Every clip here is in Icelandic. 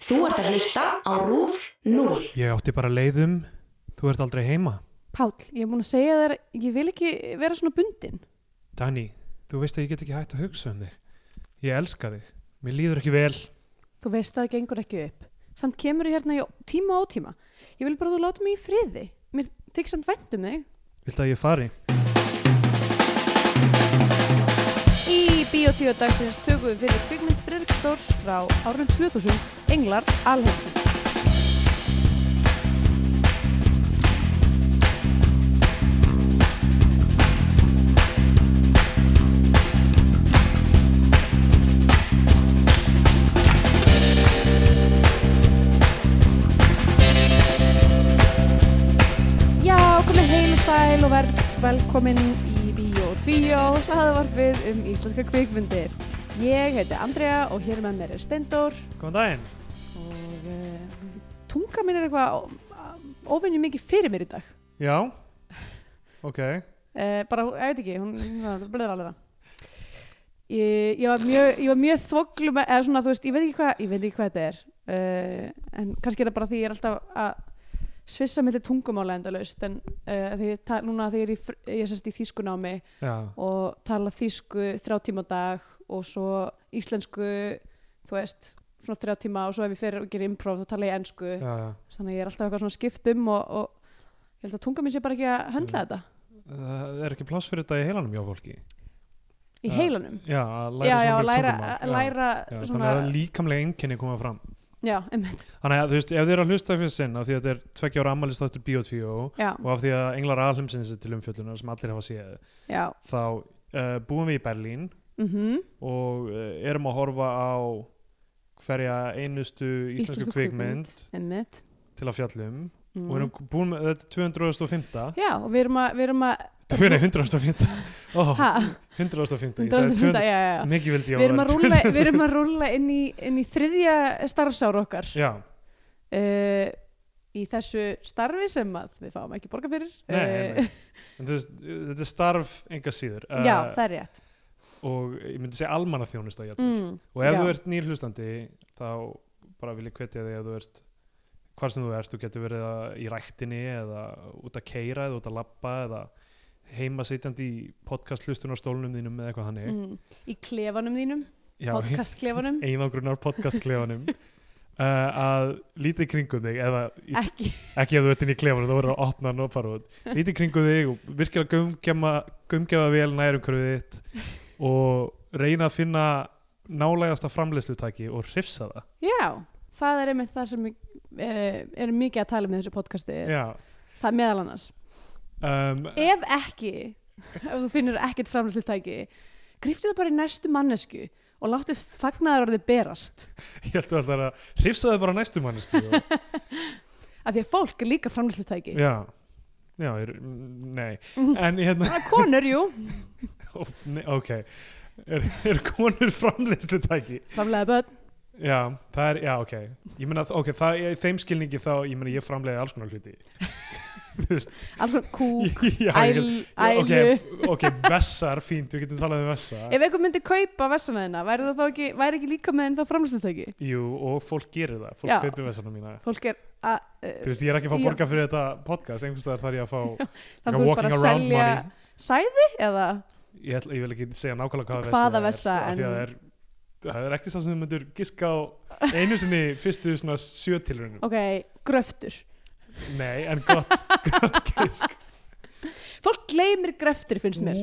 Þú ert að hlusta á RÚF 0. Ég átti bara leiðum, þú ert aldrei heima. Páll, ég er búin að segja þér, ég vil ekki vera svona bundin. Dani, þú veist að ég get ekki hægt að hugsa um þig. Ég elska þig. Mér líður ekki vel. Þú veist að það gengur ekki upp. Samt kemur ég hérna í tíma og ótíma. Ég vil bara að þú láta mig í friði. Mér þykir samt vænt um þig. Viltu að ég fari? Í Bíotíu dagsins tökum við fyrir kvikmynd Fredrik Stórs frá árunum 2000, Englar Alheimsins. Já, komið heil og sæl og verð velkomin í Bíó 2 hlaðavarfið um íslenska kvikmyndir. Ég heiti Andrea og hér með mér er Steindór Góðan daginn. og uh, tunga mín er eitthvað óvinni mikið fyrir mér í dag. Já. Ok. Uh, bara, ég veit ekki, hún, hún blöður alveg það. Ég, ég var mjög, ég var mjög þvoglum, eða svona, þú veist, ég veit ekki hvað, ég veit ekki hvað þetta er. Uh, en kannski er það bara því ég er alltaf að svissa millir tungumála endalaust, en uh, því ég, ta- núna þegar ég, fr- ég sérst í þýskunámi Já. og tala þýsku þrjá tíma á dag og svo íslensku, þú veist, svona þrjá tíma og svo ef ég fer og gerir improv þá tala ég ensku. Já, já. Þannig að ég er alltaf eitthvað svona skipt um og, og ég held að tunga mín sé bara ekki að Mm. höndla þetta Það er ekki pláss fyrir þetta í heilanum hjá fólki. í Já. heilanum. Já, að já, læra svona já, að mörg læra, tungumál. að læra Já, já, svona, Þannig að líkamlega einkenni koma fram. já, einmitt, Þannig að þú veist, ef þið eru að hlusta fyrir sinn, af því að þetta er tveggja ára ammælistáttur Bíotvíó já, og af því að Englar Alheimsins er til umfjöllunar sem allir hafa séð, já, þá uh, búum við í Berlín mhm, og eh, erum að horfa á hverja einustu íslensku, Íslensku kvikmynd, einmitt. til að fjallum Mm. og erum búin með þetta er 250 Já, og við erum að, við erum að, Þú er 150 oh, hæ, 150, ég sagði 100, 200 já, já, já. Mikið vildi ég Við erum að rúlla, við erum að rúlla inn, í, inn í þriðja starfsár okkar. Já, uh, í þessu starfi sem að við fáum ekki borga fyrir nei, Eh, einmitt. En þú veist, þetta er starf enga síður eh, já, það er rétt og ég myndi segja almanna þjónusta mm, og ef já. þú ert nýr hlustandi þá bara vil ég hvetja þig ef þú ert hvar sem þú ert, þú getur verið að- í ræktinni eða út að keira eða út að labba eða heima sitjandi í podcast hlustunarstólunum þínum eða eitthvað hannig mm, í klefanum þínum, Já, podcastklefanum einangrunar podcastklefanum uh, að lítið kringum þig eða í, ekki, ekki ef þú ert inn í klefanum þá verður að opna hann og fara út lítið kringum þig og virkilega gumgema, gumgefa vel nærumhverfið þitt og reyna að finna nálægasta framleiðslutæki og hrifsa það já það er einmitt það sem við eh, erum mikið að tala um í þessu podcasti Já, það meðal annars, um, ef ekki ef þú finnur ekkert framlýslutæki griftu það bara í næstu mannesku og láttu fagnaðar orðið berast ég held að það er að hrifsa þau bara næstu manni sko. af því að fólk er líka framlýslutæki Já, já, er, nei En hérna, konur, jú, ó, nei, ok Er, er konur framleiðslutæki? framlega börn Já, það er, já, ok Ég meina, ok, það, í þeim skilningi þá, ég meina, ég framleiði alls konar hluti Þú veist, alls konar kú, já, æl, ég- ok, ælu ok, vessar, fínt, við getum talað um vessa Ef einhver myndi kaupa vessana þína, væri það þá ekki, væri ekki líka með henn þá framlýstutæki? Jú, og fólk gerir það, fólk Já. kaupir vessana mína Fólk er að, eh, Þú veist, ég er ekki að fá Já. borga fyrir þetta podcast einhvers staðar þarf ég að fá Like a þannig þú ert bara að walking around selja sæði eða, ég, ætla, ég vil ekki segja nákvæmlega hvaða Hvaða vessa er, vessa, af því að en- það er, það er ekki sá sem þú myndur giska á einu sinni fyrstu svona sjötilrunum ok, gröftur. nei, en gott, gott gisk Fólk gleymir gröftur, finnst mér.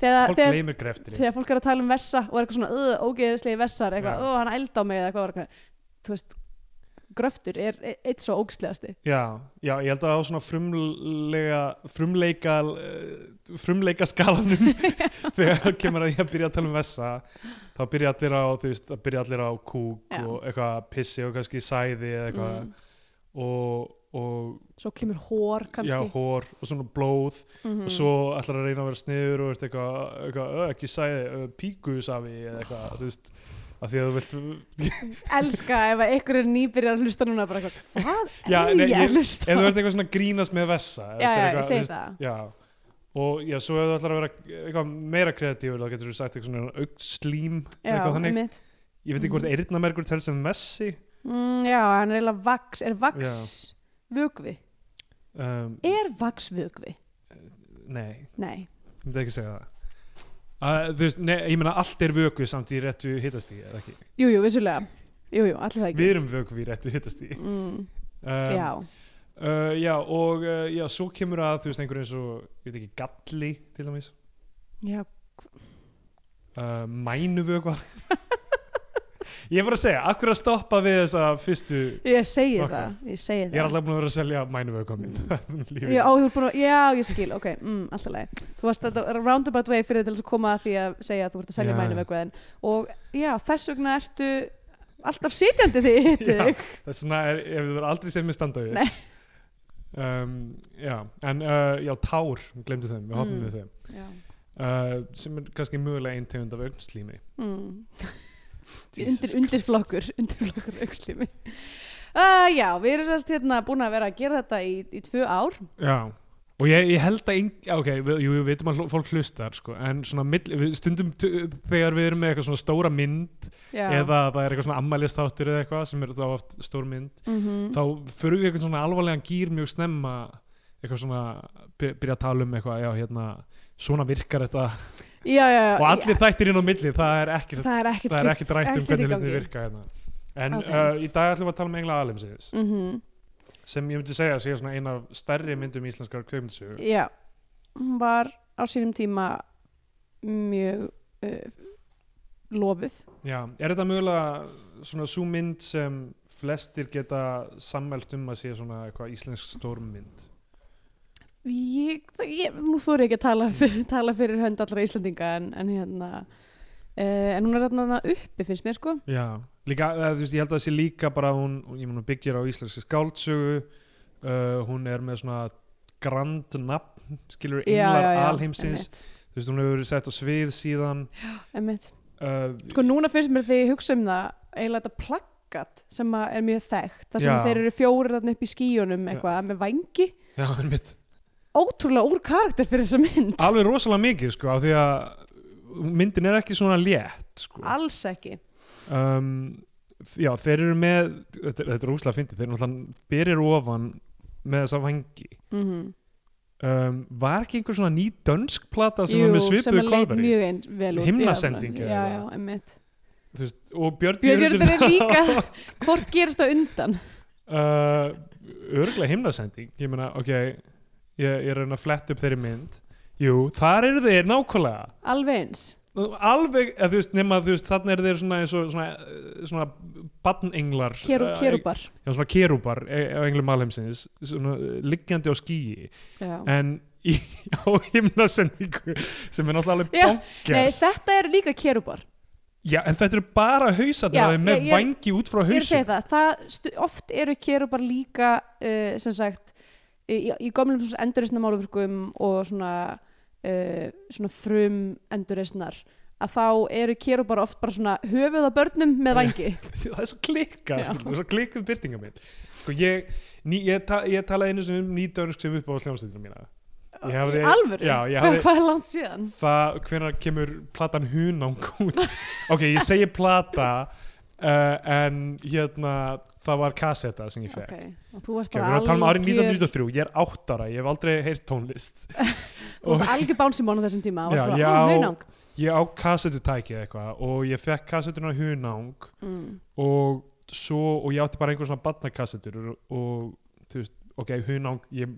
Þegar, fólk þegar, gleymir greftir þegar fólk er að tala um vessa og er eitthvað svona, öð, ógeðislegi vessar, eitthvað, Já. öð, hann ældi á mig eða eitthvað, var eitthvað, þú veist, gröftur er e- eitt svo ógeðslegasti. já, já, ég held að á svona frumlega frumleika eh, frumleika skalanum þegar kemur að ég að byrja að tala um vessa þá byrja allir á, þú veist, það byrja allir á kúk Já. og eitthvað pissi og kannski sæði eða eitthvað Mm. og, og Svo kemur hór já, kannski. hór og svona blóð Mhm. og svo ætlar að reyna að vera sniður og ert eitthvað, eitthvað "Ö, ekki sæði, ö, píkusafi eða eitthvað, þú veist af því að þú vilt, Elska ef að einhver er nýbyrjar að hlusta núna bara eitthvað, hvað Já, er nei, ég ég- að hlusta? ef þú ert eitthvað svona að grínast með vessa ef Já, þetta er já, eitthvað, ég þú segi veist, það. já, og já, svo ef þú ætlar að vera eitthvað meira kreatífur þá getur þú sagt eitthvað svona augslím eða Já, eitthvað þannig, einmitt. ég veit ekki hvort eyrnamergur tel sem messi mm, já, hann er eiginlega vaks er vaks vögvi um, er vaks vögvi? nei, nei, ég myndi ekki segja það Uh, þú veist, nei, ég meina allt er vöku samt í réttu hittastígi, eða ekki? jújú, jú, vissulega jújú, jú, allir það ekki Við erum vöku í réttu hittastígi. mm, Um, já, Uh, já, og uh, já, svo kemur að, þú veist, einhver eins og, ég veit ekki, galli, til dæmis. já, Uh, mænuvöku. ég er bara að segja, akkur að stoppa við þessa fyrstu, ég segi Ok. það ég segi ég er það alltaf búin að vera að selja mænuvöku á mín. Lífið. Já, ó, þú ert búin að, já, ég skil, ok, mm, alltaf leið. Þú varst að roundabout way fyrir til þess að koma að því að segja að þú ert að selja Já. mænu vegveðin og já, þess vegna ertu alltaf sitjandi því hittu Já. þig. Það er svona, ef þú verður aldrei sem við standa við. Nei. Um, já, en uh, já, tár, við glemdu þeim, við hoppum Mm. við þeim. Já. Uh, sem er kannski mögulega einn tegund af augnslými. Mm. Jesus Undir, undirflokkur, undirflokkur aukslimi. Uh, já, við erum sérst hérna búin að vera að gera þetta í, í tvö ár. Já, og ég, ég held að eng- já, ok, við, jú, við veitum að hl- fólk hlustar sko, en svona mill, við, stundum t- þegar við erum með eitthvað svona stóra mynd Já. eða það er eitthvað svona ammælistáttur eða eitthvað sem er þá oft stór mynd Mhm. þá förum við eitthvað svona alvarlegan gýr mjög snemma eitthvað svona by- byrja að tala um eitthvað, já hérna svona virkar þetta já, já, já. og allir þættir inn á milli, það er ekkert það er ekkert það er ekkert rætt um hvernig þetta hlutin virka hérna. en Ok. uh, í dag ætlum við að tala um Engla Alimsins Mhm. sem ég myndi segja að sé svona eina af stærri myndum íslenskar kveimtsögu Já, hún var á sínum tíma mjög uh, lofuð. Já, er þetta mögulega svona svo mynd sem flestir geta sammælt um að sé svona eitthvað íslensk stórmynd? Ég, það- ég, nú þóri ekki að tala, fyr, tala fyrir hönd allra Íslandinga en, en hérna uh, en hún er þarna uppi finnst mér sko Já, líka, eða, þú veist, ég held að það sé líka bara að hún, ég mun, hún byggir á íslenski skáldsögu, uh, hún er með svona grand nafn, skilur englar alheimsins, þú veist, hún hefur verið sett á svið síðan. einmitt. Uh, Sko núna finnst mér því ég hugsa um það eiginlega þetta plakkat sem að er mjög þekkt þar sem Já. þeir eru fjórir þarna upp í skíunum eitthvað með vangi Já, en mitt, ótrúlega úr karakter fyrir þessa mynd alveg rosalega mikið, sko, af því að myndin er ekki svona létt, sko. alls ekki um, f- já, þeir eru með þetta, þetta er úslega fyndið, þeir eru náttúrulega berir ofan með þessa vangi mm um, var ekki einhver svona ný dönsk plata sem var með sem svipuðu að leit kóðari mjög einn vel út Himnasending já, eða já, eitthvað. já, einmitt veist, og Björn Björn Jörundur Jörundur er líka- hvort gerist það undan uh, örglega himnasending ég meina, ok ég, ég er að reyna að fletta upp þeirri mynd jú, þar eru þeir nákvæmlega alveg eins alveg, eða, þú veist, nema þú veist, þarna eru þeir svona, eins og svona, svona barnenglar Keru, eh, kerubar já, svona kerúpar e- á englum alheimsins svona, eh, liggjandi á skýi já. en í, á himnasendingu sem er náttúrulega alveg Já, Nei, bonkers þetta eru líka kerubar já, en þetta eru bara hausarnir Já, að þeim með ég- ég er- vangi út frá Ég er að segja hausum það, það stu, oft eru kerubar líka uh, sem sagt í, í gömlum endurreisna málverkum og svona, uh, svona frum endurreisnar að þá eru kerubar oft bara svona höfuð á börnum með vangi það er svo klikkað, Já. skilur, það er svo klikkað byrtinga mitt sko ég, ný, ég, ta, ég talaði einu sem um nýdönsk sem upp á sljómsýttina mína Ég hafði- alvöru, já, ég Hvað- hafði- hvað er langt síðan það, hvenær kemur platan hunang út ok, ég segi plata uh, en hérna það var kasseta sem ég fekk okay. og þú varst Ok, við bara erum að tala um árið algjör 1993, ég er átt ára, ég hef aldrei heyrt tónlist. þú varst algjör bánsimón á þessum tíma og Já, varst já. bara, ó, hunang Ég á kassetutækið eitthvað og ég fekk kassetuna hunang mm. og svo, og ég átti bara einhver svona barnakassetur og, og þú veist, ok, hunang, ég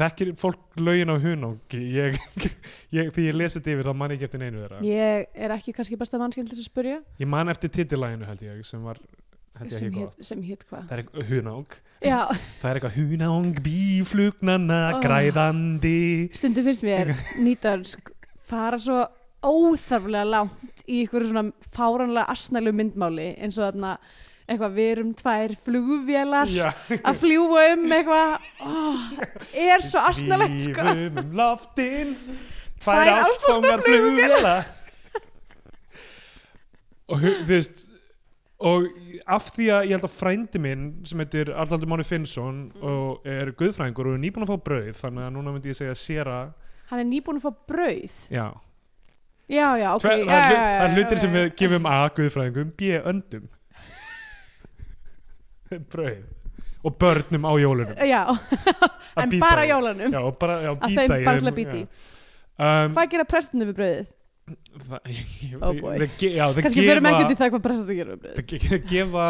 þekkir fólk lögin á hunang, ég, ég, því ég lesi þetta yfir þá man ég ekki eftir neinu þeirra. ég er ekki kannski besta mannskjöld til þess að spurja Ég man eftir titillæginu held ég, sem var, held ég sem ekki hét, gott. sem hét hvað Það er eitthvað hunang, já, það er eitthvað hunang, bíflugnanna, Oh. græðandi. stundum finnst mér nýtönsk fara svo óþarflega langt í einhverju svona fáranlega asnalu myndmáli eins og þarna eitthvað við erum tvær flugvélar Já. að fljúa um eitthvað oh, er svo asnalegt sko Svífum um loftin Tvær Tvær ástfangar flugvila Og hu- þú veist Og af því að ég held að frændi minn sem heitir Arnaldur Máni Finnsson Mm. og er guðfræðingur og er nýbúin að fá brauð þannig að núna myndi ég segja séra hann er nýbúin að fá brauð Já, já, já, ok Tve, já, það, er hlut, já, já, það er já, hlutir já, sem já. við gefum A guðfræðingum B öndum brauð og börnum á jólunum já, Að en bíta í. bara jólanum já, og bara, já, að bíta þeim í bara þeim, til að bíti já. um, hvað gera prestinni við brauðið? það, ég, Oh boy. það, ge- já, það kannski fyrir gefa- með ekkert í það hvað prestinni gera við brauðið það ge- það gefa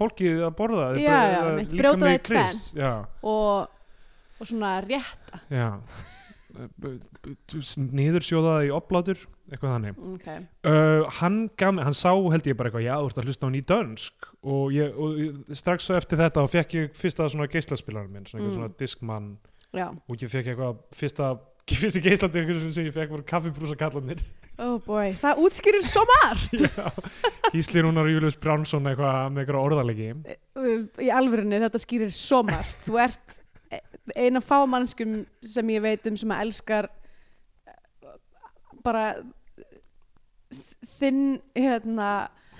fólkið að borða þeir Já, bara- já, það- mitt, líka brjóta með það í kris, já, og, og svona rétt já niðursjóða það í oplátur eitthvað þannig okay. Uh, hann, gaf, mér- hann sá held ég bara eitthvað já, þú ert að hlusta á ný dönsk og, ég, og ég- strax svo eftir þetta þá fekk ég fyrsta svona geislaspilarum minn svona, Mm. mm. svona diskmann já, og ég fekk eitthvað fyrsta fyrsti geislandir sem ég fekk voru kaffibrúsa kallanir oh boy það útskýrir svo margt Gísli Rúnar og Július Bránsson eitthvað með eitthvað orðalegi í alvörunni þetta skýrir svo margt þú ert eina fá mannskum sem ég veit um sem að elskar eh, bara þinn hérna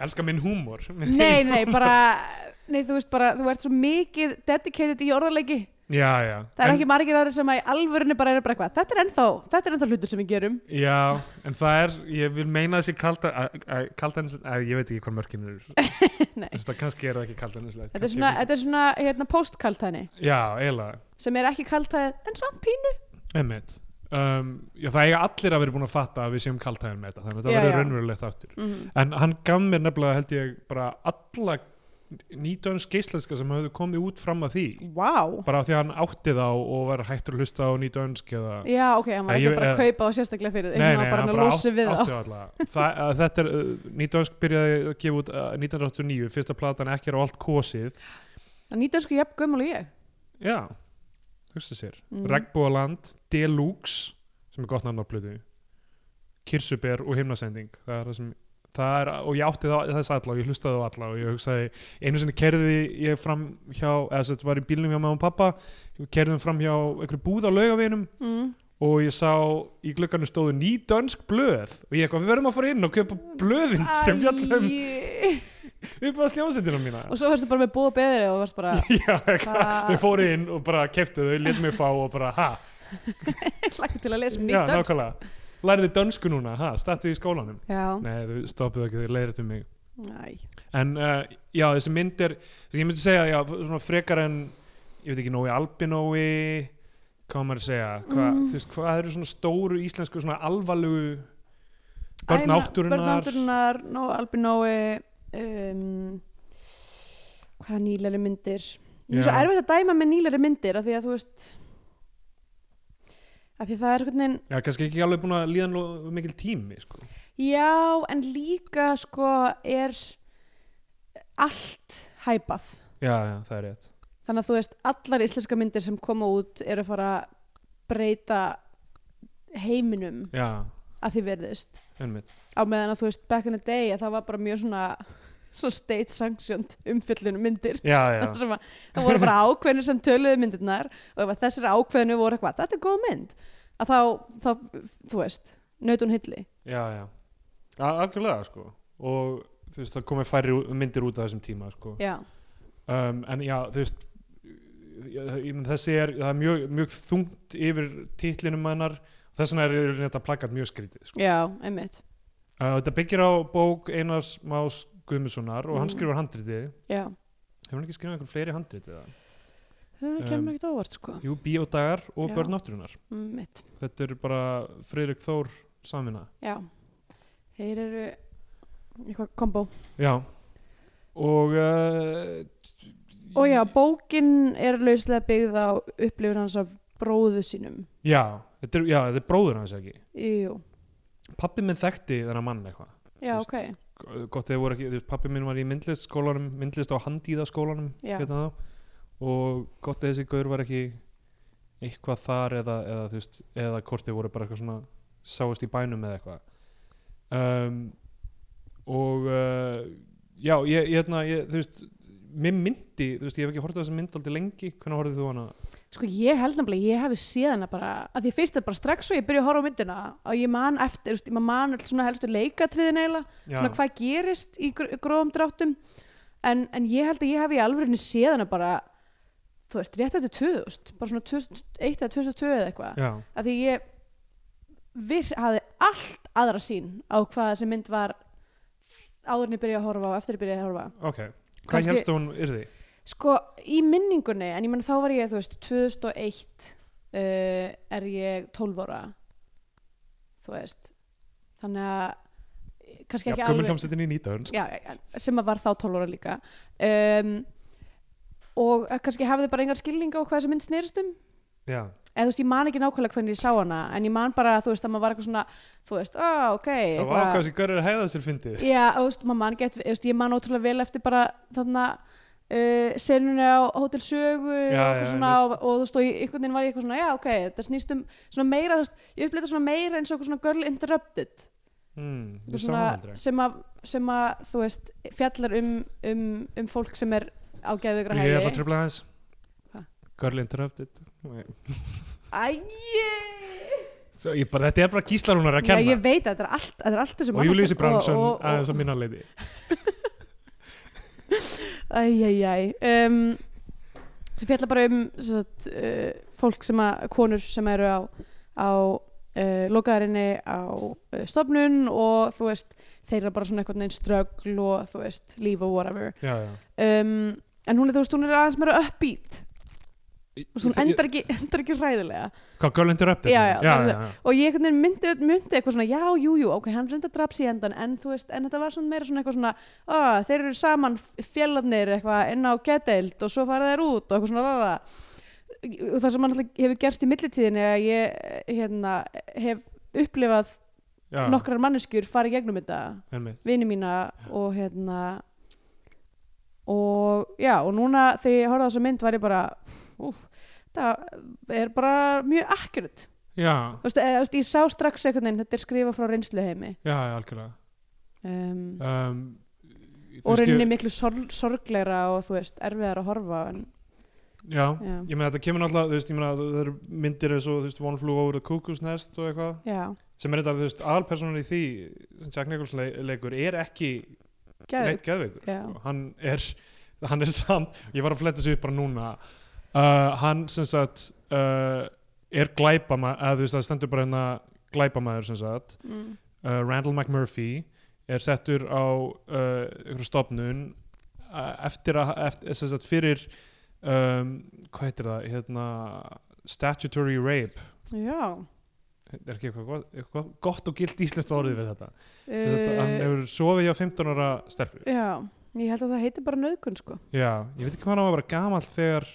elska minn húmor nei, nei, bara nei, þú veist bara, þú ert svo mikið dedicated í orðarleiki já, já það er En- ekki margir aðri sem að í alvörunni bara eru bara eitthvað þetta er ennþá, þetta er ennþá hlutur sem við gerum Já, en það er, ég vil meina þessi kalda, kaldanis, að ég veit ekki hvað mörkin eru, Nei. þess að kannski er það ekki kaldanislegt. þetta er svona, þetta er svona hérna, postkaltæni Já, eiginlega, sem er ekki kaltæð, en samt pínu emmitt. Um, já, það eiga allir að vera búin að fatta að við séum kaldhæðin með þetta, þannig að Já, þetta verður já. raunverulegt aftur. mm -hmm. En hann gaf mér nefnilega, held ég, bara alla nýtönsk geislenska sem höfðu komið út fram að því, wow. bara af því að hann átti þá og var hættur að hlusta á nýtönsk eða... Já, ok, hann var Nei, ekki ég- bara að eh, kaupa og sérstaklega fyrir þig, Nei, hann nei, var Hérna bara hann að bara losa við átti þá. alla Þa, að Þetta er, uh, Nýtönsk byrjaði að gefa út uh, 1989, fyrsta platan ekki er á allt kosið Það nýtur sko jafn gömul og ég. Já, hugsa sér Mm. Regnbúaland, Deluxe sem er gott nafn á plötu Kirsuber og himnasending það er það sem Það er, og ég átti það, þess alla og ég hlustaði á alla og ég hugsaði, einu sinni kerði ég fram hjá, eða þetta var í bílnum hjá mamma og pappa, kerðum fram hjá einhverju búð á laugavinum Mm. og ég sá í glögganu stóðu ný dönsk blöð og ég eitthvað, við verðum að fara inn og kaupa blöðin sem fjallum Æi. upp á sljómsendina mína Og svo varstu bara með búa beðri og varstu bara, Já, eitthvað, Það- þau fóru inn og bara keftu þau, let mig fá og bara, ha hlækki til að lesa um já, nýtt dönsk. nákvæmlega, lærðu dönsku núna ha, stættu í skólanum Já, Nei, þau stoppuðu ekki, þau leiðrættu mig næ. En uh, já, þessi mynd er ég myndi segja, já, svona frekar en ég veit ekki, Nói Albinói hvað á maður að segja hva, Mm. þú veist, hvað eru svona stóru íslensku svona alvarlegu börn Börn náttúrunar átturinnar, no, albinói, um, hvaða nýlari myndir. Mér er svo Já. erfitt að dæma með nýlari myndir af því að þú veist, af því að það er einhvern veginn, Já, kannski ekki alveg búin að líða nógu mikil tími sko. já, en líka sko er allt hæpað. Já, já, það er rétt þannig að þú veist allar íslenska myndir sem koma út eru að fara að breyta heiminum Já, að því verðist einmitt á meðan að þú veist back in the day að það var bara mjög svona svo state sanctioned umfyllunum myndir Já, já, Sem að, það voru bara ákveðinu sem töluðu myndirnar og ef að þessari ákveðinu voru eitthvað þetta er góð mynd að þá, þá þú veist, naut hún hilli já, já. A Algjörlega, sko Og þú veist, það komið færri ú- myndir út af þessum tíma sko. já, um, En já, þú veist ég- ég meina, Þessi er, það er mjög, mjög þungt yfir titlinum hennar Þess vegna er þetta plakat mjög skrítið sko. já, einmitt uh, Þetta byggir á bók Einars Más Guðmundssonar og hann Mm. skrifar handritið já, Hefur hann ekki skrifað einhver fleiri handritið? það Um, kemur ekkert óvart sko Jú, Bíódagar og Já. Börn náttúrunnar mitt, Þetta eru bara Freyrik Þór samina. já þeir eru eitthvað kombo Já. Og uh, Og já, bókin er lauslega byggð á upplifun hans af bróðu sínum. já, þetta er, já, þetta er bróður hans ekki. Jú, Pappi minn þekkti þennan mann eitthvað. já, Þú ok. Gott þegar voru ekki, þú veist, pappi minn var í myndlistskólanum, myndlist á handíðaskólanum, Já. hérna þá. Og gott þegar þessi gaur var ekki eitthvað þar eða, eða þú veist, eða hvort þeir voru bara eitthvað svona sáist í bænum eða eitthvað. Um, og uh, já, ég, ég, hérna, ég, þú veist, mér myndi, þú veist, ég hef ekki horfðið á þessa mynd aldrei lengi, hvernig horfðið þú á hana? Sko ég held nefnilega, ég hefði séð hana bara, að því fyrst er bara strax og ég byrja að horfa á myndina og ég man eftir, þú veist, ég man alls svona helstu leikatriðin eiginlega, Já, svona hvað gerist í gr- grófum dráttum, en, en ég held að ég hefði í alvörinni séð hana bara, þú veist, rétt eftir 2000, bara svona 2001 eða 2002 eða eitthvað. já, að því ég vir, hafði allt aðra sín á hvað þessi mynd var áður en ég byrjaði að horfa og eftir ég byrjaði að horfa ok. Hvað Kannski- helstu hún yrði? Sko, í minningunni, en ég menn þá var ég, þú veist, 2001 uh, er ég 12 ára, þú veist, þannig að eh, kannski Já, ekki gömul alveg... hljómsveitin í nýtaun já, já, já, sem að var þá 12 ára líka um, og að kannski hafði bara engar skilning á hvað þessi mynd snerist um Já, eða þú veist, ég man ekki nákvæmlega hvernig ég sá hana en ég man bara, þú veist, að maður var eitthvað svona þú veist, á, ok það var eitthvað- ákvæðis í görður að hæða sér fyndið já, og þú veist, maður man gett, þú veist, ég man ótrúlega vel eftir bara þarna Uh, senunni á Hotel Sögu Já, og, eitthvað já, svona, einmitt. og, og þú veist, og ég- einhvern veginn var ég eitthvað svona já, ok, þetta snýst um svona meira þú veist, ég upplýta svona meira eins og eitthvað svona girl interrupted mm, og Ég sá hann svona, aldrei sem, að, sem að þú veist fjallar um, um, um fólk sem er á geðveikra Ég ætla að hægi tröfla aðeins Hvað? Girl Interrupted Nei. Æi Svo ég bara, Þetta er bara gíslarúnar að Já, kenna ég veit að þetta er allt, þetta er allt þessu Og Júliusi Bransson aðeins á aðeins minna leiti Æjæjæj um, sem fjallar bara um sem sagt, uh, fólk sem að konur sem eru á, á uh, lokaðarinni á uh, stofnun og þú veist þeir eru bara svona einhvern veginn ströggl og þú veist líf og whatever Já, já um, en hún er þú veist, hún er aðeins meira uppbít og svo hún endar ekki, endar ekki ræðilega Hvað, Girl Interrupted? Já, já, já, það er- já, já. og ég einhvern veginn myndi, myndi eitthvað svona já, jú, jú, ok, hann reynda draps í endan en þú veist, en þetta var svona meira svona eitthvað svona að þeir eru saman fjallarnir eitthvað inn á getdeild og svo fara þeir út og eitthvað svona lala. og það sem hann alltaf hefur gerst í millitíðinni að ég hérna, hef upplifað já. nokkrar manneskjur fara í gegnum þetta Einmitt. vini mína og hérna og já og núna þegar ég horfði á þessa mynd var ég bara úf, það er bara mjög akkurat Já, þú veist, eða, þú veist, ég sá strax einhvern veginn þetta er skrifað frá reynslu heimi já, já, algjörlega um, um, og rauninni miklu sorg, sorgleira og þú veist erfiðar að horfa á, en, mikið Já, já, ég meina þetta kemur náttúrulega, þú veist, ég meina það eru myndir eins og, þú veist, One Flew Over the Cuckoo's Nest og eitthvað já, sem er þetta, þú veist, aðalpersonan í því sem Jack Nicholson le- leikur er ekki gæðu neitt geðveikur Já. sko. hann er, hann er samt ég var að fletta þessu upp bara núna uh, hann sem sagt uh, er glæpamaður, eða þú veist, það stendur bara hérna glæpamaður sem sagt mm, uh, Randall McMurphy er settur á uh, einhverjum stofnun uh, eftir að eftir, sem sagt, fyrir um, hvað heitir það hérna, statutory rape já er ekki eitthvað, gott- eitthvað gott og gilt íslenskt orðið við þetta sem sagt, hann uh, hefur sofið hjá 15 ára stelpu já, ég held að það heiti bara nöðkun sko já, ég veit ekki hvað hann var bara gamall þegar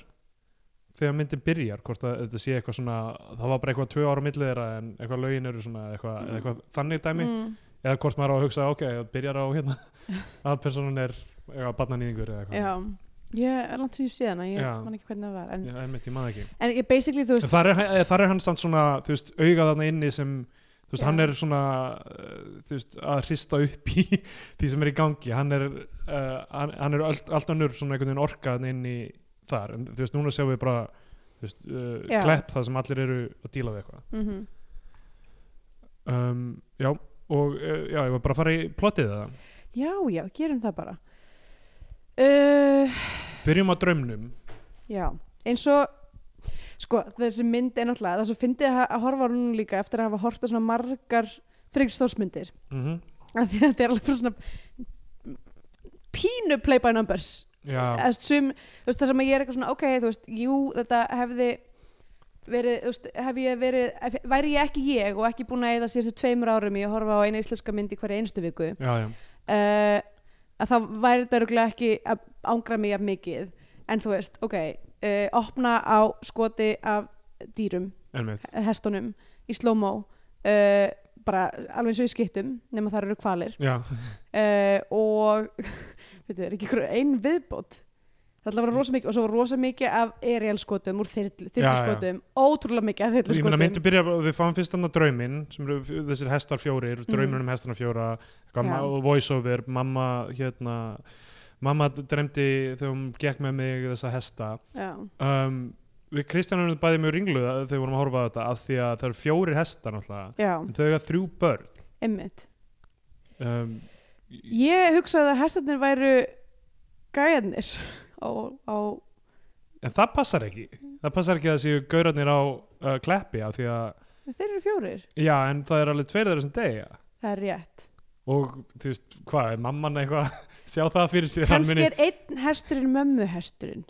þegar myndin byrjar hvort að þetta sé eitthvað svona það var bara eitthvað tvö ára milli þeirra en eitthvað lögin eru svona eitthvað, Mm. eða eitthvað þannig dæmi mm, eða hvort maður á að hugsa ok, það byrjar á hérna að personan er að batna nýðingur eða já, eitthvað ég er langt sem ég sé hana ég Já. man ekki hvernig það var en, Já, einmitt, ég maður ekki en ég basically, þú en veist, þar er, eh, þar er hann samt svona, þú veist, augað þarna inni sem þú veist, Já. hann er svona eh, þú veist, að hrista upp í því sem er í gangi hann er, uh, hann, hann er allt, allt önnur svona einhvern veginn orka þarna inni þar, en þú veist, núna sjáum við bara þú veist, uh, Já. klepp það sem allir eru að díla við eitthvað mhm um, já, og uh, já, ég var bara að fara í plottið það, Já, já, gerum það bara. Uh, byrjum á draumnum já, eins og, sko, þessi mynd er náttúrulega, það sem fyndi að, að horfa á hún líka eftir að hafa horta svona margar þryggstórsmyndir. mm Þetta er alveg bara svona pínu play by numbers. já, Eða Sum, þú veist, það sem að ég er eitthvað svona, ok, þú veist, jú, þetta hefði verið, þú veist, hef ég verið, ef, væri ég ekki ég og ekki búin að eða síðustu tveimur árum í að horfa á eina íslenska mynd í hverja einstu viku já, já uh, að það væri þetta örgulega ekki að ángra mig af mikið en þú veist, ok, uh, opna á skoti af dýrum eh, Einmitt. hestunum í slow-mo uh, bara alveg eins og í skiptum nema það eru kvalir Já, uh, og veitir, er ekki einhver- ein viðbót það ætla að vera rosa mikið og svo rosa mikið af aerial skotum úr þyrl- Já, já. þyrluskotum ótrúlega mikið af ég meina myndi þyrluskotum byrja, við fáum fyrst hann að draumin sem eru f- þessir hestar fjórir, draumurinn um hestana fjóra eitthvað Mhm. Já. ma- og voiceover, mamma hérna, mamma dremdi þegar hún gekk með mig þessa hesta já, um, við Kristjánum erum bæði mjög ringluð að- þegar við vorum að horfa á þetta af því að það eru fjórir hestar náttúrulega, já, en þau eru þrjú börn einmitt um, Ég hugsaði að hestarnir væru gæjarnir á, á en það passar ekki það passar ekki að það séu gaurarnir á uh, kleppi af því að, þeir eru fjórir, já en það er alveg tveir þeirra sem deyja það er rétt og þú veist, hvað, er mamman eitthvað sjá það fyrir sér hann kannski muni- er einn hesturinn mömmu hesturinn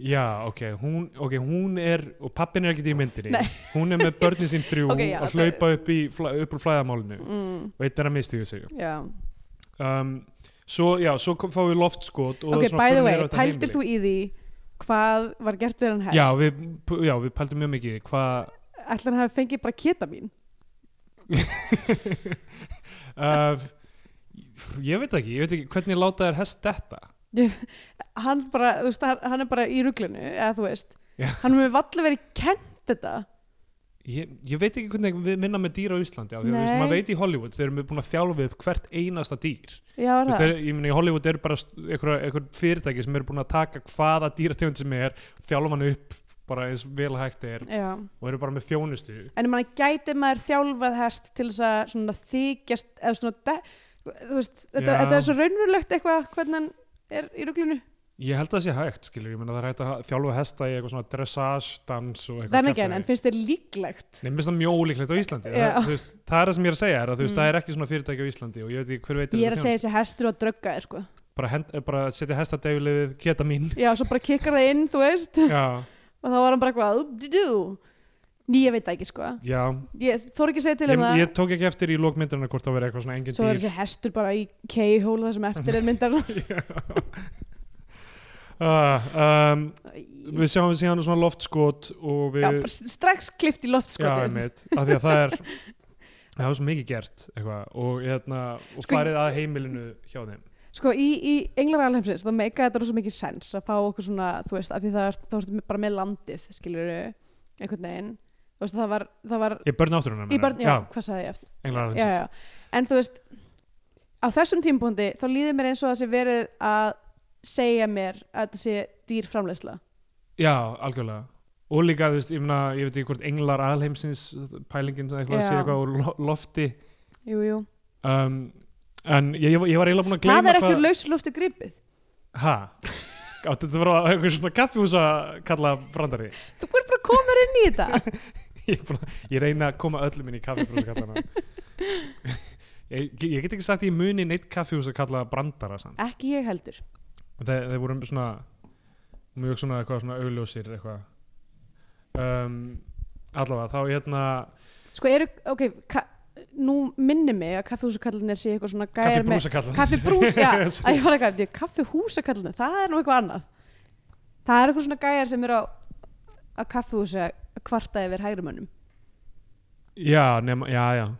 Já, ok, hún, ok, hún er og pappin er ekkert í myndinni Nei. hún er með börnin sín þrjú Ok, já, og það er- hlaupa upp, í, fla- upp úr flæðamálinu mm, og einn er að mistu sig já um, Svo, já, svo kom, fáum við loftskot og ok, svona by the förum way, niður á þetta pældir heimili. þú í því hvað var gert við hann hest Já, við, p- já, við pældum mjög mikið í því. hvað ætla hann hafi fengið bara keta mín uh, Ég veit ekki, ég veit ekki hvernig láta þér hest þetta hann, bara, þú veist, hann, hann er bara í ruglunu eða þú veist, Já. hann hefur valla verið kent þetta Ég, ég veit ekki hvernig við minna með dýr á Íslandi á því að þú veist, Nei. maður veit í Hollywood þeir eru búin að þjálfa upp hvert einasta dýr já, er Þú veist, það, þeir, ég meni, Hollywood er bara st- einhver, einhver fyrirtæki sem eru búin að taka hvaða dýrategund sem er, þjálfa hann upp bara eins vel hægt er já og eru bara með þjónustu en mann gæti maður þjálfað hest til þess að svona þykjast eða svona de, þú veist, þetta, Já. þetta er svo raunverulegt eitthvað hvernig hann er í ruglunu ég held að það sé hægt, skilur, ég meina það er hægt að ha- þjálfa hesta í eitthvað svona dressage, dans og eitthvað þannig en finnst þér líklegt Nei, mér finnst það mjög ólíklegt á Íslandi það, Já. þú veist, það er það sem ég er að segja er að þú veist, Mm. það er ekki svona fyrirtæki á Íslandi og ég veit ekki hver veitir ég er að þessa segja þjónustu. þessi hestur og drögga þér sko bara, hend, eh, bara setja hestadegulefið geta mín já, svo bara kikkar það inn, þú veist já, og þá var hann bara eitthvað "Oop-de-doo." Ný, ég veit það ekki sko já ég þór ekki að segja til ég, um það ég tók ekki eftir í lókmyndirna hvort það verið eitthvað svona engin svo er dýr þessi hestur bara í keihólu það sem eftir er myndar uh, um, já, við sjáum síðan svona loftskot og við bara strax klift í sko. já, loftskotið einmitt, af því að það er það er svo mikið gert eitthvað, og, hérna, og Sko, farið að heimilinu hjá þeim Sko í, í englaralheimsins þá meika þetta rosa mikið sens að fá okkur svona, þú veist, af því það er, þá ertu bara með landið, skilur einhvern veginn, þú veist, það var, það var ég börn náttúrunar í börn, já, hvað sagði ég eftir englar já, já. en þú veist á þessum tímpúndi þá líður mér eins og það sé verið að segja mér að þetta sé dýr framleysla já, algjörlega og líka, þú veist, ég, mena, ég veit ekki hvort englar alheimsins pælingin eitthvað að Já. sé eitthvað úr lo- lofti jú, jú, um, en ég, ég var- ég var eiginlega búin að gleyma það er ekki úr lauslufti gripið hæ? Áttu þetta að vera eitthvað svona kaffihúsa kalla brandari? þú er bara komur inn í þetta ég, bara, ég reyna að koma öllum inn í kaffibrúsakallana ég, ég get ekki sagt ég muni neitt kaffihúsakalla brandara samt ekki ég heldur þeir, þeir voru svona mjög svona eitthvað svona augljósir eitthvað um, allavega þá hérna sko eru, ok, ka, nú minni mig að kaffihúsukallinir sé eitthvað svona gæjar með kaffihúsakalla kaffi brús, já að ég var eitthvað, kaffi húsakallinu, það er nú eitthvað annað það er eitthvað svona gæjar sem eru á, á kaffihúsi að kvarta yfir hægri mönnum já nema já já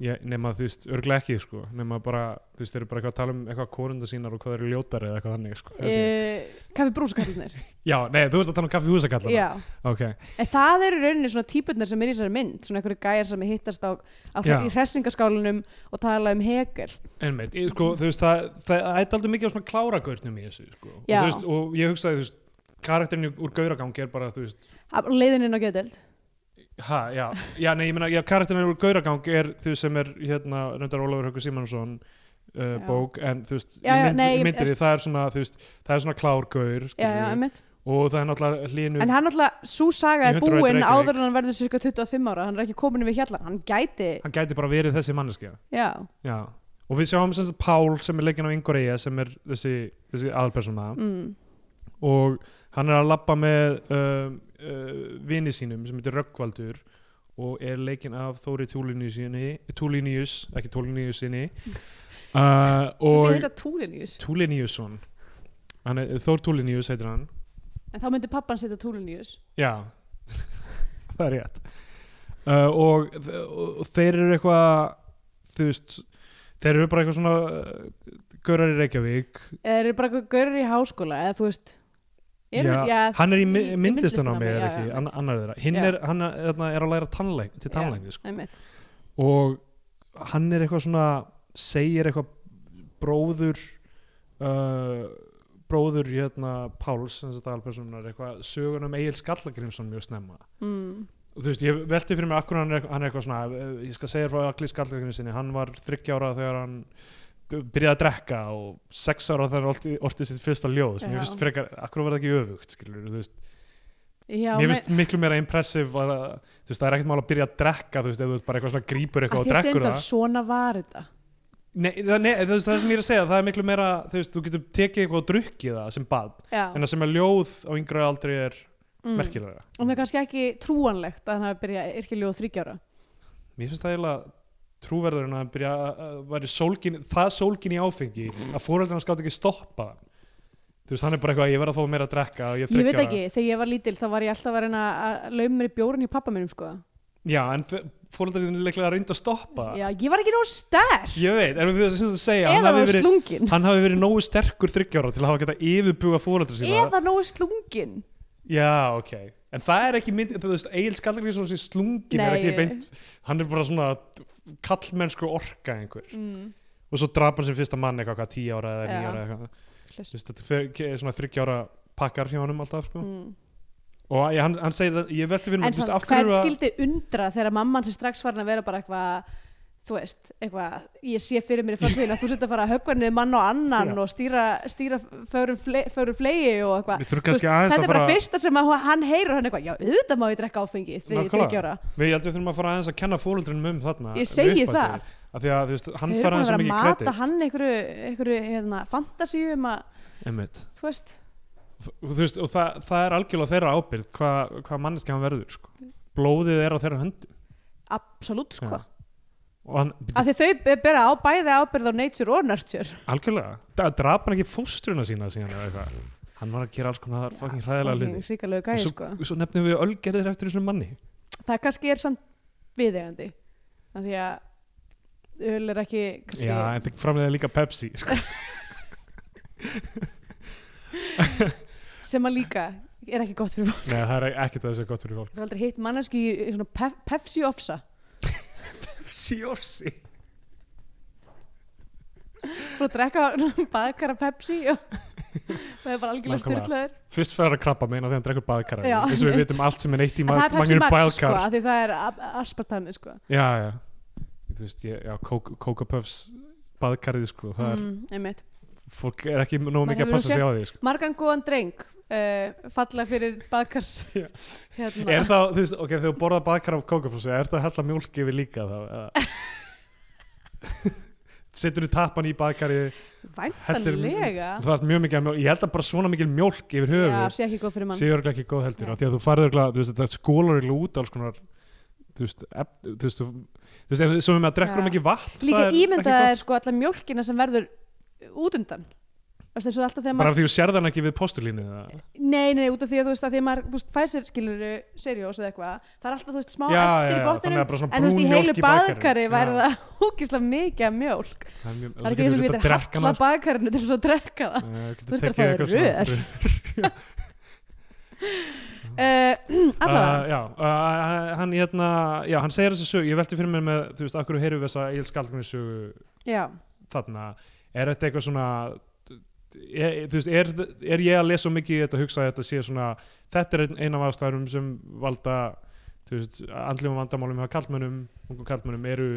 Ég, nema þú veist, örglega ekki sko nema bara, þú veist, þeir eru bara eitthvað að tala um eitthvað konunda sínar og hvað þeir eru ljótari eða eitthvað þannig sko. e, kaffi brúsakallinir já, nei, þú ert að tala um kaffihúsakallana já, ok, en það eru í rauninni svona típurnar sem er í þessari mynd, svona eitthvað gæjar sem hittast á, á Já. í hressingaskálunum og tala um hegel Einmitt, ég, sko, þú veist, það, það, það er aldrei mikið af svona kláragaurnum í þessu, sko. Og, Já. þú veist, og ég hugsaði, þú veist, karakterinu úr gauragangi er bara, þú veist, Af- leiðin inn á geðdelt ha, já, já, nei, ég meina, já, karakterinu úr gauragangi er, þú veist, sem er, hérna, reyndar Ólafur Haukur Simonsson uh, Já. bók, en, þú veist, Já, já, í mynd, nei, ég- myndir, það er svona, þú veist, það er svona klárgaur, já, já, skilurðu, einmitt. og það er náttúrulega hlínu, en hann alltaf, sú Í saga er 100 búin Reykjavík. áður en hann verður cirka 25 ára, hann er ekki komin við hjallan hann gæti, hann gæti bara verið þessi manneskja, já já. Og við sjáum sem sagt Pál sem er leikinn á Ingvar Eyja sem er þessi, þessi aðalpersona. mm. og hann er að labba með um, uh, vini sínum sem heitir Röggvaldur og er leikinn af Þóri Túlinius ekki Túlinius sinni uh, og... og heita Túlinius Túliniusson Þór Túlinius heitir hann en þá myndi pappan setja Túlinius já, það er rétt uh, og, og þeir eru eitthvað þú veist þeir eru bara eitthvað svona uh, gaurar í Reykjavík eða eru bara eitthvað gaurur í háskóla eða þú veist já, hann er í mi- myndlistarnámi myndlistarnámi, eða já, ekki, já, ann- annar þeirra hinn Já. er, hann er, þarna er að læra tannleik, til Já. tannleikni sko. einmitt. og hann er eitthvað svona segir eitthvað bróður uh, bróður hérna Páls sem þetta alpersonar, eitthvað sögun um Egil Skallagrimsson mjög snemma Mm. og þú veist, ég velti fyrir mig akkur hann er, hann er eitthvað svona, eh, ég skal segja þér frá allir skallagrimsinni, hann var 30 ára þegar hann byrjaði að drekka og 6 ára þegar hann orti, orti sitt fyrsta ljóð, sem Já. ég finnst frekar akkur var það ekki öfugt, skilur, þú veist Já, Mér me- finnst miklu meira impressive að, þú veist, það er ekkert mál að byrja að drekka, þú veist, ef þú veist bara eitthvað svona grípur að eitthvað og því að drekkur stundar það. svona var þetta Nei, það, nei, það, það sem ég er að segja, það er miklu meira þú veist, þú getur tekið eitthvað og drukkið það sem bad já, en það sem er ljóð á yngra aldrei er mm. merkilega og það er kannski ekki trúanlegt að hann hafi byrjað yrkiljóð þryggjara Mér finnst það eiginlega trúverður en að hann byrja að- að væri sólgin, það sólgin í áfengi að fóreldur hans gátt ekki stoppa hann. Þú veist, hann er bara eitthvað, ég verð að fá meira að drekka og ég ég veit þriggja ára." ekki, þegar ég var lítil þá var ég alltaf að reyna að lauma mér í bjórin í pappa minnum sko. Já, en fóreldur er leiklega að reynda að stoppa það. já, ég var ekki nóg sterk Ég veit, erum við þess að segja hann eða hafi, var verið, slungin hann hafi verið nógu sterkur þryggjára til að hafa geta yfirbuga fóreldur sína eða nógu slungin Já, ok En það er ekki mynd, þú veist, Egil Skallagrísson sem slungin er Nei, ekki ég- beint hann er bara svona kallmennsku orka einhver mm. og svo drap hann sem fyrsta mann eitthvað, hvað, tíu ára eða Já. nýja ára eða eitthvað Þú veist, þetta fer- ke- er svona 30 ára pakkar hjá honum alltaf sko. Mm. og ég, hann, hann segir það, ég velti fyrir en mér þú samt, veist, af hvern hverju að- skildi undra þegar mamman sem strax farin að vera bara eitthvað þú veist, eitthvað, ég sé fyrir mér í framtíðin að þú setja að fara að höggva niður mann og annan Já. og stýra, stýra förum, fle, förum flegi og eitthvað við þurfum Þú veist, kannski aðeins þetta að er bara fara fyrsta sem að hún- hann heyrir og hann eitthvað, já, auðvitað má ég drekka áfengi þegar ég Nákvæmlega. þryggjóra, við ég held við þurfum að fara aðeins að kenna fóruldrinum um þarna ég segi við upphafið. það af því að þú veist, hann þau eru fara búin að aðeins að vera að mikið mata kredit hann einhverju, einhverju hérna, fantasíu um að, Einmitt. þú veist og, þú veist, og það, það er algjörlega þeirra ábyrgð hvað hva manneski hann verður sko. blóðið er á þeirra höndum absolutt sko, Já. og hann, af því þau bera á bæði ábyrð á nature og nurture algjörlega það drap hann ekki fóstruna sína síðan eða eitthvað hann var að gera alls konar fucking hræðilega hluti hríkalegu og gæði svo, sko svo nefnum við ölgerðir eftir þessum manni það kannski er samt viðegandi af því að öl er ekki kannski, já, en þið framlega líka Pepsi sko. sem að líka er ekki gott fyrir fólk Nei, það er ekkert að þessu gott fyrir fólk ég hef aldrei hitt mannesku í, í svona pef, pefsi ofsa Pepsi ofsi og drekka baðkara pepsi og það er bara algjörlega Nákvæmlega. styrlaður fyrst fer hann að krabba meina þegar hann drekkur baðkar Já, eins og við einmitt. vitum allt sem er neitt í en ma- það er pepsi manginum max sko baðkar af því það er a- aspartami sko já, já þú veist, ég, já, Coca- Coca Puffs baðkarið sko, það er, mm, einmitt. fólk er ekki nóg Maður mikið að hefur passa sig á því sko. margan góðan dreng uh, falla fyrir baðkars Já. hérna. er þá, þú veist, ok, þegar þú borðar baðkar af Coca Puffs, er það að hella mjólk yfir líka þá, eða setur þú tappan í baðkarið væntanlega það er mjög mikið af mjólk, ég held að bara svona mikið mjólk yfir höfuð já, sé ekki góð fyrir mann sé örglega ekki góð heldur Nei. af því að þú farið örglega, þú veist, það skólar örglega út alls konar þú veist, ef, þú veist, þú, þú veist, sem við með að drekkur um Já. ekki vatn Líka það er ímyndað ekki er sko alla mjólkina sem verður út undan Þú veist, eins og alltaf þegar gott. bara maður, af því þú sérð hann ekki við postulínu það. nei, nei, út af því að þú veist að því að maður, þú veist, fær sér skilur seriós eða eitthvað, það er alltaf, þú veist, smá Já, já, eftir í þannig að bara botninum, svona en þú veist, í brún heilu mjólk í baðkarinu. baðkari væri Já. það ógislega mikið af mjólk, það er mjög, það er ekki eins og við getur halla baðkarinu til þess að drekka það. þú Þú ert að fá þér rör. Uh, allavega, Uh, já, uh, hann hérna já, hann segir þessu sögu, ég velti fyrir mér með þú veist, akkur heyrðum við þessa Egil Skaldgríms sögu já, þarna, er þetta eitthvað svona er, þú veist, er, er ég að lesa of mikið í þetta hugsa að þetta sé svona þetta er ein- ein af ástæðurum sem valda þú veist, andlum vandamálum hjá kallmönnum, ungum kallmönnum eru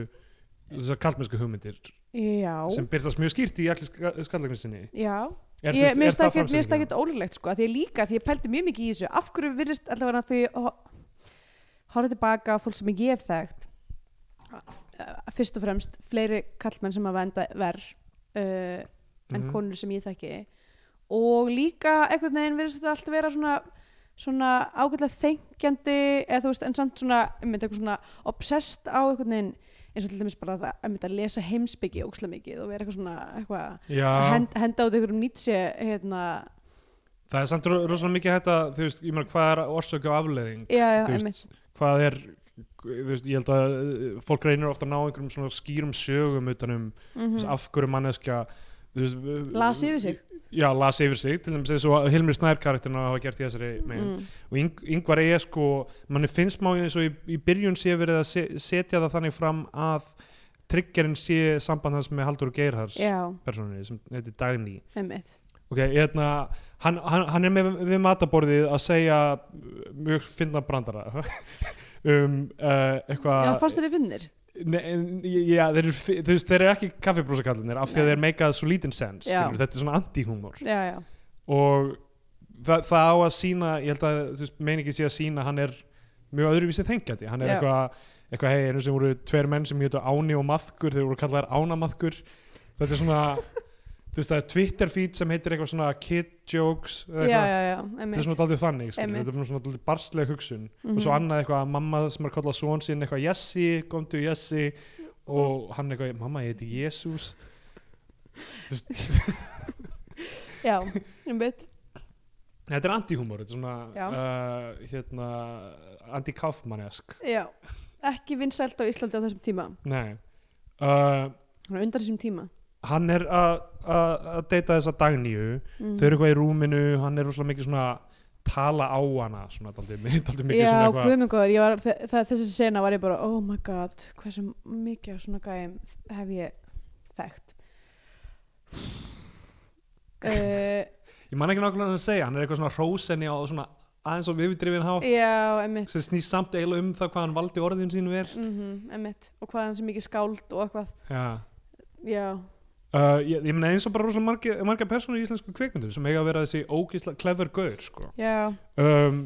þessar kallmönnsku hugmyndir já, sem byrtast mjög skýrt í allir skallagnissinni já. er, þú ég veist, minnst er það ekkert, minnst framsetningin? ekkert ólíklegt sko, af því ég líka, því ég pældi mjög mikið í þessu af hverju virðist allavega því horfði tilbaka á fólk sem ég hef þekkt að fyrst og fremst fleiri kallmenn sem að venda verð uh, en Mhm. konur sem ég þekki og líka einhvern veginn virðist þetta alltaf vera svona svona ágætlega þengjandi eða þú veist en samt svona, einmitt eitthvað svona obsessed á einhvern veginn eins og til dæmis bara það, einmitt að lesa heimsbyggi ókslega mikið og vera eitthvað svona eitthvað Já, hend, henda út einhverjum nýtse hérna, það er samt ro- rosalega mikið hægt að, þú veist, ég meina hvað er orsök og afleiðing já, já, Þú veist, einmitt hvað er, þú veist, ég held að uh, fólk reynir ofta að ná einhverjum svona skýrum sögum utanum mm mm -hmm. af hverju manneskja þú veist, v- las yfir sig já, las yfir sig, til dæmis eins og Hilmir Snær karakterina hafa gert í þessari megin mm. og yng, yngvar eigi sko, manni finnst má eins og í, í byrjun sé verið að se, setja það þannig fram að triggerinn sé samband hans með Haldur Geirhars já, persónunni sem heitir Dagný einmitt ok, hérna, hann, hann, hann er með við mataborðið að segja uh, mjög finna brandara um uh, já, eitthvað fannst þér þið finnir Nei, en- já, þeir eru, fi- þú veist, þeir eru ekki kaffibrósakallinir af því að Nei. þeir meikað svo lítinn sens Já. skilur, þetta er svona anti-humor já, já, og það, það á að sína ég held að, þú veist, meiningin sé að sína hann er mjög öðruvísi þengjandi hann er Já. eitthvað, eitthvað hei, einu sem voru tveir menn sem hétu Áni og Maðkur þeir voru kallaðar Ánamaðkur þetta er svona þú veist það er Twitter feed sem heitir eitthvað svona kid jokes eða já, eitthvað, já, já, þetta er einmitt svona daldið þannig skilur, Einmitt. þetta er svona daldið barslega hugsun Mhm. og svo annað eitthvað að mamma sem er kallað svon sín eitthvað Jessi, komdu Jessi Mm. og hann eitthvað, mamma ég heiti Jésús já, einmitt þetta er anti-humor, þetta er Já. svona uh, hérna, anti-kaufmannesk já, ekki vinsælt á Íslandi á þessum tíma nei uh, Hún er undan þessum tíma hann er að að- að deyta þessa dagnýju mm. þau eru eitthvað í rúminu, hann er rosalega mikið svona tala á hana svona daldið mikið Já, svona eitthvað guðmengur, ég var, þe- það, þessi sena var ég bara, oh my god, hversu mikið af svona gæm hef ég þekkt. uh, ég man ekki nákvæmlega hann að segja, hann er eitthvað svona hrósenni á svona aðeins og viðdrifin hátt já, emmitt, sem snýst samt eiginlega um það hvað hann valdi orðin sín vel mm emmitt, og hvað hann sem mikið skáld og eitthvað, já. já, Uh, ég, ég meina eins og bara rosalega marga, marga personur í íslensku kvikmyndum sem eiga að vera þessi ógisla clever gaur sko. já, um,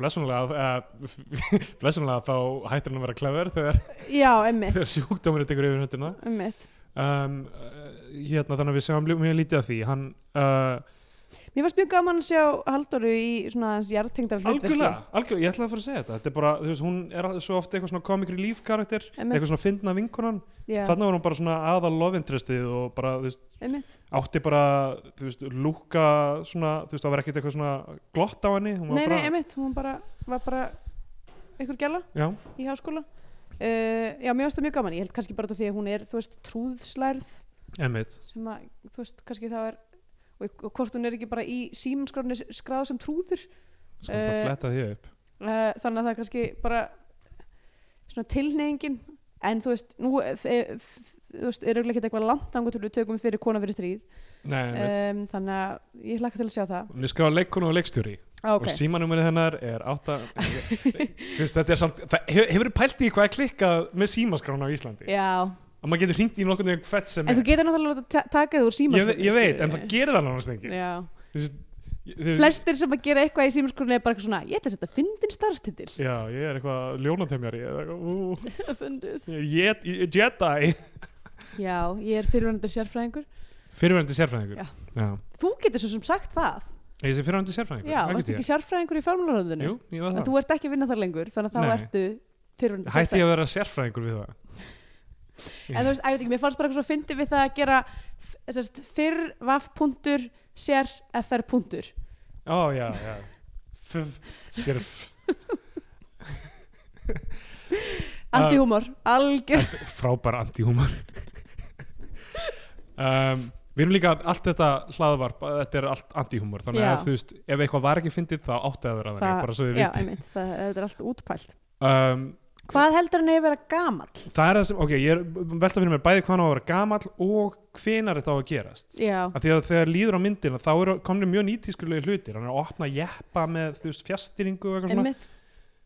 blessunlega uh, blessunlega þá hættir hann að vera clever þegar, já, emmitt, þegar sjúkdómurinn tekur yfir höndina emmitt. um, uh, hérna þannig að við sjáum lí- mjög lítið af því hann uh, Mér fannst mjög gaman að sjá Halldóru í svona hans jarðtengdara hlutverki. algjörlega, algjörlega, ég ætlaði að fara að segja þetta þetta er bara, þú veist, hún er al- svo ofta eitthvað svona komikri lífkarakter, Einmitt. eitthvað svona fyndna vinkonan Já, þannig var hún bara svona aðal lofintrestið og bara, þú veist, emmitt, átti bara þú veist, lúka svona þú veist, það var ekkert eitthvað svona glott á henni hún var nei, bara, nei, emmitt, hún bara, var bara einhver gæla. já, í háskóla uh, já, mér finnst það mjög gaman, ég held kannski bara út af því að hún er, þú veist, trúðslærð emitt sem að, þú veist, kannski það er og, og hvort hún er ekki bara í símanskráni skráð sem trúður sko, uh, bara Eh, fletta því upp uh, þannig að það er kannski bara svona tilneyingin en þú veist, nú eh, þe- f- þú veist, er auðvitað ekkert eitthvað langt þangur til við tökum fyrir kona fyrir stríð nei, emitt um, þannig að ég hlakka til að sjá það Hún er skráð leikonu og leikstjóri ah, og símanúmerið hennar er átta Þú veist, þetta er samt það hefur, hefur pælt í hvað er klikkað með símaskrána á Íslandi já, að maður getur hringt í nokkurnu fett sem en þú getur náttúrulega láta ta- taka það úr ég, símanskráni ve- ég veit, en það gerir það nánast enginn já Þú veist, ég- þú- flestir sem að gera eitthvað í símaskrúni er bara eitthvað svona, ég ætla að setja fyndin starfstitil já, ég er eitthvað ljónatemjari eða eitthvað, ú, fundið, ég er jet- ég er Jedi já, ég er fyrirvænandi sérfræðingur fyrirverandi sérfræðingur Já. Já. þú getur svo sem sagt það Ég sé fyrirhandi sérfræðingur. já, það varst get ég. ekki sérfræðingur í fjármálaröðinu Jú, ég var en það. þú ert ekki að vinna þar lengur þannig að þá Nei. ertu fyrirvænandi Hætti ég að vera sérfræðingur sérfræðingur við það? en þú veist, ég veit ekki, mér fannst bara eitthvað svo fyndið við það að gera f- sérst, fyrr vaff.ur sér fr.ur Ó, já, já. F- Sérf. Ah. antihúmor, algjör Þetta er Frábær antihúmar. um, við erum líka allt þetta hlaðvarp, þetta er allt antihúmar. Þannig Já. að þú veist, ef eitthvað var ekki fyndið þá átti að vera þannig, Það- bara svo við já, vitið. einmitt, það, þetta er allt útpælt Um, hvað heldur hann að vera gamall? það er það sem, ok, ég er velta fyrir mér bæði hvað hann á að vera gamall og hvenar þetta á að gerast. já, af því að þegar líður á myndina þá eru komnir mjög nýtískulegi hlutir hann er að opna jeppa með þú veist fjastýringu og eitthvað svona einmitt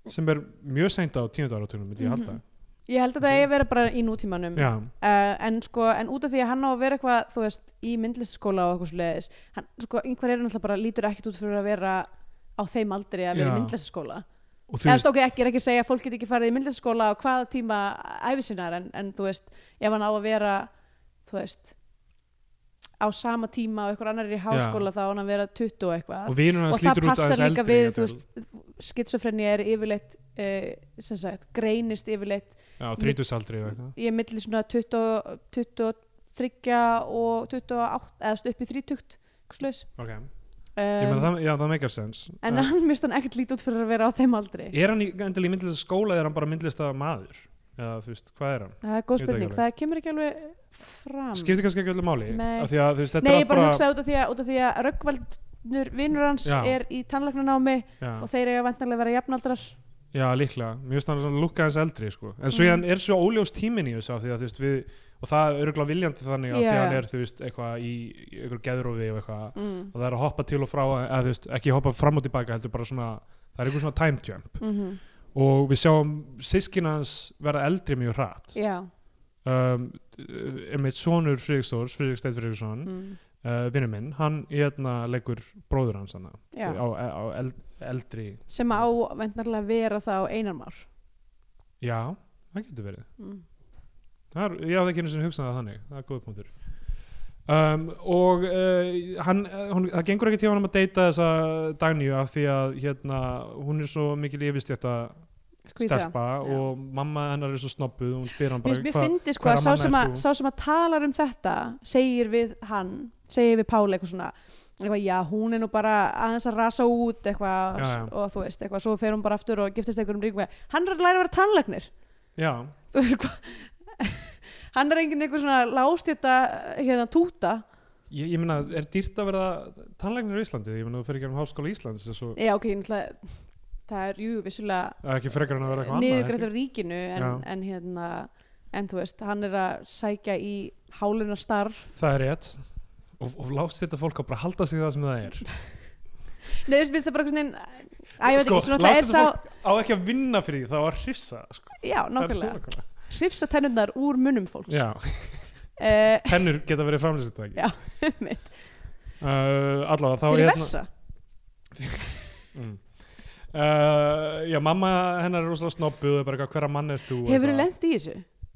sem er mjög seint á tíundu áratunum myndi ég halda Mhm. ég held að það eigi að vera bara í nútímanum já, uh, en sko, en út af því að hann á að vera eitthvað, þú veist, í myndlistaskóla og eitthvað svoleiðis, hann, sko, einhver er náttúrulega bara lítur ekkert út fyrir að vera á þeim aldri að vera Já. í myndlistaskóla og þú eða veist, stók ekki, er ekki að segja að fólk get ekki farið í myndlistaskóla á hvaða tíma æfisinnar en, en þú veist, ef hann á að vera þú veist á sama tíma og einhver annar er í háskóla þá á hann að vera 20 og eitthvað og vinur og hans það lítur út passar aðeins líka eldri við, jafnvel. þú veist, skitsofrenni er yfirleitt uh, sem sagt, greinist yfirleitt já, þrítusaldri og eitthvað ég er milli svona 20, 23 og 28 eða stu upp í 30 eitthvað svoleiðis. ok, ég meina um, það, já, það meikar sens en uh, hann mist hann ekkert lítið út fyrir að vera á þeim aldri er hann í- endilega í myndlista skóla eða er hann bara myndlista maður eða þú veist, hvað er hann? það er góð Ég veit ekki spurning, það kemur ekki alveg fram skiptir kannski ekki öllu máli Nei. af því að þú veist, þetta nei, er ég allt bara bara hugsaði út af því að, út af því að Röggvaldnur vinnur hans Já. er í tannlæknanámi já, og þeir eiga vantanlega að vera jafnaldrar já, líklega, mér finnst hann svona lukka hans eldri sko. en svo mm. er svo óljós tímin í þessu af því að þú veist, við, og það er örgulega viljandi þannig af því Já. að hann er, þú veist, eitthvað í, í eitthvað geðrófi og eitthvað mm. og það er að hoppa til og frá eða, þú veist, ekki hoppa fram og tilbaka heldur bara svona það er einhver svona time jump Mm -hmm. og við sjáum sískina hans verða eldri mjög hratt já um, einmitt sonur Friðrikstórs, Friðrik Steit Friðriksson mm. mm. uh, vinnu minn, hann hérna leggur bróður hans hann á, Já. á eld, eldri sem á vantanlega að vera það á einarmár já, það getur verið mm. það er, já, það kynir sem hugsaði það þannig, það er góð punktur um, og uh, hann, eh, hún, það gengur ekki til honum að deyta þessa Dagnýju af því að hérna, hún er svo mikil yfirstjætta skvísa stelpa Já. og mamma hennar er svo snobbuð og hún spyr hann Sko, Mér, bara mér "Hva- fyndi sko hvaða að sá mamma sem ert að, þú?" sá sem að talar um þetta segir við hann, segir við Pála eitthvað svona, eitthvað já hún er nú bara aðeins að rasa út eitthvað Já, já. og þú veist eitthvað, svo fer hún bara aftur og giftist einhverjum ríkum, hann er að læra að vera tannlegnir já, þú veist hvað hann er enginn eitthvað svona lástýrta hérna túta, ég, ég meina, er dýrt að vera tannlegnir í Íslandi, ég meina, þú fyrir ekki um háskóla Íslands og svo, já ok, ég náttúrulega það er jú vissulega það er ekki frekar en að vera eitthvað annað niðurgrætt ekki? af ríkinu en, Já. en hérna, en þú veist hann er að sækja í hálunarstarf það er rétt og, og látt setja fólk að bara halda sig í það sem það er Nei, þú veist, það er bara einhvern veginn Æ, ég veit ekki, svona það látt er setja sá Sko, fólk á ekki að vinna fyrir því, það á að hrifsa sko. Já, Það er nákvæmlega, skólakona. hrifsa tennurnar úr munnum fólks já, uh, hennur geta verið framlýsið ekki Já. mitt, uh, allavega, þá fyrir hérna- versa Mm. Uh, já, mamma hennar er rosalega snobbuð og er bara eitthvað hverra mann er þú Hefur þú Eitthvað. lent í þessu?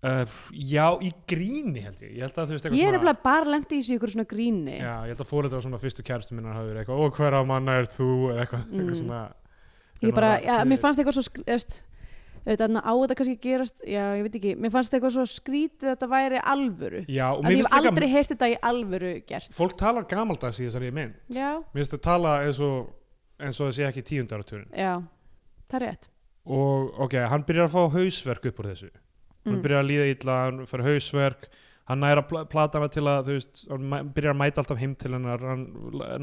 uh, Já, í gríni held ég Ég held að þú veist eitthvað Ég er nefnilega bara lent í þessu í ykkur svona gríni Já, ég held að fóreldrar svona fyrstu kæristu minnar hafi verið eitthvað og hverra manna er þú eða eitthvað, Mm. eitthvað svona Hérna, Ég bara, já, Svona mér fannst eitthvað svo skriðst Þetta á þetta kannski að gerast, já, ég veit ekki Mér fannst eitthvað svo skrítið að þetta væri alvöru Já, og Að mér ég hef finnst aldrei aldrei... heyrt þetta í alvöru gert líka Fólk talar gamaldags í þessari mynd Já, Mér finnst þau tala eins og eins og þessi ekki tíundaratúrin já, það er rétt og ok, hann byrjar að fá hausverk upp úr þessu hann mm. byrjar að líða illa, hann fyrir hausverk hann næra platana til að þú veist, hann mæ- byrjar að mæta alltaf heim til hennar hann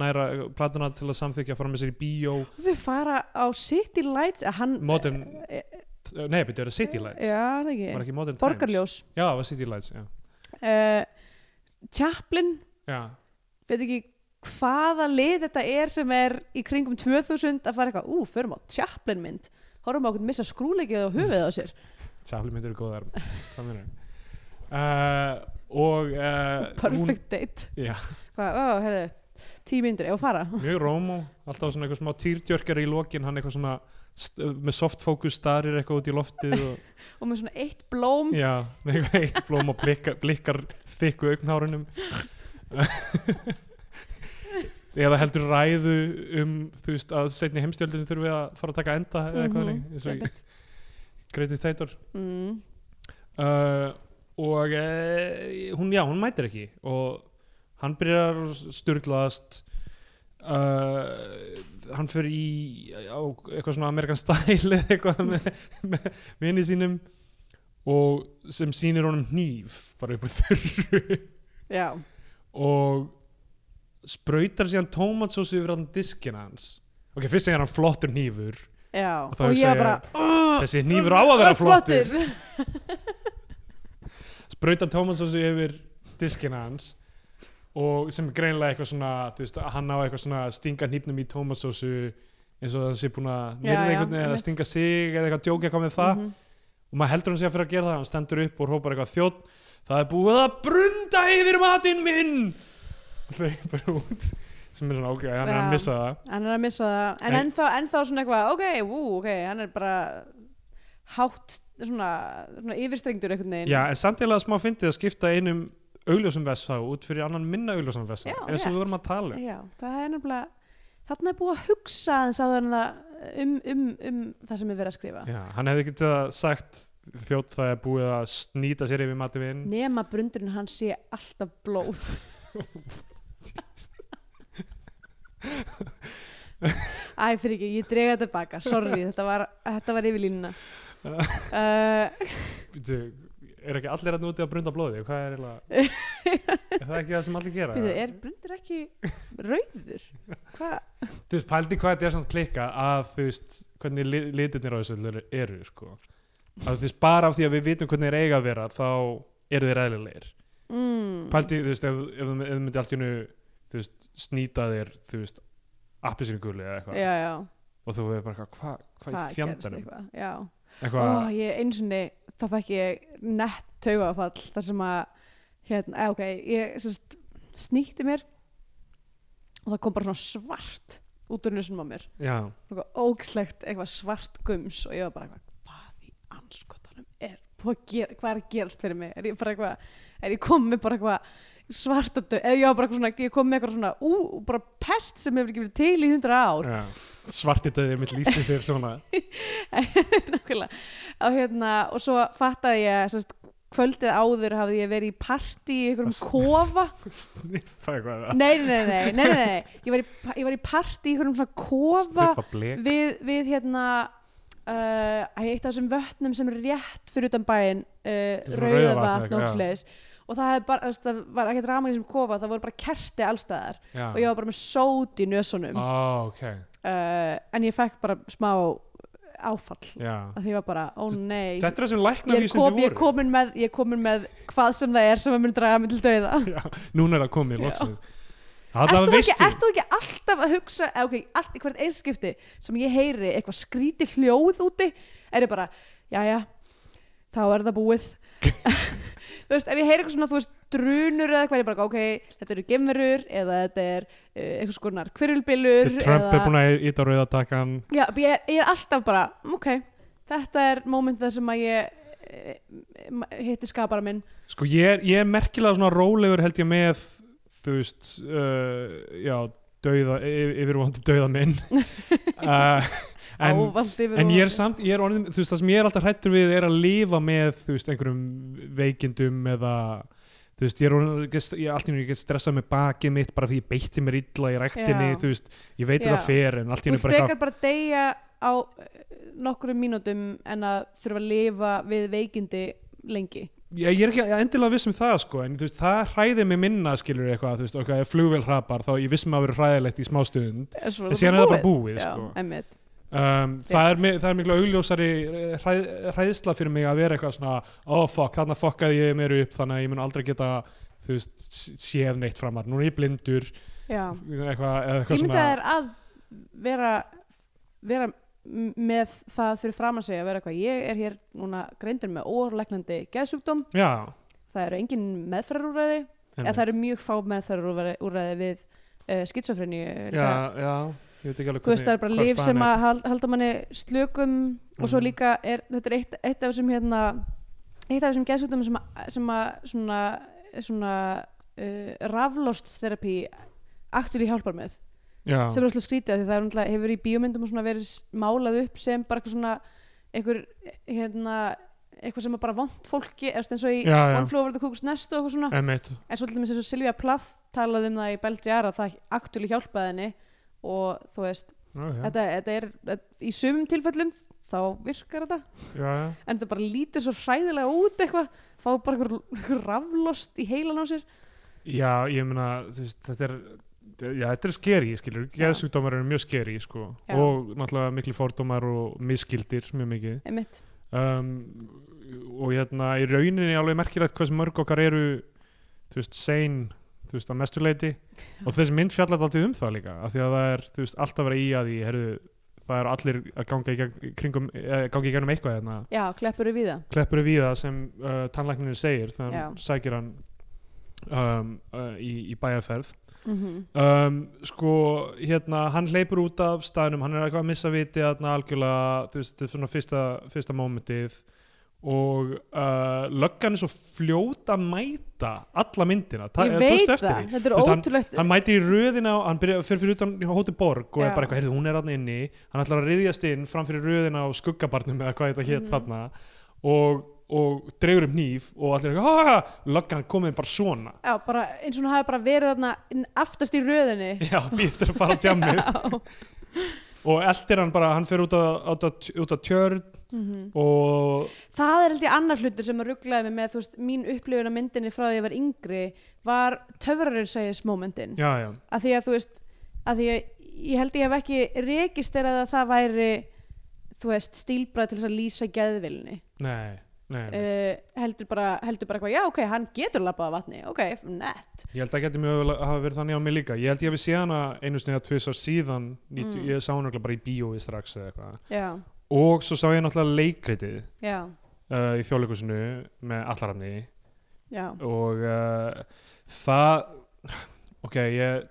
næra uh, platana til að samþykja að fara með sér í bíó Þau fara á City Lights að hann, Modern, eh, nei, betur það City Lights Já, það ekki var ekki Modern Times Borgarljós já, það var City Lights, já, uh, Chaplin já. veit ekki hvaða lið þetta er sem er í kringum 2000 að fara eitthvað, ú, förum á Chaplin mynd horfum á okkur missa skrúleikið á höfuðið á sér Chaplin myndir eru góðar hvað meinar uh, og uh, perfect date Já. Hvað, ó, herðu, tíu myndur, ég að fara hún, mjög rómó, alltaf svona eitthvað smá týrdjörkar í lokin, hann eitthvað svona st- með soft focus starir eitthvað út í loftið og og með svona eitt blóm Já, með eitthvað eitt blóm og blikkar, blikkar þykku augnhárunum eða heldur ræðu um þú veist að setni heimstjöldinu þurfi að fara að taka enda eða eitthvað Mhm, þannig, eins og einmitt. í Greiti Þeitor mm. uh, og uh, hún, já, hún mætir ekki og hann byrjar að sturglast uh, hann fyrir í á eitthvað svona Amerikan style eða eitthvað með, með vini sínum og sem sýnir honum hníf bara upp úr þurru já, og sprautar síðan tómatsósu yfir allan diskin hans ok, fyrst segir hann flottur hnífur já Og og, þá ég hugsa ég, var bara "Ugh, þessi hnífur á að vera ugh, flottur sprautar tómatsósu yfir diskin hans og sem er greinilega eitthvað svona þú veist, hann á eitthvað svona að stinga hnífnum í tómatsósu eins og hann sé búin að Já, myrða já, einhvern veginn eða einmitt. stinga sig eða eitthvað djókja hvað með það Mhm. og maður heldur hann sé að fyrir að gera það hann stendur upp og hrópar eitthvað þjótt það er búið að brunda yfir matinn minn og leipur út sem er svona ok, hann er Já. að missa það hann er að missa það en Nei. ennþá, ennþá svona eitthvað, ok, wú, ok hann er bara hátt svona, svona yfirstrengdur einhvern veginn já, en samtilega smá fyndið að skipta einum augljósum vessa út fyrir annan minna augljósum vessa Já, eins og við rétt. vorum að tala um. Já, það er nefnilega þarna er búið að hugsa aðeins áður en það um, um, um það sem er verið að skrifa já, hann hefði getað sagt þjótt það er búið að snýta sér yfir matinn minn nema brundurinn hans sé alltaf blóð Æ, fyrir ekki, ég drega þetta baka, sorry, þetta var, þetta var yfir línuna uh, Bíddu, er ekki allir hérna að núti að brunda blóði hvað er eiginlega er það ekki það sem allir gera Býðu, er brundur ekki rauður? Hvað? Þú veist, pældi hvað þetta er samt klikka að þú veist, hvernig li- litirnir á þessu öllu eru, sko. Að þú veist, bara af því að við vitum hvernig þeir eiga að vera, þá eru þeir eðlilegir. Mm. Pældi, þú veist, ef, ef, þú- ef þú myndi allt í hennu, þú veist, snýta þér, þú veist, appisinguli eða eitthvað. Já, já, Og þú veist bara, eitthvað, hvað, hvað í það gerst fjandanum? eitthvað Já, Eitthvað, og ég eins og niður þá fekk ég nett taugafall þar sem að, hérna, eða ok ég sérst, snýtti mér og það kom bara svona svart út úr nusnum á mér já, eitthvað ógslegt, eitthvað svart gums og ég var bara eitthvað, hvað í anskotanum er búið að gera, hvað er að gerast fyrir mig er ég bara eitthvað, er ég komið bara eitthvað svartadau eða ég var bara eitthvað svona, ég kom með eitthvað svona ú, bara pest sem hefur ekki verið til í hundra ár Já. svarti döðið mitt lýsti sér svona nákvæmlega og, hérna, og svo fattaði ég sérst, kvöldið áður hafði ég verið í partí í einhverjum Ast- kofa sniffa eitthvað nei, nei, nei, nei, nei, nei, nei. Ég, var í, pa- ég var í partí í einhverjum svona kofa sniffa blek við, við hérna uh, æ, eitt af þessum vötnum sem er rétt fyrir utan bæinn uh, Svona Rauðavatn, eitthvað, rauðavatn og já. slis og það, er bara, þú veist, það var ekkert raman í þessum kofa það voru bara kerti allstæðar Já. og ég var bara með sót í nösunum uh, Ó, ok, en ég fekk bara smá áfall já að því ég var bara, ó nei Þetta er það sem lækna ég er, kom, ég, er voru komin með, ég er komin með hvað sem það er sem að mun draga mig til dauða Já, Núna er það komið, Já. loksins Ert Alltaf þú ekki, veistu ert þú ekki alltaf að hugsa eh, ok, allt, í hvert einskipti sem ég heyri eitthvað skríti hljóð úti er ég bara, jæja þá er það búið þú veist, ef ég heyri eitthvað svona, þú veist, drunur eða eitthvað, er ég bara, ok, þetta eru gemverur eða þetta er uh, eitthvað skonar kvirlbillur Þegar Trump er búin að íta rauðatakkan Já, ég, er- ég er alltaf bara, ok þetta er moment þar sem að ég eh, ma- hitti skapara minn Sko ég er, ég er merkilega svona rólegur held ég með þú veist uh, já, dauða, yf- yfirvonandi dauða minn uh, en, ávallt yfir en ég er og- samt ég er orðin, þú veist það sem ég er alltaf hrættur við er að lifa með þú veist einhverjum veikindum eða þú veist ég er orðin, ég er allt í nýjum ég get stressað með bakið mitt bara því ég beitti mér illa í ræktinni Já. þú veist, ég veit Já. þetta fer en allt í Þú nýjum ert bara frekar bara að deyja á nokkru mínútum en að þurfa að lifa við veikindi lengi. ég, ég er ekki endilega viss um það sko, en þú veist, það hræði mig minna skilur eitthvað, þú veist, ok, ef flugvél hrapar þá ég viss maður að vera hræðilegt í smá stund en síðan er það bara búið Já, sko. emmitt. um, það, er, mi- það er miklu augljósari eh, hræ, hræðsla fyrir mig að vera eitthvað svona oh fuck, þarna fokkaði ég mér upp þannig að ég mun aldrei geta þú veist, s- séð neitt framar, núna er ég blindur Já. eitthvað, eða Ég eitthvað myndi svona að það er að vera, vera m- með það fyrir fram að segja að vera eitthvað. Ég er hér núna greindur með óorlegnandi geðsjúkdóm. já, Það eru engin meðferðarúræði. Eða einmitt. það eru mjög fá meðferðarúræði við uh, skitsofreni. já, já, ég veit ekki alveg þú veist það er bara hvar líf staðan sem er. að hal- halda manni slökum og svo Mhm. líka er, þetta er eitt, eitt af þessum hérna, eitt af þessum geðsjúkdæmi sem, að- sem að svona, svona uh, rafloststerapi aktúli hjálpar með já, sem er alltaf skrítið af því það er náttúrulega hefur í bíómyndum og svona verið s- málað upp sem bara eitthvað svona einhver hérna eitthvað sem er bara vond fólki eða þú veist, eins og í Já, já. One Flew Over the Cuckoo's Nest og eitthvað svona einmitt, en svolítið með þess að Silvía Plath talaði um það í Belgiara það aktúli hjálpaði henni og þú veist já, þetta, þetta er, þetta- í sumum tilfellum þá virkar þetta já, já en þetta bara lítur svo hræðilega út eitthvað fá bara einhver, einhver raflost í heilan á sér Já, ég meina, þú veist, þetta er Já, þetta er skeri, skilur, Já. geðsjúkdómar eru mjög skeri, sko, Já. og náttúrulega miklu fórdómar og miskildir mjög mikið einmitt, um, og hérna, í rauninni alveg merkilegt hversu mörg okkar eru þú veist, sein, þú veist, að mestu leiti og þessi mynd fjallar alltaf um það líka af því að það er, þú veist, alltaf verið í að því herðu, það eru allir að ganga í, gegn, kringum, eh, ganga í gegnum eitthvað hérna já, kleppur við það kleppur við það sem uh, tannlæknirinn segir þegar hann sækir hann um, uh, í, í bæjarferð mm -hmm. um, sko, hérna, hann hleypur út af staðnum, hann er eitthvað að missa viti þarna algjörlega, þú veist, þetta er svona fyrsta, fyrsta mómentið og uh, löggan er svo fljóta að mæta alla myndina Ta- ég eða veit tókstu það, eh, eftir því? þetta er Þú veist, ótrúlegt hann mætir í röðina og hann byrja, fyrir fyrir utan hóti borg og Já. er bara eitthvað, heyrðu, hún er hann inni hann ætlar að riðjast inn fram fyrir röðina á skuggabarnum eða hvað þetta hétt Mhm. þarna og, og dregur um hníf og allir er eitthvað, ha, löggan komið bara svona já, bara, eins og hún hafi bara verið þarna inn- aftast í röðinni já, býr eftir að fara á tjammið já, og eldir hann bara, hann fyrir út að, út að, út að tjörn mhm. og það er held ég annar hlutur sem að rugglaði mig með þú veist, mín upplifun af myndinni frá því að ég var yngri var töfrarinsæðismomentin já, já, að því að þú veist að því að ég held ég hef ekki registerað að það væri þú veist stílbrað til þess að lýsa geðvilni nei, nei uh, heldur bara heldur bara eitthvað, já ok, hann getur labbað á vatni ok, nett ég held að geti mjög vel að hafa verið þannig á mig líka ég held ég hefði séð hana einu snið að tvisar síðan mm. Mm. ég sá hann bara í bíói strax eða eitthvað já, og svo sá ég náttúrulega leikritið já, uh, í þjóðleikusinu með allarafni já og uh, það ok, ég,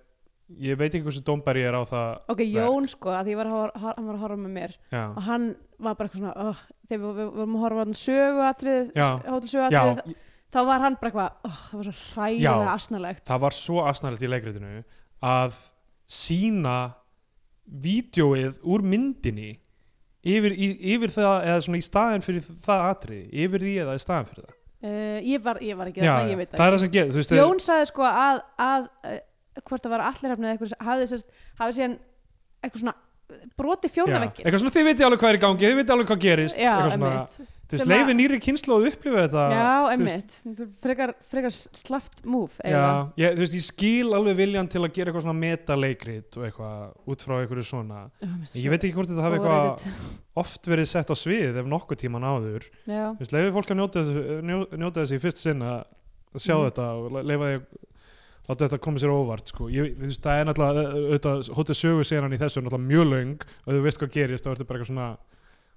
ég veit ekki hversu dómbar ég er á það ok, Jón sko, að því ég var að, hor- hor- hann var að horfa með mér já, og hann var bara eitthvað svona oh, þegar við, við vorum að horfa á hann söguatrið Já. hótel já söguatrið, þá var hann bara eitthvað oh, það var svo hræðilega asnalegt það var svo asnalegt í leikritinu að sína vídjóið úr myndinni yfir, í, yfir það eða svona í staðin fyrir það atriði yfir því eða í staðin fyrir það uh, ég, var, ég var ekki Já, þarna, já, ég veit það er það sem gerir þú veist, Jón sagði sko að, að uh, hvort það var allir hefnið eitthvað sem- hafði, sérst, hafði síðan eitthvað svona broti já, fjórðavekkin eitthvað svona þið vitið alveg hvað er í gangi þið vitið alveg hvað gerist eitthvað svona, þú veist, Sem að- leifi nýri kynslu að upplifa þetta Já, þú veist, emmitt, frekar, frekar slaft múf já, ég, þú veist, ég skil alveg viljan til að gera eitthvað svona metaleikrit og eitthvað út frá einhverju svona ég veit ekki hvort þetta hafi eitthvað oft verið sett á svið ef nokkuð tíman áður já, Þú veist, leiði fólk að njóta þessu, eh, njó, njóta þessu í fyrst sinn að að sjá Mm. þetta og le- leifa því að láta þetta koma sér á óvart sko. ég, þú veist, það er náttúrulega ö- auðvitað, hótið sögu senan í þessu er náttúrulega mjög löng og þú veist hvað gerist, þá ertu bara eitthvað svona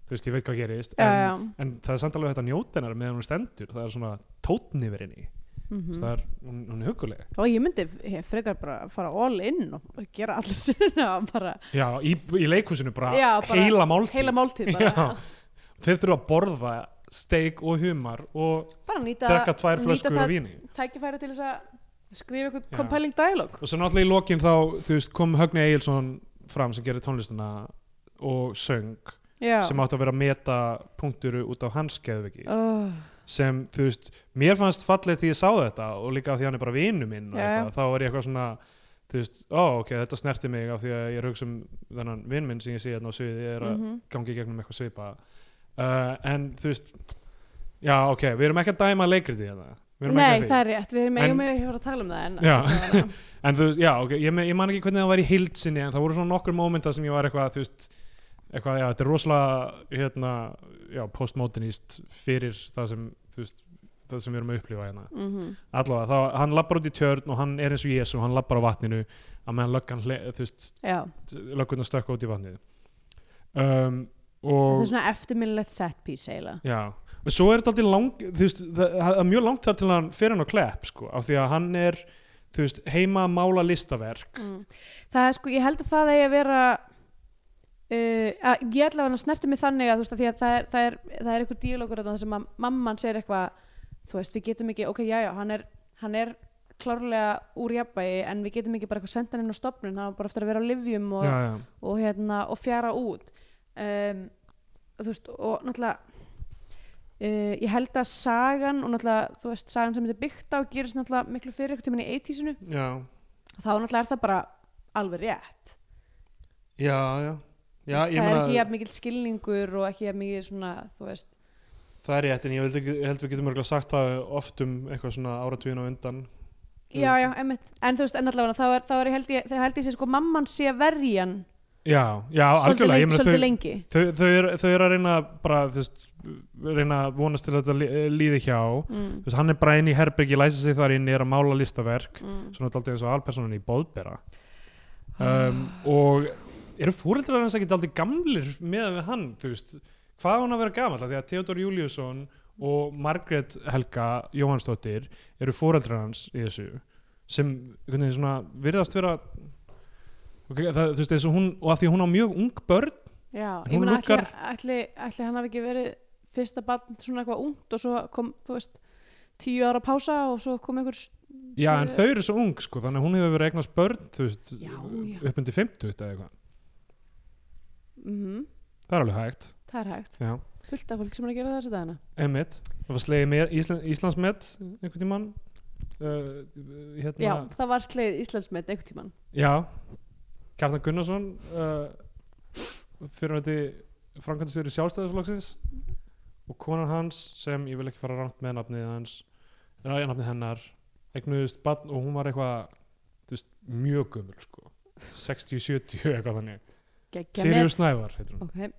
þú veist, ég veit hvað gerist já, en, já en það er samt alveg hægt að njóta hennar meðan hún stendur, það er svona tótn yfir henni, mhm. mm. það er, hún, hún er huguleg og ég myndi he- frekar bara fara all in og gera allir sinna og bara já, í, í leikhúsinu bara, Já, bara heila máltíð heila máltíð bara, Já. þeir þurfa að borða steik og humar og bara nýta, drekka tvær nýta flöskur það af víni tækifæri til þess að skrifa eitthvað Já. compelling dialog og svo náttúrulega í lokin þá þú veist, kom Högni Egilson fram sem gerir tónlistina og söng já. sem átti að vera að meta punkturu út á hans geðviki oh, sem þú veist, mér fannst fallið því ég sá þetta og líka af því hann er bara vinu minn og Já, já. eitthvað, þá er ég eitthvað svona þú veist, ó ok, þetta snerti mig af því að ég er að hugsa um þennan vin minn sem ég sé hérna á sviði, ég er að mhm. gangi í gegnum eitthvað svipa uh, en þú veist já ok, við erum ekki að dæma leikritið hérna Við erum ekki að nei því. það er rétt, við erum En- eigum ekki að fara að tala um það en Já. allavega. En þú veist, já, ok, ég, me- ég man ekki hvernig það var í hild sinni en það voru svona nokkur mómenta sem ég var eitthvað, þú veist, eitthvað, já, þetta er rosalega, hérna, já, postmodernist fyrir það sem, þú veist, það sem við erum að upplifa hérna. Mhm. Allavega, þá, hann lappar út í tjörn og hann er eins og Jésu, hann lappar á vatninu að meðan löggan, hle, þú veist, já. löggun að stökka út í vatnið. Um, og... þetta er svona eftirminnilegt set piece eiginlega Já, og svo er þetta aldrei lang, þú veist, það það er mjög langt þar til hann fyrir hann á klepp, sko, af því að hann er, þú veist, heima að mála listaverk. mm. það er sko, ég held að það eigi að vera Uh, að ég ætla að hann snerti mig þannig að þú veist að því að það er, það er, það er eitthvað díalókur þar sem að mamman segir eitthvað þú veist, við getum ekki, ok, já, já, hann er hann er klárlega úr jafnvægi en við getum ekki bara eitthvað senda hann inn á stopnun hann á bara eftir að vera á livjum og, Já, já. og, hérna, og fjara út um, þú veist, og náttúrulega uh, ég held að sagan og náttúrulega, þú veist, sagan sem þetta er byggt á gerist náttúrulega miklu fyrir eitthvað tímann í 80-sinu Já, og þá náttúrulega er það bara alveg rétt já, já. já það ég er meina, ekki jafn mikil skilningur og ekki jafn mikil svona, þú veist það er rétt en ég, vildi, ekki- ég held við getum örgulega sagt það oft um eitthvað svona áratugin á undan Þú já, veist. já, emmitt, en þú veist, en allavega þá er, þá er ég held ég, þegar held ég sé sko mamman sé að verjan Já, já, svolítið algjörlega ég lengi, meina, svolítið þau, lengi. þau, þau, er, þau er að reyna bara, þú veist, reyna að vonast til að þetta lí- líði hjá Mm, þú veist, hann er bara inn í herbyggi, læsa sig þar inn er að mála listaverk, mm. svona alltaf eins og alpersonan í bóðbera Ah. um, og eru fóreldrar hans ekki alltaf gamlir meðan við hann, þú veist hvað á hann að vera gamall, Af því að Theodor Júliusson og Margrét Helga Jóhansdóttir eru fóreldrar hans í þessu sem einhvern veginn svona virðast vera okay, það, þú veist, eins og hún og að því hún á mjög ung börn já, Hún ég meina ætli, lukkar- ætli, ætli hann hafi ekki verið fyrsta barn svona eitthvað ungt og svo kom, þú veist tíu ára pása og svo kom einhver já, en þau eru svo ung, sko, þannig að hún hefur verið að eignast börn, þú veist, Já, já. upp undir 50 eða eitthvað, mm það er alveg hægt það er hægt, já fullt af fólk sem er að gera þessu dagina Emmett, það var slegið með Ísland, Íslandsmet einhvern tímann uh, hérna, já, það var sleið Íslandsmet einhvern tíman já Kjartan Gunnarsson uh, fyrir þetta framkvæmdastjóri sjálfstæðisflokksins og konan hans sem ég vil ekki fara rangt með nafnið hans eða nafnið hennar eignuðist barn og hún var eitthvað þú veist, mjög gömul sko 60-70 eitthvað þannig Gekkja Sirius met. Snævar heitir hún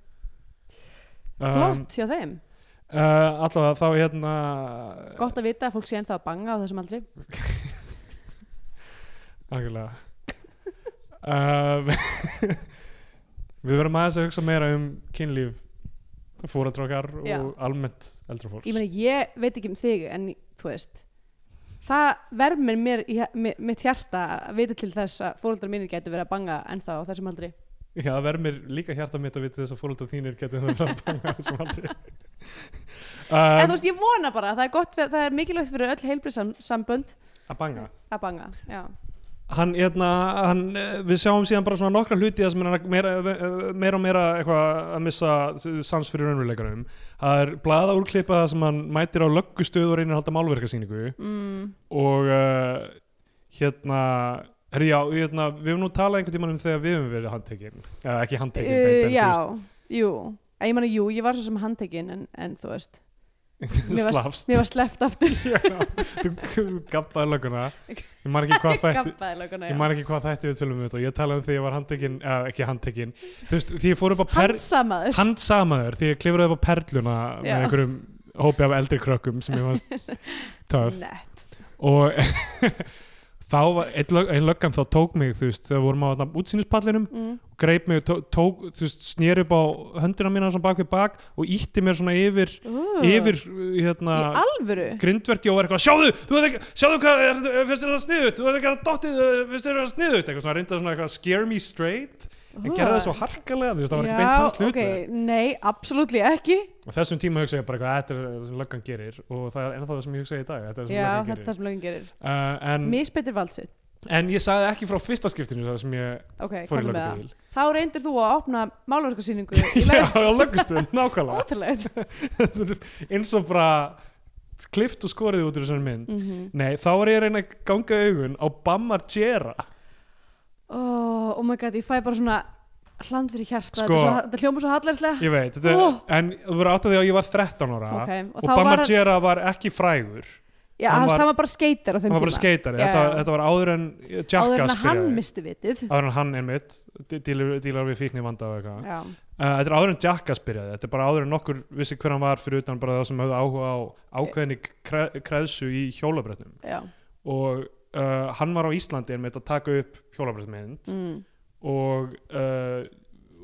Ok, um, flott hjá þeim uh, allavega þá hérna Gott að vita að fólk sé ennþá að banga á þessum aldri Algjörlega um, Við verðum aðeins að hugsa meira um kynlíf fóraðdrókar og Já. almennt eldra fólks Ég meina, ég veit ekki um þig en þú veist Það vermir mér, í hja- mi- mitt hjarta að vita til þess að fóröldrar mínir gætu verið að banga ennþá á þessum aldri Já, það verður mér líka hjarta mitt að vita þess að fóraðdrók þínir getur það verið að banga þessum aldrei en þú um, veist, ég vona bara, það er, gott, fyrir- það er mikilvægt fyrir öll heilbriðsambönd að banga að banga já. hann, hérna, hann, eh, við sjáum síðan bara svona nokkra hluti það sem hann er meira, eh, meira og meira eitthvað að missa sans fyrir raunveruleikanum það er blaða úrklippa það sem hann mætir á löggustöð og reynir að halda málverkasýningu Mm. og uh, hérna herri, já, hérna, við höfum nú talað einhvern tímann um þegar við höfum verið handtekinn eða ekki handtekinn Uh, beint, en já, þú jú En ég meina, jú, ég var svo sem handtekinn en, en þú veist, veist, mér var, slafst mér var sleppt aftur Já, þú þú gabbaði lögguna ég man ekki hvað þætti Gabbaði löguna, ég já man ekki hvað þætti við tölum um þetta og ég talaði um því ég var handtekinn, eða ekki handtekinn þú veist, því ég fór upp á per, Handsamaður handsamaður því ég klifraði upp á perluna Já. með einhverjum hópi af eldri krökkum sem ég fannst töf Nett og þá var einn lög- ein löggan þá tók mig þú veist, þegar við vorum á þarna útsýnispallinum mm. greip mig, og tó- tók, þú veist, snér upp á höndina mína svona bak við bak og ítti mér svona yfir, uh, yfir Í hérna, alvöru grindverki og var eitthvað sjáðu, þú veit ekki, sjáðu hvað er, finnst þér það sniðut, þú veit ekki að dottið eh, finnst þér það sniðut, eitthvað svona reynda svona eitthvað scare me straight, en gerði það svo harkalega þú veist, það var ekki beint hans hlutu ok, Nei, absolutt ekki og þessum tíma hugsa ég bara eitthvað, þetta er það sem löggan gerir og það er ennþá það sem ég hugsa í dag þetta er það sem Já, löggan þetta er gerir það sem lögin gerir uh, en, Misbeitir valdsitt en ég sagði ekki frá fyrsta skiptinu það sem ég Ok, fór í komum með það löggubíl Þá reyndir þú að opna málverkarsýningu í já, lögst á löggustöðum, nákvæmlega Ótrúlegt eins og bara klift og skorið út úr þessari mynd Mhm. Nei, þá var ég að reyna að ganga augun á Bamar Gera oh, oh my god, ég fæ bara svona hland fyrir hjarta Sko- Þetta, er svo- þetta hljóma svo hallærslega Ég veit, þetta, Oh. en þú verður átt að því að ég var 13 ára Ok, og og, þá Bamar var- Gera var ekki frægur Já, hann hann var- var, var bara skeitar á þeim hann var bara tíma skeitari, Já, þetta, já. þetta var áður en Áður en Jackass að hann byrjaði misti vitið áður en hann er mitt dílar við fíkni vanda og eitthvað uh, Já, þetta er áður en Jackass byrjaði, þetta er bara áður en nokkur vissi hver hann var fyrir utan bara það sem höfðu áhuga á ákveðinni kre, kreðsu í hjólabrettum já og uh, hann var á Íslandi en mitt að taka upp hjólabrettmynd mm. og uh,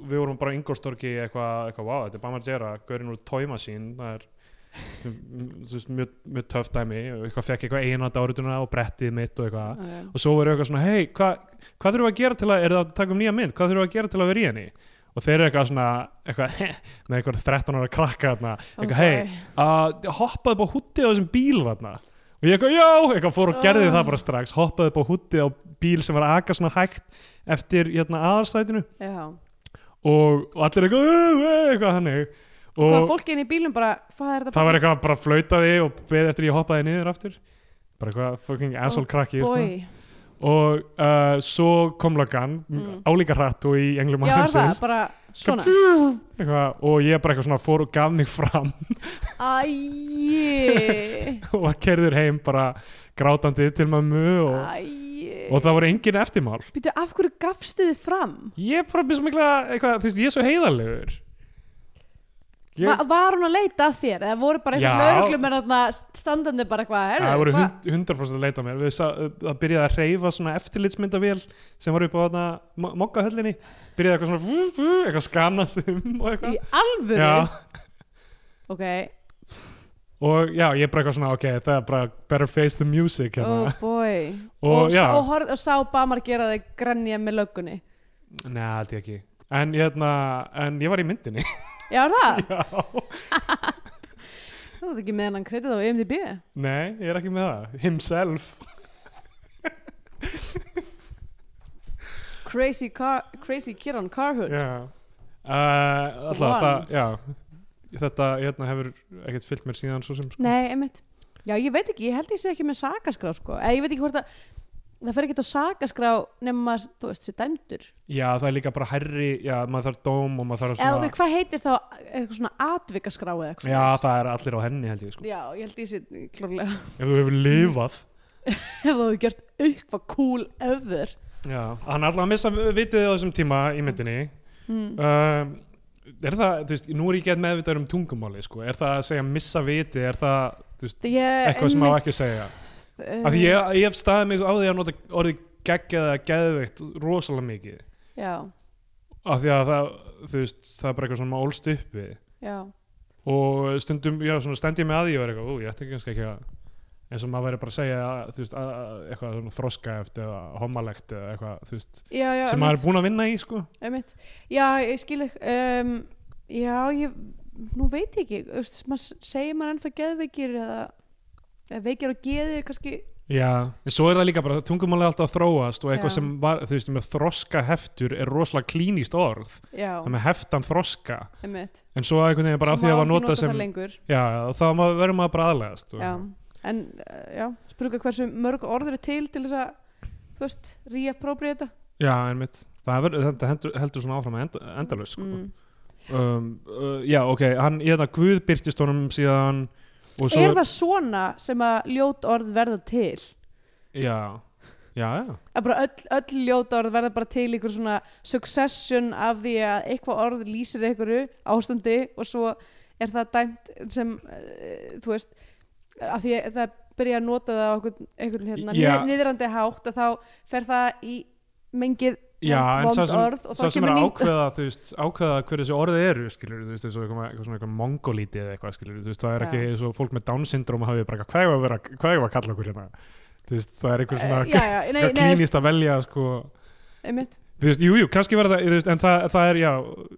við vorum bara á Ingolstorgi eitthvað, eitthvað, wow, þetta er Bama Gera gaurinn úr Toy Machine það er þetta er, mm, þú veist, mjög, mjög töff dæmi og eitthvað fekk eitthvað eina dárutuna og brettið mitt og eitthvað Okay. og svo voru eitthvað svona, hei, hva, hvað þurfum við að gera til að, er það að taka um nýja mynd, hvað þurfum við að gera til að vera í henni og þeir eru eitthvað svona eitthvað, með eitthvað 13 ára krakka þarna, eitthvað, hei, að hoppaði upp á húttið á þessum bíl þarna og ég eitthvað, já, eitthvað fór og gerði Ah. það bara strax hoppaði upp á húttið á bíl sem var að aka svona hægt eftir hérna, aðarstætinu Já og, og allir eitthvað, "Ú, ú", eitthvað hannig Hvað og fólki inn í bílum bara, hvað er þetta það var eitthvað bara flautaði og beði eftir ég hoppaði niður aftur bara eitthvað Oh fucking asshole krakki sko. Bói, og uh, svo kom lagan Mm. álíka hratt og í englum já er það, heimsins bara svona eitthvað, og ég bara eitthvað svona fór og gaf mig fram Æi og var kerður heim bara grátandi til mammu og, Æi og það voru engin eftirmál Býtu, af hverju gafstu þið fram? ég er bara byrja svo mikla eitthvað, þú veist, ég er svo heiðarlegur ég, Va var hún að leita að þér? Eða voru bara Já. eitthvað lögreglum er þarna standandi bara eitthvað það voru hvað? hund- 100% að leita að mér Við sá, það byrjaði að reyfa svona eftirlitsmyndavél sem var upp á þarna mo- mokkahöllinni byrjaði eitthvað svona vú, vú, eitthvað skanast um og Í eitthvað alvöru? já, Ok, og já, ég er bara eitthvað svona ok, það er bara better face the music oh hérna. boy Og Og, og, já. og, horf, og sá Bamar gera þig grænja með löggunni neða, held ég ekki en, hérna, en ég var í myndinni Já, er það? já Það er ekki með hennan kredit á E IMDb Nei, ég er ekki með það. Himself. Crazy, car, crazy Kieran Carhood Já. Uh, alltaf, One. það, já. Þetta hérna, hefur ekkert fyllt mér síðan svo sem sko. Nei, einmitt Já, ég veit ekki, ég held ég sé ekki með sakaskrá sko Eða ég veit ekki hvort að Það fer ekki á sakaskrá nema, þú veist, sér dæmdur Já, það er líka bara herri, já, maður þarf dóm og maður þarf Eða svona... ok, hvað heitir þá eitthvað svona atvikarskrá eða eitthvað já, svoleiðis? það er allir á henni held ég sko. Já, ég held ég sér klórlega Ef þú hefur lifað. Ef þú hefur gert eitthvað cool ever Já. Hann er alltaf að missa vitið á þessum tíma í myndinni. mm. Um, er það, þú veist, nú er ég gett meðvitaður um tungumáli sko. Er það að segja missa vitið, er það Það ég eitthvað sem á ekki að segja? uh, Af því ég, ég hef staðið mig á því að nota orðið geggjað eða geðveikt rosalega mikið. Já, af því að það, þú veist, það er bara eitthvað svona maður ólst upp við já og stundum, já, svona stend ég með að því og er eitthvað, ú, ég ætti kannski ekki að eins og maður væri bara að segja, þú veist, að, að, eitthvað svona þroska eftir eða hommalegt eða eitthvað, þú veist, Já, já, sem maður er búinn að vinna í, sko einmitt. Já, ég skil þig um, Já, ég nú veit ég ekki, þú veist, maður segir maður ennþá geðveikir eða, eða veikir og geðir kannski Já, en svo er það líka bara, tungumáli er alltaf að þróast og eitthvað Já. sem var, þú veist, með þroska heftur er rosalega klínist orð já, það með heftan þroska, einmitt en svo einhvern veginn bara af því að það var notað það sem, lengur já, og þá maður- verður maður bara aðlegast já. en uh, já, spurga hversu mörg orð eru til til þess að þú veist, reappropriata já, einmitt það verður, þetta hendur, heldur svona áfram end, endalaus sko. mm. um, uh, já, ok, hann, ég þetta Guð byrtist honum síðan og svo, er það svona sem að ljót orð verða til já, já, já að bara öll, öll ljót orð verða bara til ykkur svona succession af því að eitthvað orð lýsir einhverju ástandi og svo er það dæmt sem uh, þú veist af því að það byrja að nota það á einhvern, einhvern hérna, Já. yeah. niðrandi hátt að þá fer það í mengið Já, en vond sá sem, orð og sá þá sem er kemur að nýtt ákveða, þú veist, ákveða hverju þessi orðið eru, skilur, þú veist, eins og eitthvað, eitthvað svona eitthvað mongolíti eða eitthvað, skilur, þú veist, það er Já. ekki eins og fólk með Down-syndrom hafi bara, eitthvað, hvað er að vera, hvað er að kalla okkur hérna, þú veist, það er eitthvað svona, Eh, já, já, nei, nei, eitthvað klínist að velja, sko, einmitt, þú veist, jú, jú, kannski verða, það- þú veist, en það, það er, já,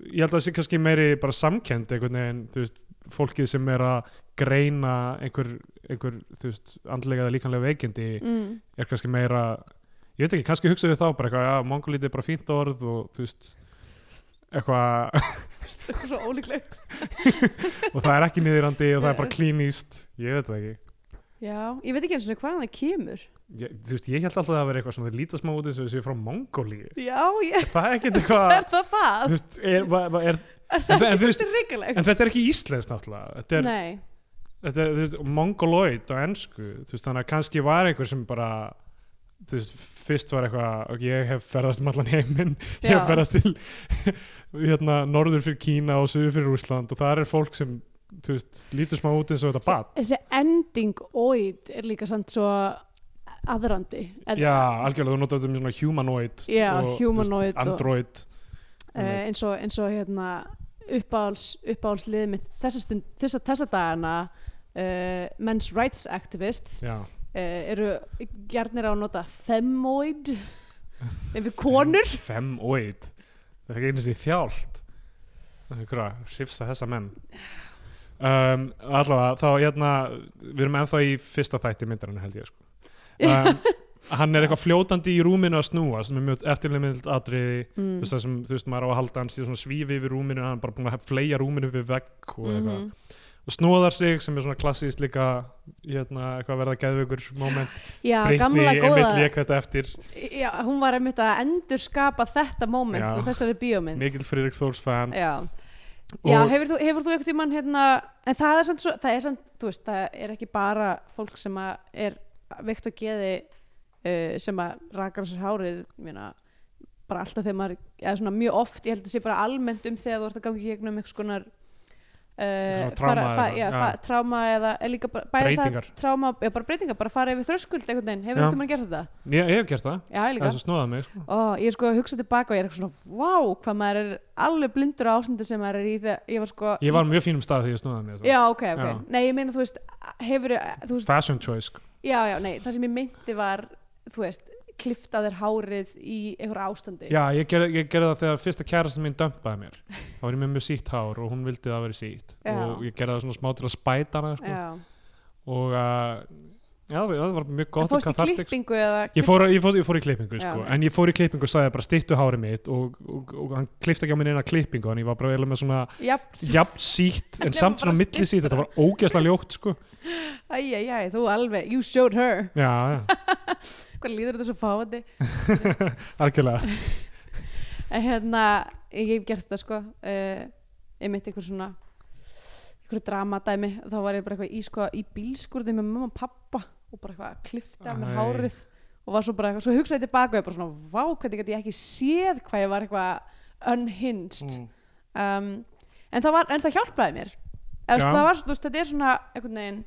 ég held að það sé kannski meiri bara samkend, einhvern veginn, þú veist, fólkið sem er að greina einhver, einhver, þú veist, andlega eða líkanlega veikindi, mm, er kannski meira ég veit ekki, kannski hugsaðu þá bara eitthvað já, mongolítið er bara fínt orð og þú veist eitthvað, það er svo ólíklegt og það er ekki niðurandi og það er bara klínist, ég veit það ekki já, ég veit ekki eins og hvaðan það kemur ég, þú veist, ég held alltaf að það vera eitthvað svona þeir líta smá út eins og þessi frá mongolíu já, ég, það er ekkert eitthvað er það það þú veist, er, va- va- er, er en það þú- en ekki þú veist- svolítið reikalegt en þetta er ekki íslensk náttúrulega þetta er, nei, þetta er þú veist, mongoloid á ennsku, þú veist, þannig að kannski var einhver sem bara þú veist, fyrst var eitthvað og ég hef ferðast um allan heiminn ég Já. hef ferðast til hérna, norður fyrir Kína og söður fyrir Rússland og það er fólk sem þú veist, lítur smá út eins og þetta bat þessi ending oid er líka samt svo aðrandi En, já, algjörlega, þú notar þetta með svona humanoid Já, og, þú humanoid veist, og- android eh, eins og, eins og hérna, uppáhals, uppáhalslið mitt þessa, stund, þessa, þessa dagana uh, men's rights activists uh, já, eru gjarnir á að nota femoid yfir konur femoid það er ekki einu sinni þjált það er ykkur að sifsa þessa menn um, allavega, þá hérna við erum ennþá í fyrsta þætti myndarinn held ég sko um, hann er eitthvað fljótandi í rúminu að snúa sem er mjög eftirlimild atriði þú mm. veist það sem, þú veist, maður á að halda hann síðan svona svífi yfir rúminu, hann er bara búin að fleja rúminu við vegg og eitthvað, Mhm. og snóðar sig sem er svona klassíst líka hérna, eitthvað verða geðveikur moment já, Brittany gamla góða einmitt lék þetta eftir, já, hún var einmitt að endurskapa þetta moment Já. og þessari bíómynd mikill Friðrik Þórs fan já Já, og hefur þú, hefur þú eitthvað tímann hérna, en það er samt, svo, það er samt, þú veist, það er ekki bara fólk sem að er veikt og geði uh, sem að rakar sér hárið, mjöna, bara alltaf þegar maður, eða svona mjög oft, ég held að sé bara almennt um þegar þú ert að gangi gegnum einhvers konar Uh, Svona tráma eða- já, já. fa, tráma eða er líka bara, bæði Breytingar. það tráma, já, bara breytingar, bara fara yfir þröskuld einhvern veginn, hefur Já. þú tímann gert þetta? ég, ég hef gert það, Já, ég líka þess að snóða mig sko. og ég er sko að hugsa tilbaka og ég er eitthvað svona, vá, hvað maður er alveg blindur á ástandi sem maður er í þegar ég var sko ég var á mjög fínum stað þegar ég snóða mig sko. Já, ok, ok. Já. Nei, ég meina, þú veist, hefur, þú veist, fashion choice sko. já, já, nei, það sem ég meinti var, þú veist, kliftaðir hárið í einhver ástandi. já, ég gerði, ég gerði það þegar fyrsta kærastin mín dömpaði mér þá var ég með mjög sítt hár og hún vildi það að vera sítt Já. og ég gerði það svona smá til að spæta hana sko. Já. og uh, já, það var mjög En gott fórst í cathartic, sko. klippingu eða... Ég fór, ég, fór, ég fór í klippingu Já. sko, en ég fór í klippingu og sagði bara stýttu hárið mitt og, og, og hann klippti ekki á minni eina klippingu en ég var bara eiginlega með svona Já, jafn sítt en Nema samt bara svona milli sítt, þetta var ógeðslega ljótt sko. æj, æj, æj, þú alveg, you showed her. Já, já, Hvað líður þetta svo fáandi? algjörlega En hérna, ég hef gert það, sko, uh, einmitt einhver svona, einhver dramadæmi, þá var ég bara eitthvað í, sko, í bílskurði með mamma og pappa og bara eitthvað að klifta af Æ. mér hárið og var svo bara eitthvað, svo hugsaði ég tilbaka og ég bara svona, vá, hvernig gæti ég ekki séð hvað ég var eitthvað unhinged Mm. um, en, það var, en það hjálpaði mér Eða, Já. sko, það var, svo- þú veist, þetta er svona einhvern veginn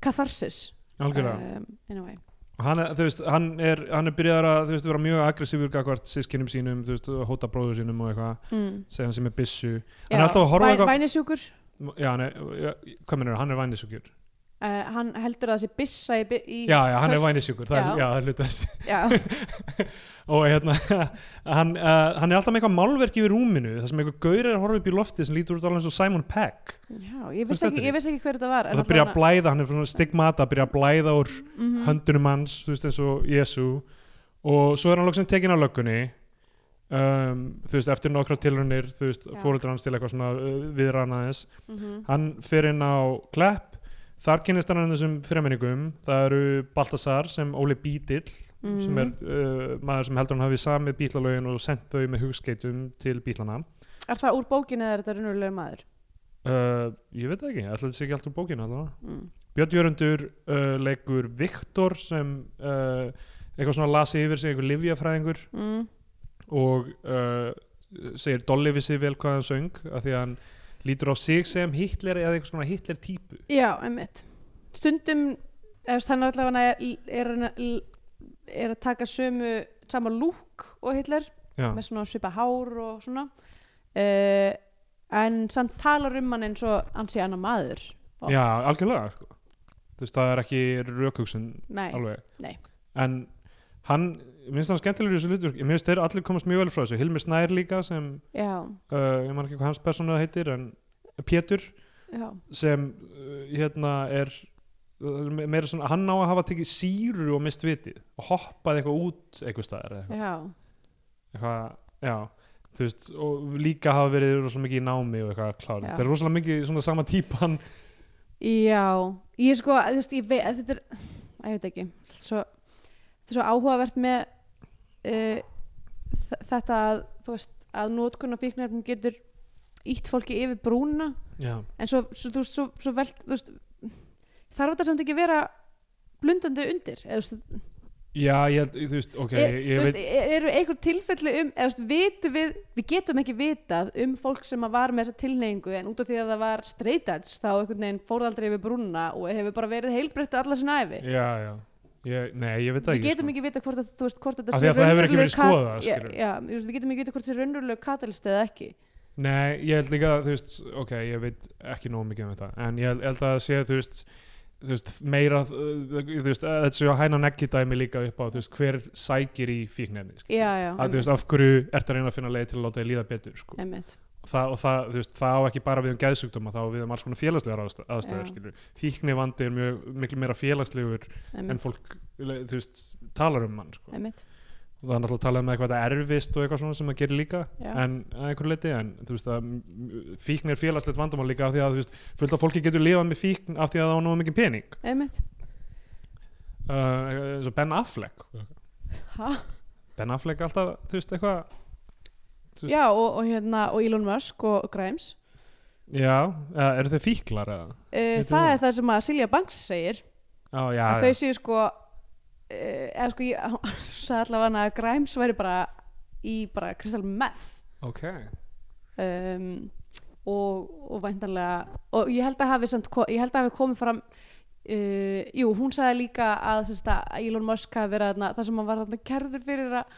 katharsis algjörlega. um, anyway. Og Hann, er- þú veist, hann, er, hann er byrjaður að þú veist, vera mjög aggressífur gagvart sískinum sínum, þú veist, og hóta bróður sínum og eitthvað, mm. segja hann sem er byssu Hann er alltaf að horfa væ, eitthvað- vænisjúkur Já, hann er, já, hvað mennur, hann er vænisuggjur uh, hann heldur að það sé byssa í, by- í já, já, hann er Hvers- vænisjúkur það er, Já. já, það er hluti þessi já, og hérna, hann, uh, hann er alltaf með eitthvað málverk yfir rúminu það sem eitthvað gaur er að horfa upp í loftið sem lítur út alveg eins og Simon Pegg já ég, Þú veist vissi ekki, þetta ég vissi ekki hver þetta var og það byrja að blæða, hann er svona stigmata byrja að blæða úr mm höndunum hans þú veist eins og Jésu og svo er hann loksin tekinn af löggunni um, þú veist, eftir nokkra tilrunir þú veist, Já. fóreldur hans til eitthvað svona uh, viðrana þess -hmm. hann fer inn á Klepp þar kynist hann þessum fremenningum það eru Baltasar sem Óli Bítill Mhm. sem er uh, maður sem heldur hann hafi samið bítlalögin og sendt þau með hugskeitum til bítlana er það úr bókinu eða er þetta runulega maður uh, ég veit það ekki, ætlaði þessi ekki allt úr bókinu allavega. mm. Björn Jörundur uh, leikur Viktor sem uh, eitthvað svona lasi yfir sig einhver livjafræðingur Mm. og uh, segir Dolly við sig vel hvað hann söng af því að hann lítur á sig sem Hitler eða eitthvað svona Hitler típu já, emmitt stundum, eða þú veist, hann er allavega er, er, hann að- er að taka sömu sama lúk og Hitler Já, með svona svipa hár og svona uh, en samt talar um hann eins og hann sé annar maður oft. Já algjörlega sko. þú veist það er ekki rökhugsun nei, alveg Nei. en hann, mér finnst hann skemmtilegur í þessu hlutur mér finnst þeir allir komast mjög vel frá þessu Hilmi Snær líka sem, já, uh, ég man ekki hvað hans persóna heitir en Pétur já, sem uh, hérna er uh, me- meira svona, hann á að hafa tekið síru og mist vitið og hoppaði eitthvað út eitthvað staðar eða eitthvað, já eitthvað já, þú veist, og líka hafa verið rosalega mikið í námi og eitthvað klár Já. þetta er rosalega mikið svona sama típan já, ég sko þú veist, ég veit, þetta er Æ, ég veit ekki, þetta er svo, þetta er svo áhugavert með uh, þ- þetta að þú veist, að nótkun og fíknarfum getur ítt fólki yfir brúna já, en svo, svo, þú veist, svo, svo vel þú veist, þarf þetta samt ekki að vera blundandi undir eða þú veist, já ég held, þú veist, ok Er, ég, þú ég veist, veit, er- eru einhver tilfelli um eða, þú veist, vitum við, við getum ekki vitað um fólk sem að var með þessa tilneyingu en út af því að það var straight edge þá einhvern veginn fórðaldri yfir brúnna og hefur bara verið heilbreytt alla sinna æfi já, já ég, nei, ég veit það við ekki sko. getum ekki vitað hvort, að, þú veist, hvort Af þetta því að það hefur ekki raunverulegur verið kat- skoðað, Já, skilurðu. já, þú veist, við getum ekki vitað hvort þessi raunverulegu katalist eða ekki Nei, ég held líka, þú veist, ok, ég veit ekki nóg mikið um þetta, en ég held, held að sé, þú veist, þú veist, meira, uh, þú veist, að þetta séu að hæna neggi dæmi líka upp á, þú veist, hver sækir í fíknefni, sko. já, já, Að, þú veist, af hverju ert að reyna að finna leið til að láta þið líða betur, sko. einmitt, Það, og það, þú veist, það á ekki bara við um gæðsugdóma, það á við um alls konar félagslegar aðstæ- Já. aðstæður, skilur. Fíknivandi er mjög, miklu meira félagslegur en einmitt, fólk, þú veist, talar um hann, sko. einmitt. Og það er náttúrulega talað um eitthvað þetta erfist og eitthvað svona sem maður gerir líka Já. en að einhverju leiti en þú veist að m- fíkn er félagslegt vandamál líka af því að þú veist fullt af fólki getur lifað með fíkn af því að það á náðu mikið pening einmitt. uh, eins og Ben Affleck Ha? Ben Affleck alltaf þú veist eitthvað Þú veist- já og, og hérna og Elon Musk og Grimes já eða eru þau fíklar eða uh, Veitum það við? er það sem að Silja Banks segir á, já, að já. þau séu sko uh, eða sko ég hún sagði allavega hann að Grimes væri bara í bara Crystal Meth ok um, og, og væntanlega og ég held að hafi, samt, ko- ég held að hafi komið fram uh, jú, hún sagði líka að, sem sagt, að Elon Musk hafi verið þarna, það sem hann var þarna kerður fyrir að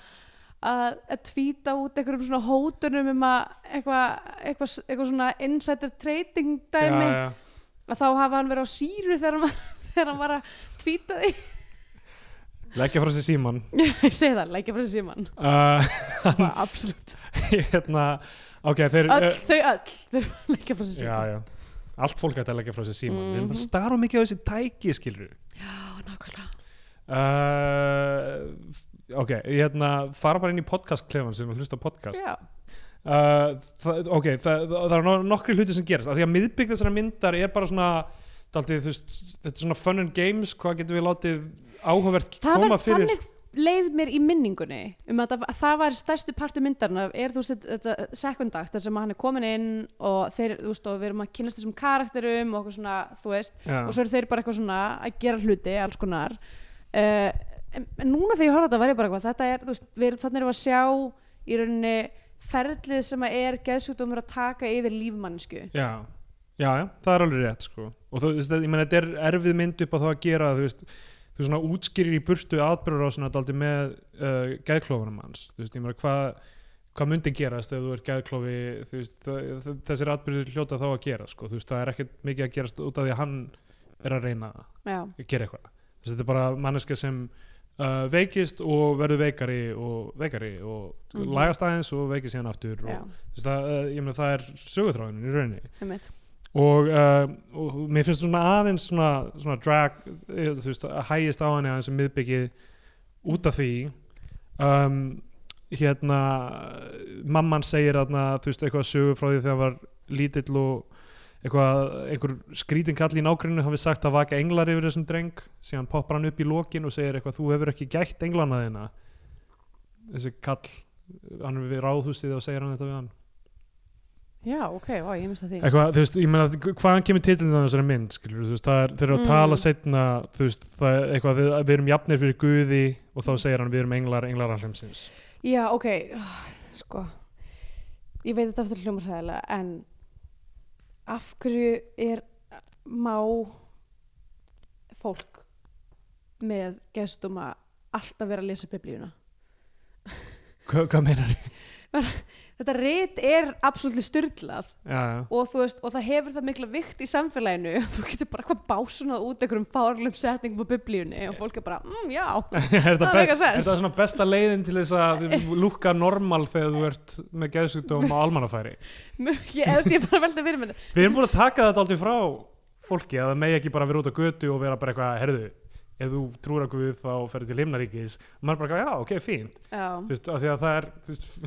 að, að tvíta út einhverjum svona hótunum um að eitthvað eitthva, eitthva svona insider trading dæmi já, já. að þá hafa hann verið á síru þegar hann var, þegar hann var að tvíta því leggja frá sér síman ég segi það, lækja frá síman uh, absolutt, hérna ok þeir eh, öll, þau öll þau eru að lækja frá já, síman já allt fólk ætti að leggja frá sér síman við erum Mhm. bara að stara of mikið á þessi tæki skilur nákvæmlega uh, ok, hérna fara bara inn í podcast klefan sem hlusta á podcast já, uh, það, ok, það, það, það er no- nokkri hluti sem gerast, af því að miðbygg þessara myndar er bara svona daldið, þú veist, þetta er svona fun and games hvað getum við látið áhugavert það koma var fyrir þannig leið mér í minningunni um að það, það var stærstu partur myndarna er þú veist þetta second act þar sem hann er komin inn og þeir, þú veist, og við erum að kynast þessum karakterum og okkur svona, þú veist já, og svo eru þeir bara eitthvað svona að gera hluti alls konar uh, en, en núna þegar ég horfði á þetta var ég bara eitthvað þetta er, þú veist, við erum, þannig erum við að sjá í rauninni ferlið sem að er geðsjúkdómur að taka yfir lífmannsku já, já, já, það er alveg rétt sko. og þú veist, ég meina þetta er erfið mynd upp á það að gera, þú veist þú svona útskýrir í burtu atbyrðurásina daldið með uh, gæðklófunum hans þú veist, ég meina hvað hvað myndi gerast ef þú er gæðklofi þú veist, þ- þ- þessir atbyrður hljóta þá að gera sko, þú veist, það er ekkert mikið að gerast út af því að hann er að reyna að já, gera eitthvað Þess, þetta er bara manneska sem uh, veikist og verður veikari og veikari og Mhm. lagast aðeins og veikist síðan aftur og, já, þú veist, það, uh, ég meina það er sögutráðin í rauninni einmitt og, uh, og mér finnst svona aðeins svona, svona drag eh, þú veist, að hægist á henni aðeins um miðbyggið út af því um, hérna mamman segir aðna, þú veist, eitthvað sögu frá því þegar hann var lítill og eitthvað, einhver skrítin kall í nágrinu hafi sagt að vaka englar yfir þessum dreng síðan poppar hann upp í lokin og segir eitthvað þú hefur ekki gætt englana þina þessi kall hann er við ráðhúsið og segir hann þetta við hann já, ok, ó, ég mista því eitthvað, þú veist, ég meina, hvaðan kemur titlinn á þessari mynd, skilur, þú veist, það er þeir eru að Mm. tala setna, þú veist, það er eitthvað við, við erum jafnir fyrir Guði og þá segir hann við erum englar, englar alheimsins já, ok, sko ég veit þetta aftur hljómar hræðilega en af hverju er má fólk með gestum að alltaf vera að lesa biblíuna Hva, hvað meinar þið? þetta rit er absolutt styrlað Já, já, og þú veist, og það hefur það mikla vikt í samfélaginu þú getur bara eitthvað básunað út einhverjum fárlum setningum á biblíunni og fólk er bara, mm, já er Það það, be make sense. er það svona besta leiðin til þess að lúkka normal þegar þú ert með geðsugdóm á almannafæri Mjög- ég, eðst, ég er bara að velta fyrir mér Við erum búin að taka þetta aldrei frá fólki að það megi ekki bara vera út á götu og vera bara eitthvað, herðu, ef þú trúir að Guð þá ferðu til himnaríkis og maður bara, já, ok, fínt, já. þú veist, af því að það er, þú veist,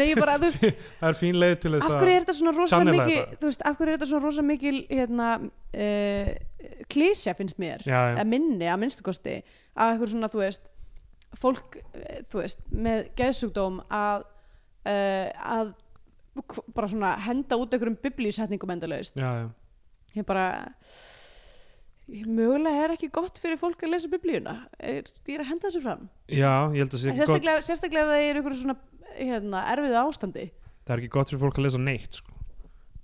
nei, ég bara, þú veist, það er fín leið til þess af að hverju er þetta svona rosa Channela mikil þetta. þú veist, af hverju er þetta svona rosa mikil hérna, uh, klísja finnst mér já, já. að minni, að minnstakosti að eitthvað svona, þú veist fólk, eh, þú veist, með geðsugdóm að, uh, að hv- bara svona henda út einhverjum biblísetningum endalaust já, já. ég bara mögulega er ekki gott fyrir fólk að lesa biblíuna er, ég er að henda þessu fram já, ég held að En sé ekki gott, sérstaklega, sérstaklega ef það er ykkur svona hérna, erfiðu ástandi það er ekki gott fyrir fólk að lesa neitt sko.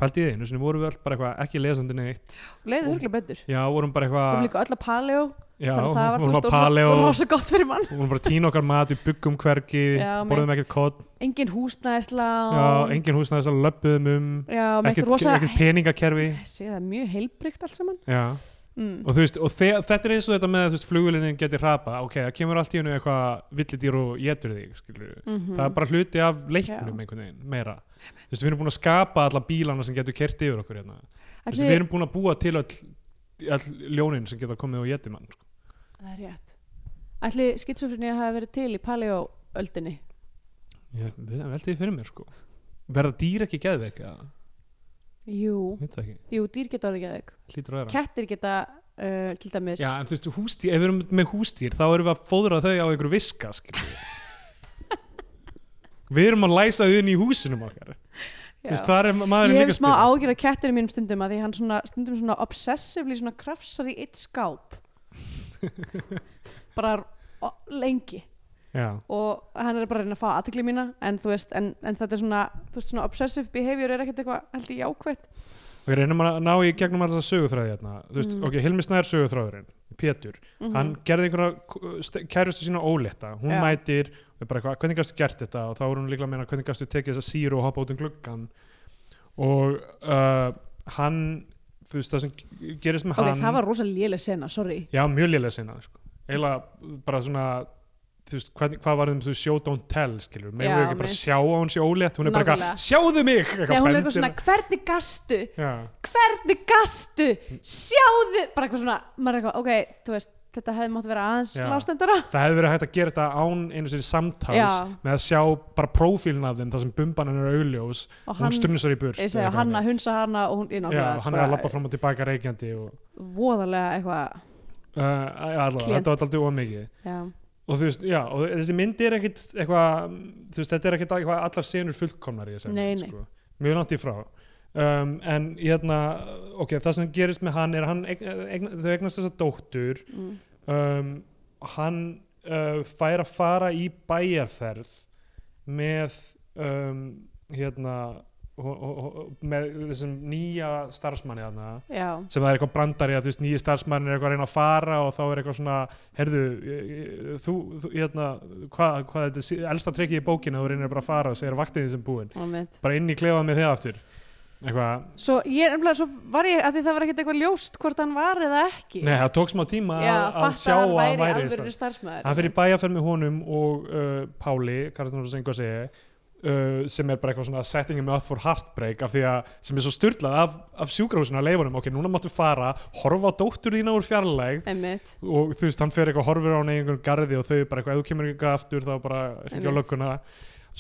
pælt í því, nú sinni vorum við all bara eitthvað ekki lesandi neitt leiði hörglega betur já, vorum bara við erum eitthvað líka öll að paleo já, þannig að það var þú vorum veist að rosa, paleo, rosa gott fyrir mann vorum bara að tína okkar mat við byggum hvergi, Já, borðum ekkert kott engin já, húsnæðislán engin húsnaðis að löpum um já, meitt ekkert, rosa ekkert peningakerfi Þessi, það er mjög heilbrygt allt saman já. mm. og þú veist, og þe þetta er eins og þetta með að, þú veist, flugulinnin getur hrapa, ok, það kemur allt í hennu eitthvað villidýr og getur þig, skilur Mm það er bara hluti af leiknum Já. einhvern veginn, meira þú veist, við erum búin að skapa alla bílana sem getur kert yfir okkur hérna Þú veist, við erum búin að búa til öll, öll ljónin sem geta komið og getið mann sko. það er rétt ætli skitsofrinni að hafa verið til í paleoöldinni ég veldi því fyrir mér sko. verða dýr ekki geðveik eða, jú, veit það ekki, jú, dýr geta orðið geðveik hlýtur að vera kettir geta uh, til dæmis já, en þú veist, húsdýr, ef við erum með húsdýr þá erum við að fóðra þau á einhverju viska skilur við. við erum að læsa þau inn í húsinum okkar Já. Þú veist, þar er ma- maður ég líka hef að smá spila. ágjör að kettir í mínum stundum að því hann svona, stundum svona obsessively svona krafsar í eitt skáp bara o- lengi já, og hann er bara að reyna að fá aðtikli mína en þú veist, en, en þetta er svona, þú veist, svona obsessive behavior er ekkert eitthvað held ég jákvætt ok, reynum að ná í gegnum alltaf söguþræði hérna, þú veist, Mm. ok, Hilmi Snær söguþræðurinn Pétur, mm hann gerði einhverja kærustu sína ólétta, hún Já. mætir og er bara eitthvað, hvernig gafstu gert þetta og þá er hún líklega að meina hvernig gafstu tekið þessa síru og hoppa út um gluggan og uh, hann þú veist það sem gerist með ok, hann það var rosa léleg sena, sorry já, mjög lélega sinna sko. eiginlega bara svona þú veist, hvað, hvað var þeim þú show don't tell skilur, með Já, við ekki bara mitt. sjá að hún sé ólétt hún er bara Nákvæmlega. eitthvað, sjáðu mig eitthvað Nei, hún er bendir- eitthvað svona, hvernig gastu já, hvernig gastu, sjáðu bara eitthvað svona, maður er eitthvað, ok, þú veist þetta hefði mátt vera aðeins Já. lástendara það hefði verið hægt að gera þetta án einu sér samtals Já. með að sjá bara prófílin af þeim þar sem bumbanan er augljós og hún hann strunsar í burt ég segja, eða hann eitthvað. að um hunsa hana og hún, ég Já, náttúrulega hann er að labba fram og tilbaka reykjandi og voðalega eitthvað, uh, allavega, Klient. þetta var aldrei ómikið já, og þú veist, já, og þessi mynd er ekkit eitthvað, þú veist, þetta er ekkit eitthvað allar senur fullkomnar í þessi Nei, mynd, nei. sko. mjög langt í frá um, en hérna, ok, það sem gerist með hann er hann, eign, eign, þau eignast þessa dóttur mm, um, hann uh, fær að fara í bæjarferð með um, hérna ho- ho- ho- með þessum nýja starfsmanni þarna já sem það er eitthvað brandari að þú veist nýju starfsmann er eitthvað að reyna að fara og þá er eitthvað svona herðu, ég- ég- þú, þú hérna, hvað, hvað er þetta sí- elsta trekkið í bókinu að þú reynir bara að fara og segir vaktinni sem búin og mitt, bara inn í klefað með þig aftur eitthvað, svo ég er svo var ég að því það var ekkert eitthvað ljóst hvort hann var eða ekki nei, það tók smá tíma já, að, að sjá fatta að hann hann væri væri alvöru Íslands. starfsmæður hann fyrir bæjarferð með honum og uh, Páli, Karlsson sem hvað segi Uh, sem er bara eitthvað svona setting him up for heartbreak af því að sem er svo styrlað af, af sjúkrahúsinu að leifunum, ok, núna máttu fara horfa á dóttur þína úr fjarlæg einmitt og þú veist, hann fer eitthvað horfir á hann í einhvern garði og þau bara eitthvað, ef þú kemur eitthvað aftur þá bara ringja á Einmitt. lögguna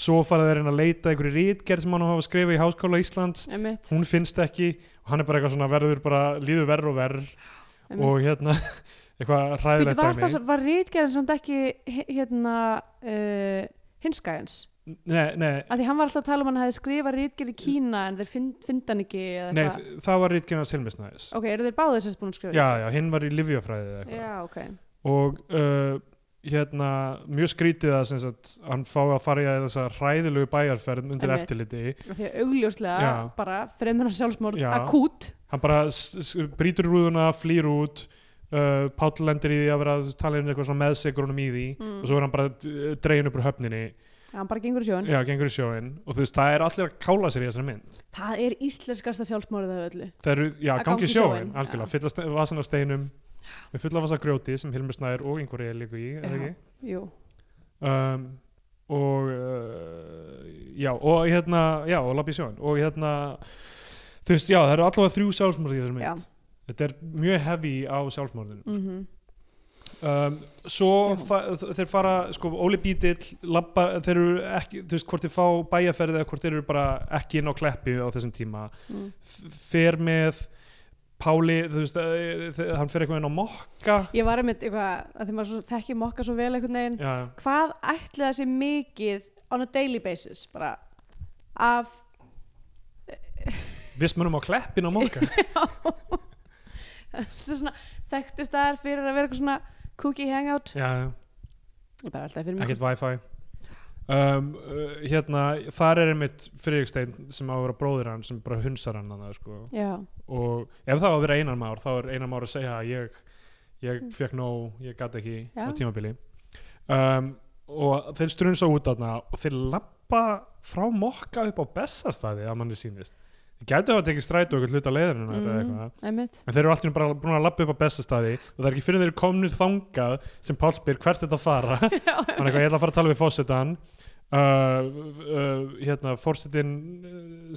svo fara þeir inn að leita einhverju rítgerð sem hann á að hafa skrifað í Háskóla Íslands einmitt, hún finnst ekki og hann er bara eitthvað svona verður bara líður verð og verð einmitt. og hérna eitthvað Býtu, hræðilegt var, það, sem- var rítgerðin samt ekki he- hérna uh, hinskæðins Nei, nei, að því hann var alltaf að tala um að hann hefði skrifað rítgerð í Kína en þeir finn, finna hann ekki eða nei eitthvað. þ- það var rítgerðans Hilmisnæðis ok, eru þeir báðið sem búin að skrifa já, já, hinn var í livjafræði eða eitthvað rítgerð? já, ok og uh, hérna mjög skrítið að sem sagt, hann fá að fara í þessa hræðilegu bæjarferð undir Einmitt. eftirliti Af því að augljóslega Já. bara fremur hann sjálfsmórð Já. akút hann bara s- s- brýtur rúðuna, flýr út uh, Páll lendir í því að vera að tala um eitthvað svona meðsigrunum í því Mm. og svo er hann bara uh, dregin upp úr höfninni hann bara gengur í sjón já, gengur í sjóin og þú veist, það er allir að kála sér í þessari mynd það er íslenskasta sjálfsmórð af öllu það eru, já, Að ganga gangi í í sjóinn, sjóin algjörlega, fylla ste- vasan af steinum við fulla vasa af grjóti sem Hilmir Snær og einhverju er líka í, eða Já. ekki jú, um, og uh, já, og hérna já, og labbi í sjóin, og hérna þú veist, já, það eru allavega þrjú sjálfsmörði í þessari já mynd, þetta er mjög heavy á sjálfsmörðinu mm um, svo Já. fa þeir fara sko, Óli Bítill labba, þeir eru ekki, þú veist hvort þeir fá bæjarferði eða hvort þeir eru bara ekki inn á kleppi á þessum tíma Mm. F- fer með Páli, þú veist eh, þe- hann fer eitthvað inn á mokka ég var einmitt eitthvað að því maður svo, þekki mokka svo vel einhvern veginn já, hvað ætli það sé mikið on a daily basis bara af við munum á kleppin á mokka þetta er svona þekktist þar fyrir að vera eitthvað svona cookie hangout já, ég bara alltaf fyrir mig ekkert wifi um, uh, hérna, þar er einmitt Friðrikstein sem á að vera bróðir hann sem bara hunsar hann hann sko. já, og ef það á að vera einar már þá er einar már að segja að ég, ég fekk nóg, ég gat ekki Já. á tímabili um, og þeir strunsa út þarna og þeir lappa frá mokka upp á bestastæði að manni sýnist þeir gætu hafa tekið strætu eitthvað hluta leiðinu eða Mhm, eitthvað einmitt en þeir eru alltaf bara búin að lappa upp á bestastæði og það er ekki fyrir en þeir eru komnir þangað sem Páll spyr hvert þetta fara hann Já, er eitthvað, ég ætla að fara að tala við fósitan uh, uh, hérna fórsetin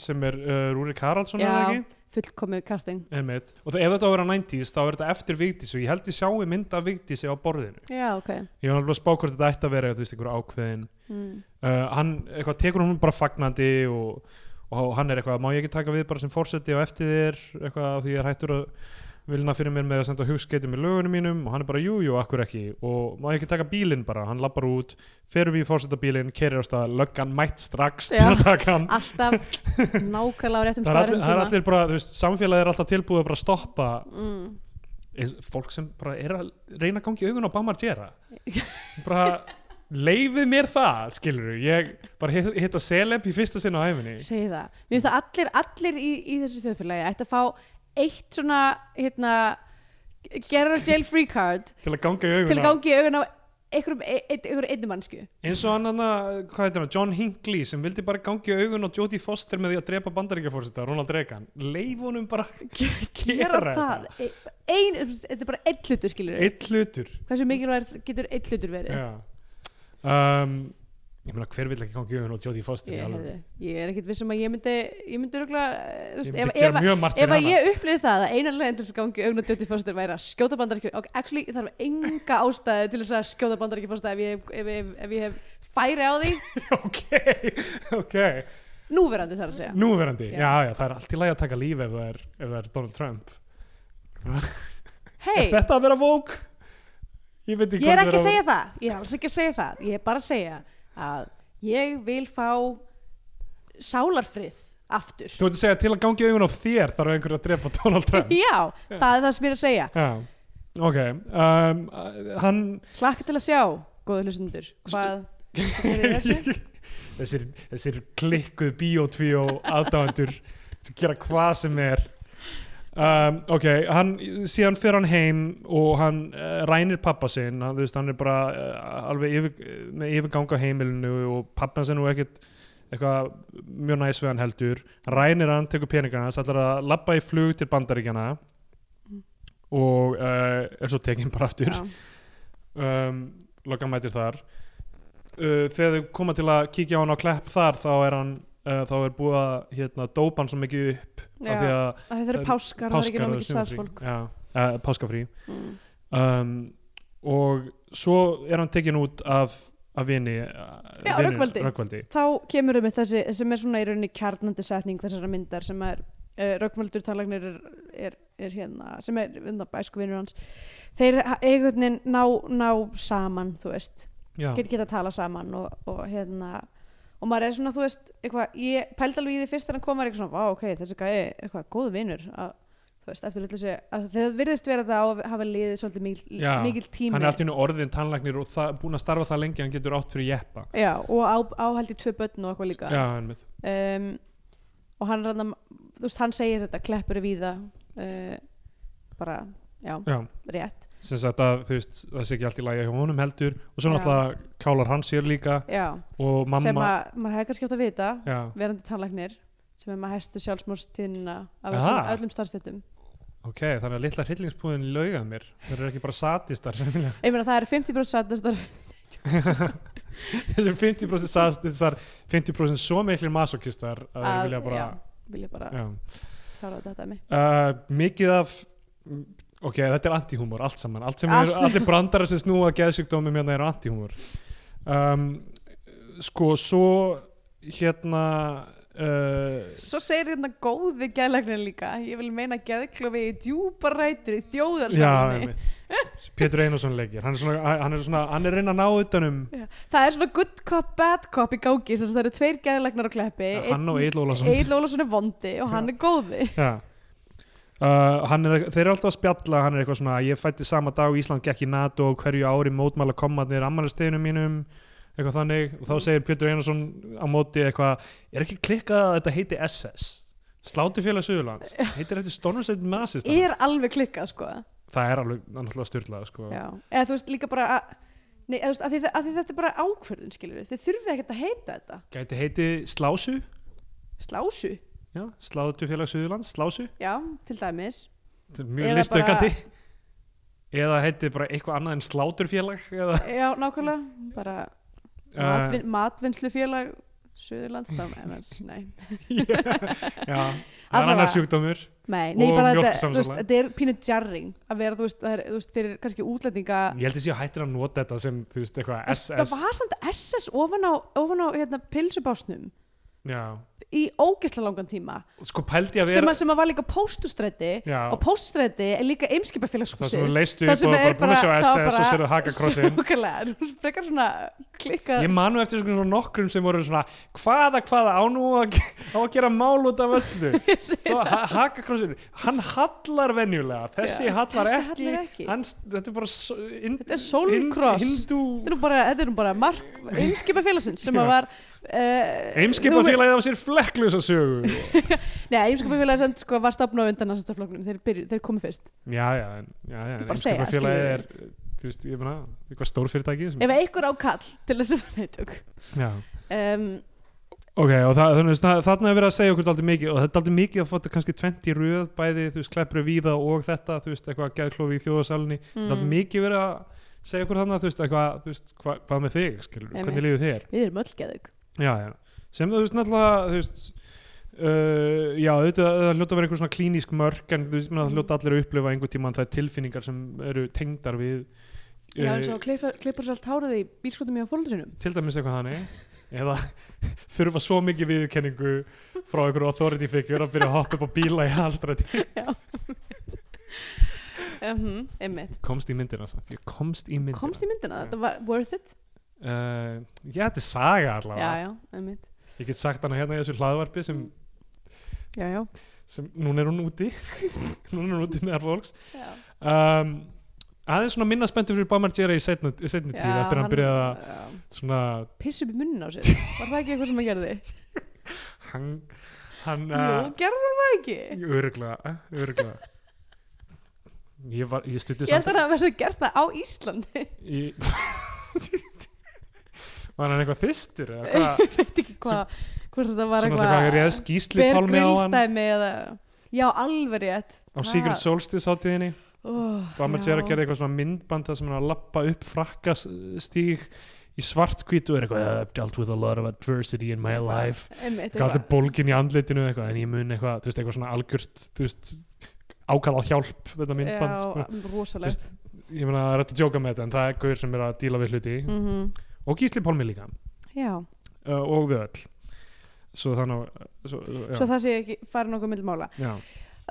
sem er uh, Rúrik Haraldsson er það Já. ekki? fullkomið casting Einmitt. og það, ef þetta á að vera 90s þá er þetta eftir Vigdísi og ég held ég sjái mynd af Vigdísi á borðinu já, ok ég var alveg að spá hvort þetta ætti að vera þú veist, einhver ákveðin mm. uh, hann eitthvað, tekur hún bara fagnandi og, og hann er eitthvað, má ég ekki taka við bara sem fórseti og eftir þér eitthvað af því ég er hættur að vilna fyrir mér með að senda hugskeitum í lögunum mínum og hann er bara jú, jú, akkur ekki og má ég ekki taka bílinn bara, hann lappar út fer upp í fórsetabílinn, kerir á stað löggan mætt strax til Já. um að taka hann alltaf nákvæmlega á réttum það er, allir, staðarum það er allir bara, þú veist, samfélagið er alltaf tilbúið að bara stoppa mm. eins- fólk sem bara er að reyna að gangi augun á Bamar Gera Sem bara leifið mér það skilur ég bara hit- hitta celeb í fyrsta sinna á æfinni segi það mér finnst að allir, allir í, í þessu þjóðfélagi ætti að fá eitt svona hérna, gerur jail free card til að gangi augun til að gangi í augun á einhverjum einhver einni mannsku eins og annan að, hvað heitir hann, John Hinckley sem vildi bara gangi augun á Jodie Foster með því að drepa bandaríkjafórsita, Ronald Reagan leif honum bara gera það þetta ein, þetta er bara einn hlutur skilur við eitt hlutur hversu mikilvæg getur einn hlutur verið Já. um, ég meina hver vill ekki gangi augun á Jodie Foster í ég, alvöru? hefði, ég er ekkit vissum að ég myndi ég myndi rögla ég myndi gera mjög margt fyrir Ef að hana ég upplifði það að einan leiðin til þess að gangi augn og djóti fórstöður væri að skjóta bandaríkjafórstöður og actually ég þarf enga ástæði til þess að skjóta bandaríkjafórstöður ef, ég- ef, ef, ef ég hef færi á því ok, ok núverandi þarf að segja Núverandi, Já. já. já, það er allt í lagi að taka líf ef það er, ef það er Donald Trump hei, Er þetta að vera vók? Ég veit ekki ég er hvað ekki að vera segja það ég er alls ekki að segja það, ég er bara að segja að ég vil fá sálarfrið aftur Þú veit að segja til að gangi augun á þér þarf einhver að drepa Donald Trump já, það er það sem ég er að segja Já, ok um, Hann hlakka til að sjá, góðu hlustundur Sko, hvað hvað er í þessu? þessir, þessir klikkuð bíotvíó aðdáendur sem gera hvað sem er um, ok, hann síðan fer hann heim og hann uh, rænir pappa sinn eh, hann, þú veist, hann er bara uh, alveg yfir, með yfirgang á heimilinu og pappan sinn og ekkert eitthvað mjög næs við hann heldur hann rænir hann, tekur peningana hans ætlar að labba í flug til bandaríkjana og uh, er svo tekinn bara aftur já. um, Logan mætir þar uh, þegar þau koma til að kíkja á hann á klepp þar þá er hann uh, þá er búið að hérna, dópa hann svo mikið upp af því Já. að Að þetta eru það- páskar, það er ekki páskar náttúrulega og mikið starfsfólk sumarfrí Já, uh, páskafrí mm. um, og svo er hann tekinn út af, af vini Já, Rögnvaldi. Rökkvaldi þá kemur um þessi sem er svona í rauninni kjarnandi setning þessara myndar sem er uh, Rögnvaldur talagnir er, er, er hérna, sem er hérna, bæskuvinur hans þeir ha- einhvern veginn ná, ná saman þú veist, Já, get, geta að tala saman og, og hérna og maður er svona, þú veist, eitthvað ég pældi alveg í því fyrst þegar hann kom maður eitthvað svona, vá, ok, þessi gæi, er eitthvað, góð vinur að, þú veist, eftir hlutleysi að þegar virðist vera það á að hafa liðið svolítið mikil, Já, mikil tími hann er allt í einu orðin tannlæknir og það, búin að starfa það lengi að hann getur átt fyrir jeppa Já, og á, áhaldi tvö börn og eitthvað líka Já, einmitt. um, og hann rann þú veist, hann segir þetta, kleppur er víða uh, bara, já, Já. rétt sem sagt að þú veist, það sé ekki allt í lagi hjá honum heldur og svo Já. náttúrulega kálar hann sér líka já, og sem mamma að maður hefði kannski átt að vita Já, verandi tannlæknir sem er maður hæstu sjálfsmórstíðina af Aha. öllum, öllum starfstættum ok, þannig að litla hryllingspúðin laugað mér þeir eru ekki bara satistar sennilega. ég meina það eru 50% sattastar þeir eru 50% satistar 50% svo miklir masokistar að þeir Ah, vilja bara vilja bara já. klára þetta dæmi Uh, mikið af ok, þetta er antihúmor, allt saman allt sem Allt. er, allir brandarar sem snúa að geðsjúkdómum hérna eru antihúmor um, sko, svo hérna uh, Svo segir hérna góði geðlæknir líka Ég vil meina geðklofi í djúpa rætur í já, þjóðarsamni einmitt Pétur Einarsson leikir, hann er svona hann er, svona, hann er reyna að ná utanum Það er svona good cop, bad cop í gangi sem sagt, það eru tveir geðlæknar á kleppi hann og Egil Ólafsson Egil Ólafsson er vondi og hann er góði Já. Uh, hann er, þeir eru alltaf að spjalla hann er eitthvað svona, ég fætti sama dag og Ísland gekk í NATO og hverju ári mótmæla komaðnir ammælisteginu mínum eitthvað þannig og þá Mhm. segir Pétur Einarsson á móti eitthvað, er ekki klikkað að þetta heiti SS Slátufélag Suðurlands heitir eftir Stónarsveit Masist er alveg klikkað sko það er alveg náttúrulega styrlað sko. Já. eða þú veist líka bara að, nei, eða, þú veist, að, því, að því þetta er bara ákvörðun skilur við þið þurfið ekkert að heita þetta gæti heiti Slásu slásu, Já, Slátufélag Suðurlands, Slásu já, til dæmis Þetta er mjög Eða listaukandi eða heiti bara eitthvað annað en Sláturfélag eða, já, nákvæmlega bara uh, matvin, matvinnslufélag Suðurlands sam- annars, nei, já, það er Allavega. annar sjúkdómur nei, nei Og bara þetta, mjólkursamsala. þú veist, þetta er pínu jarring að vera, þú veist, það er, þú veist fyrir kannski útlendinga Ég held að sé að hættir að nota þetta sem, þú veist, eitthvað það SS var samt SS ofan á, ofan á hérna, pilsubásnum Já, í ógeðslega langan tíma sko pældi að sem, vera að, sem að var líka póstustræti Já, og póststræti er líka það sem þú eimskipafélagshúsið leistu það upp og bara búin að sjá það var SS og sérðu hakakrossin Nákvæmlega, þú frekar svona klikkað Ég manu eftir svona nokkrum sem voru svona hvaða, hvaða, á nú að, ge- á að gera mál út af öllu Þó, ha Hakakrossin, hann hallar venjulega þessi Já, hallar þessi ekki, hallar ekki. Hann, st- Þetta er bara s- in, Þetta er sólkross. Hindú Þetta er nú bara, þetta er nú bara mark eimskipafélagsins sem Já. að var uh, Eimskipafélagið á sér flekklusa sögu Nei, eimskipafélagið sem sko var stopn á undan að flokknum, þeir, byrju, þeir komu fyrst Já, já, en- já, já, Ég en bara segi, Eimskipafélagið skilurðu. er þú veist, ég meina, eitthvað stórfyrirtæki sem- Ef einhver á kall til þess að vera neitug Já um, Ok, og það, þannig, að þarna er verið að segja okkur daldið mikið og þetta er daldið mikið að fóta kannski 20 röð bæði, þú veist, kleppri víða og þetta þú veist, eitthvað geðklofi í þjóðasalinni mm. hmm. daldið mikið verið að segja okkur þannig þú veist, eitthvað, þú veist, hva, hvað með þig skilur, Einmitt. hvernig líður þér? Við erum öll geðug Já, já, sem þú veist, náttúrulega þú veist, uh, já, auðvitað það hljóta að vera einhver svona klínísk mörk en þú veist, mm. hljóta allir að upplifa einhver tíma það er tilfinningar sem eru tengdar við Já, eins eh, og klippur, klippur sér allt hárið í bílskotum hjá fólundur sinum til dæmis eitthvað þannig eða þurfa svo mikið viðurkenningu frá einhverju authority figure að byrja að hoppa upp á bíla í halstræti um, Einmitt komst í myndina samt, ég komst í myndina Komst í myndina, þetta var worth it uh, ég þetta er saga allavega Já, já, einmitt ég get sagt hana hérna í þessu hlaðvarpi sem, Já, já, sem núna er hún úti núna er hún úti með fólks já. um, aðeins svona minna spenntur fyrir Bamar Jerry í setni, í setni tíð eftir að hann byrjaði að já. svona pissa upp í munnin á sér var það ekki eitthvað sem hann gerði? hann, hann Jú, uh, gerði hann það ekki? öruglega, öruglega ég, var, ég stutti Ég held að það verði gert það á Íslandi í var hann eitthvað þystur eða hvað veit ekki hvað hvort þetta Svona var þegar hvað eitthvað réðst Gísli Pálmi á hann bergrillstæmi eða já, alveg rétt á Secret Solstice hátíðinni oh, Bammer sér að gera eitthvað svona myndband það sem hann er að lappa upp frakkastíg í svartkvítu er eitthvað I've dealt with a lot of adversity in my life einmitt, gæti eitthvað. bólgin í andlitinu eitthvað en ég mun eitthvað, þú veist, eitthvað svona algjört þú veist, ákall á hjálp þetta myndband, sko. já, rosalegt ég meina það er hægt að djóka með þetta en það er gaur sem er að díla við hluti mm og Gísli Pálmi líka uh, já, og við öll svo þannig að- svo, já, svo það sé ekki farið nokkuð millmála já,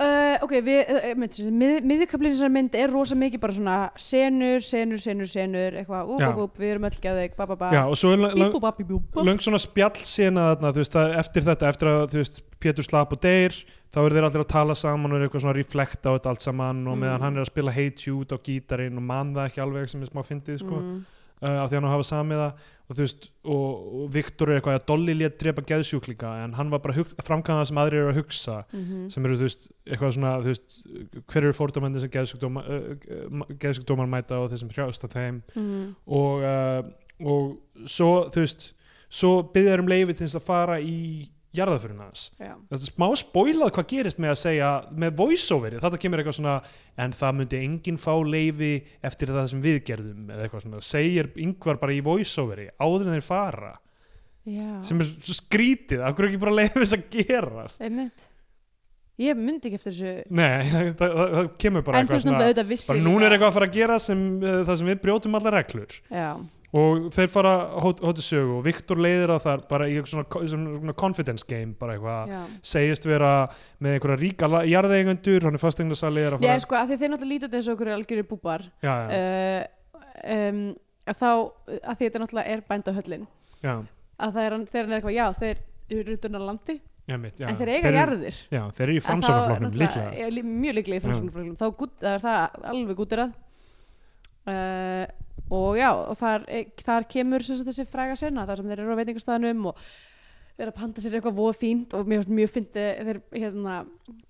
Uh, ok, við, uh, mynd, mið, miðjökablin þessari mynd er rosa mikið bara svona senur, senur, senur, senur eitthvað, úp, Já. úp, úp, við erum öll gæðið ba, ba, ba, já, og svo er bíp, lang, bú, ba, bíp, bú, ba. löng svona spjallsena þarna, þú veist, að eftir þetta, eftir að þú veist, Pétur slapp og deyr, þá eru þeir allir að tala saman og eru eitthvað svona að reflekta á þetta allt saman og meðan Mm. hann er að spila Hate You út á gítarinn og man það ekki alveg sem er smá fyndið, sko Mm. uh, af því hann á að hafa samið það og þú veist, og, og Viktor er eitthvað að Dolly lét drepa geðsjúklinga en hann var bara að framkvæmða sem aðrir eru að hugsa Mhm. sem eru, þú veist, eitthvað svona þú veist, hver eru fórdómandi sem geðsjúkdóma, uh, uh, geðsjúkdómar mæta og þeir sem hrjást að þeim Mhm. og, uh, og svo, þú veist svo byrðar um leifi til þess að fara í jarðaförun hans Já. þetta er smá spoilað hvað gerist með að segja með voiceoveri, þetta kemur eitthvað svona en það myndi enginn fá leifi eftir það sem við gerðum eða eitthvað svona, segir yngvar bara í voiceoveri áður en þeir fara, Já. sem er svo skrítið af hverju ekki bara leifi þess að gerast einmitt ég myndi ekki eftir þessu nei, það, það, það kemur bara en eitthvað þú veist svona náttúrulega auðvitað vissi bara líka- núna er eitthvað að fara að gera sem, uh, það sem við brjótum allar reglur já, og þeir fara hóttu hót sögu og Viktor leiðir að það bara í eitthvað svona, svona confidence game bara eitthvað já. segist vera með einhverja ríka la- jarðeigendur, hann er fasteignarsali er að fara Ég, sko, af því þeir náttúrulega lítur þessu okkur algjörir búbar já, já, uh, um, að þá að því þetta náttúrulega er bændahöllin já, að það er, hann- þegar hann er eitthvað, já, þeir eru utan að landi, já, mitt, já en þeir eiga eru- jarðir já, þeir eru í En þá framsóknarflokknum náttúrulega- líklega já, lí- mjög Já. líklega í framsóknarflokknum þá gút, það er það alveg gútirað uh, og já og þar, e, þar kemur sem sagt þessi fræga sena þar sem þeir eru á veitingastæðanum og þeir eru að panta sér eitthvað voða fínt og mjög, mjög fínt þeir hérna,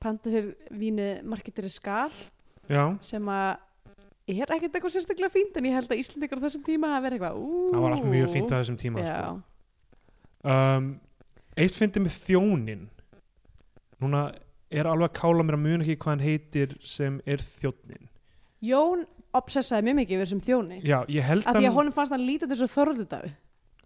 panta sér vínið marketir skal já, sem að er ekkert eitthvað sérstaklega fínt en ég held að Íslendingar á þessum tíma hafa verið eitthvað ú, það var allt mjög fínt á þessum tíma já, sko. um, eitt fyndi með þjónin núna er alveg að kála mér að muna ekki hvað hann heitir sem er þjónin Jón obsessaði mjög mikið yfir þessum þjóni já, ég held af því að honum fannst hann lítið þessu þorðu dag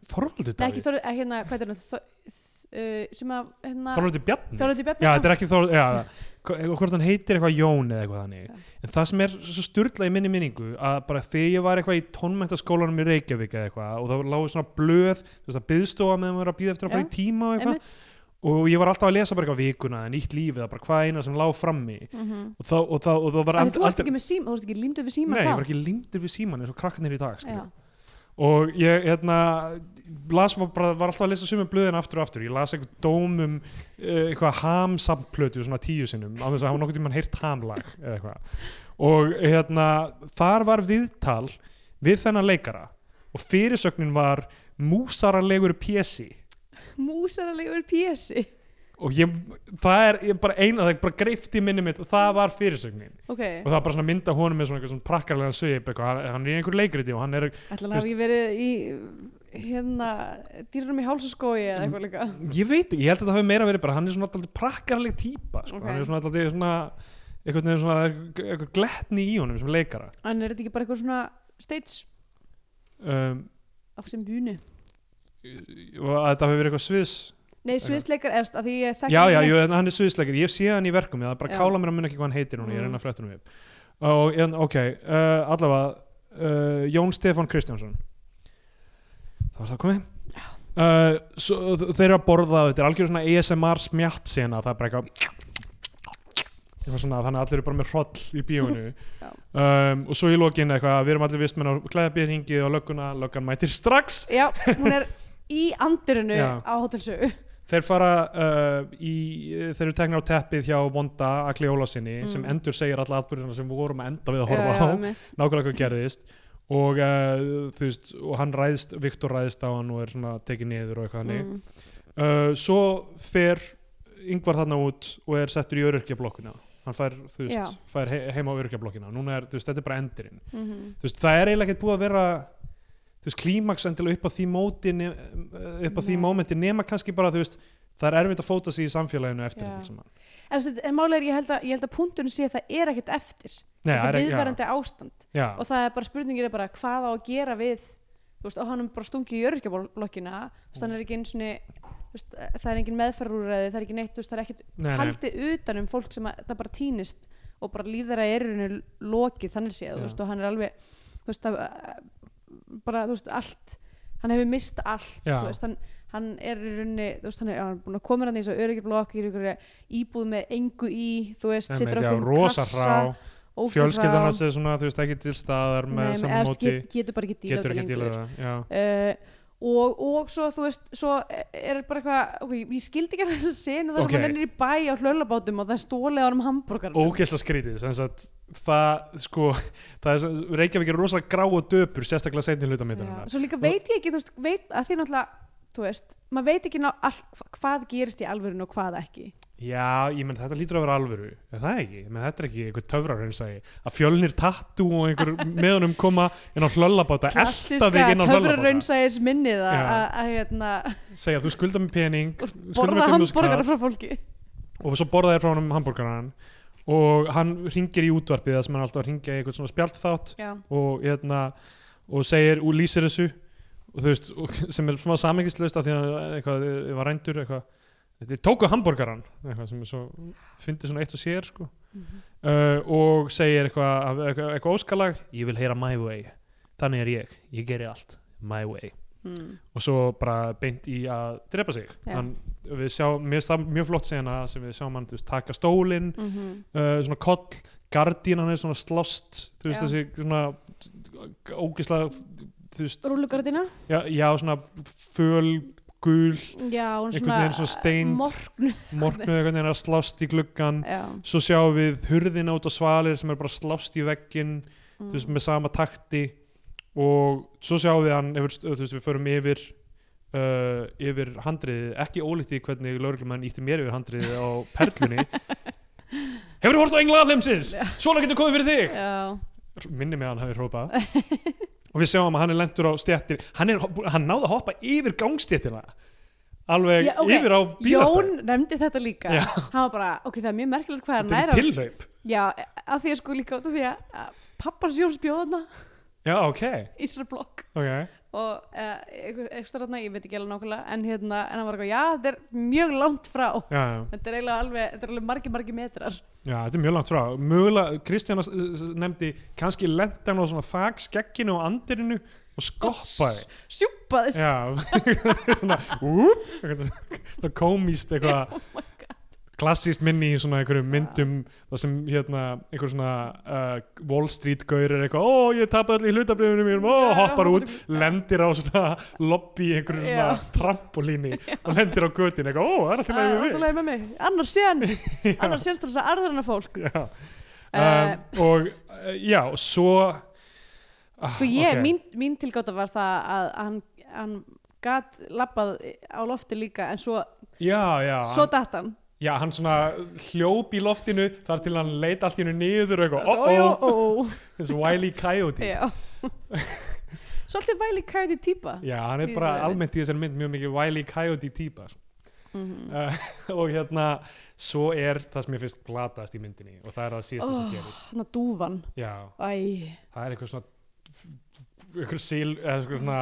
Þorvaldur Nei, ekki Davíð, Þorvaldur, eh, hérna, hvað er hann, uh, sem að, hérna, Þorvaldur Bjarni Þorvaldur Bjarni? já, þetta er ekki Þorvaldur, já, hva- hvort hann heitir eitthvað Jón eða eitthvað þannig Já. en það sem er svo styrla í minni minningu að bara þegar ég var eitthvað í tónmæntaskólanum í Reykjavík eða eitthvað og það lágu svona blöð, þú veist að byðstofa meðan maður er að býða eftir að fara Já, í tíma og eitthvað einmitt. og ég var alltaf að lesa bara eitthvað vikuna nýtt lífið, eða bara hvað eina sem lág frammi Mhm. og þá, og þá, og þá var Af því Þú varst ekki með síma, þú varst ekki límduð við síma nei, ég var ekki sko. lindur við síman eins og krakkarnir í dag skilur. Já, og ég hérna, las, var, bara, var alltaf að lesa sumum blöðin aftur og aftur, ég las eitthvað dómum uh, eitthvað hamsamplötu svona tíu sinnum, á þess að hafa nokkuð tímann heyrt hamlag eða eitthvað og hérna, þar var viðtal við þennan leikara og fyrirsögnin var músaralegur pjessi músaralegur pési. og ég, það er ég bara eina, það er bara greift í minni mitt og það var fyrirsögnin Ok, og það var bara svona mynda honum með svona, eitthvað svona prakkarlega svip, eitthvað, hann- hann er í einhver leikriti og hann er, ætla hann hafi ekki verið í, hérna, dýrunum í hálsaskói eða Mhm. eitthvað líka. ég veit ekki, ég held að það hafi meira verið bara, hann er svona alltaf prakkarleg típa, sko, Ok. hann er svona alltaf svona, einhvern veginn svona eitthvað gletni í honum sem leikara En er þetta ekki bara eitthvað svona stage um, á sem búinu? og að þetta hafi verið eitthvað sviðs Nei, sviðsleikar, eða, af því ég þekki já, já, hann jú, ekki. en hann er sviðsleikir, ég sé hann í verkum ég það er bara Já. að kála mér að munna ekki hvað hann heitir núna, ég er Mm. enn að fréttunum upp og, en, ok, uh, allavega uh, Jón Stefán Kristjánsson þá er það komið uh, svo, þeir eru að borða þetta er algjör svona ASMR smjátt sena það er bara eitthvað eitthvað svona, þannig að allir eru bara með hroll í bíóinu Já. um, og svo í lokin eitthvað, við erum allir vistmenn á klæðabíðringi og lögguna, löggan mætir strax Já, hún er í andirinu Já. á hotelsögu. Þeir fara uh, í, þeir eru tekna á teppið hjá Vonda Akli Ólásinni Mm. sem endur segir alla atbyrðina sem við vorum að enda við að Já, horfa já, á, einmitt. nákvæmlega hvað gerðist og uh, þú veist, og hann ræðist, Viktor ræðist á hann og er svona tekið niður og eitthvað hannig. Mm. Uh, svo fer yngvar þarna út og er settur í öryrkjablokkuna. Hann fær, þú veist, Já. fær he heima á öryrkjablokkina. Núna er, þú veist, þetta er bara endurinn Mhm. þú veist, það er eiginlega ekkert búið að vera þú þú veist, klímaks endilega upp á því móti ne- upp á því Nei. mómenti nema kannski bara, þú veist það er erfitt að fóta sig í samfélaginu eftir Já. þetta saman En, þú veist, en málega er ég held, að, ég held að punkturinn sé að það er ekkert eftir Nei, þetta það er er ekki- já, viðverandi ástand já, og það er bara spurningin er bara hvað á að gera við þú veist, og hann er bara stungið í öryrkjablokkina þú veist, hann er ekki eins og veist, það er engin meðferðúræði, það er ekki neitt þú veist, það er ekkert nei, nei, haldið utan um fólk sem að, það bara týnist og bara líf þeirra er í rauninni lokið þannig séð, Já. þú veist, og hann er alveg þú veist, að, bara, þú veist, allt hann hefur mist allt, Já. þú veist, hann, hann er í rauninni, þú veist, hann er, hann er búin að koma hann í þessu öryggjurblokk, í einhverju íbúð með engu í, þú veist, Nei, situr já, okkur um rosa hrá, fjölskyldan ósað hans er svona, þú veist, ekki til staðar Nei, með menn, saman eða, þú veist, móti, get, getur bara ekki díla getur ekki dílað við það já, uh, og, og svo þú veist svo er bara eitthvað okay, ég skildi ekki þess að senu þar Ok. sem hann er í bæ á hlölabátum og það er stólið á hann um hambúrgar ógeðsla skrítið sem sagt, það sko það er, svo- Reykjavík er rosalega grá og döpur sérstaklega setni hluta mittarinnar svo líka veit ég ekki þú veist, veit, að því náttúrulega þú veist, maður veit ekki ná allt hvað gerist í alvörun og hvað ekki Já, ég menn þetta lítur að vera alvöru er það ekki, menn þetta er ekki einhver töfrar eins að fjölnir tattu og einhver meðunum koma inn á hlöllabáta elta þig inn á hlöllabáta töfraraunsæðis minnið að- Já. að að, hérna, segja þú skulda mér pening skulda borða mér 5.000 hambúrgar kall." frá fólki og svo borðaði frá honum hambúrgaran og hann ringir í útvarpið það sem hann er alltaf að ringja í eitthvað svona spjaldþátt já, og, hérna, og segir og lýsir þessu og þú veist, og, sem er smá samingislaust af því að eitthvað ég var rændur eitthvað, þetta tóku hambúrgaran eitthvað sem er svo, fyndi svona eitt og sér sko Mhm. uh, og segir eitthvað eitthvað, eitthvað óskalag, ég vil heyra my way þannig er ég, ég geri allt my way, mm. og svo bara beint í að drepa sig Já. hann, við sjá, mér finnst það mjög flott sena sem við sjáum hann, þú veist, taka stólinn Mm -hmm. uh, svona koll, gardínan er svona slást, þú veist, Já. þessi svona ógislega þú veist, rúlugardina já, já, svona föl, gul já, hún Einhvern veginn svona steind. morgnu morgnuð einhvern veginn er að slást í gluggan já, svo sjáum við hurðina út á svalir sem er bara slást í vegginn mm. þú veist, með sama takti og svo sjáum við hann hefur, þú veist, við förum yfir uh, yfir handriðið, ekki ólíkt því hvernig lauruglumann ítti mér yfir handriðið á perlunni Hefur þú hort á engla lemsins? Svona getur komið fyrir þig já, Minni með hann hafi hrópað og við sjáum að hann er lentur á stjættin hann, er, hann náði að hoppa yfir gangstjættina alveg Já, ok. yfir á bílastæð Jón nefndi þetta líka Já. hann var bara, ok, það er mjög merkilegt hvað hann Þetta er er tilhlaup já, af því að sko líka út af því að að pappars Jóns bjóðana Já, ok, í sér blokk ok og uh, eitthvað rannar, ég veit ekki alveg nákvæmlega en hérna, en hann var eitthvað, já, þetta er mjög langt frá Já, já þetta er eiginlega alveg, þetta er alveg margi, margi metrar Já, þetta er mjög langt frá. Mögulega, Kristján eh, nefndi, kannski lenti hann á svona þakskekkinu og andirinu og skoppaði. sjúpaðist, Já, svona, úp, eitthvað svona komíst eitthvað, oh my god klassíst minni í svona einhverjum myndum, það sem hérna, einhver svona uh, Wall Street gaur er eitthvað, ó, ég tapaði allir hlutabriðinu mínum, ó, Já, hoppar út, hoppar lendir á svona lobby í einhverju svona Já. trampolíni og lendir á götin eitthvað, ó, það er alltaf Það er með mig. ótrúlega með mig, annars séns annars séns til þess að arðurna fólk Já, Eh. um, og eh, já, og svo Sko ég, ok. mín, mín tilgáta var það að hann, hann gat lappað á lofti líka en svo, Já, já, svo hann, datt hann já, hann svona hljóp í loftinu þar til hann leit allt í hennu niður og eitthvað, oh oh, oh, þessi Wile E. Coyote. Já Svolítið væli kæti típa Já, hann er Í bara þessari mynd. almennt í þessari mynd mjög mikið Wile E. Coyote típa. sko. Mhm. Uh, og hérna, svo er það sem ég finnst glatast í myndinni og það er það síðasta Oh. sem gerist. Þannig að dúfan Já, Æ, það er eitthvað svona, eitthvað síl, eða eitthvað svona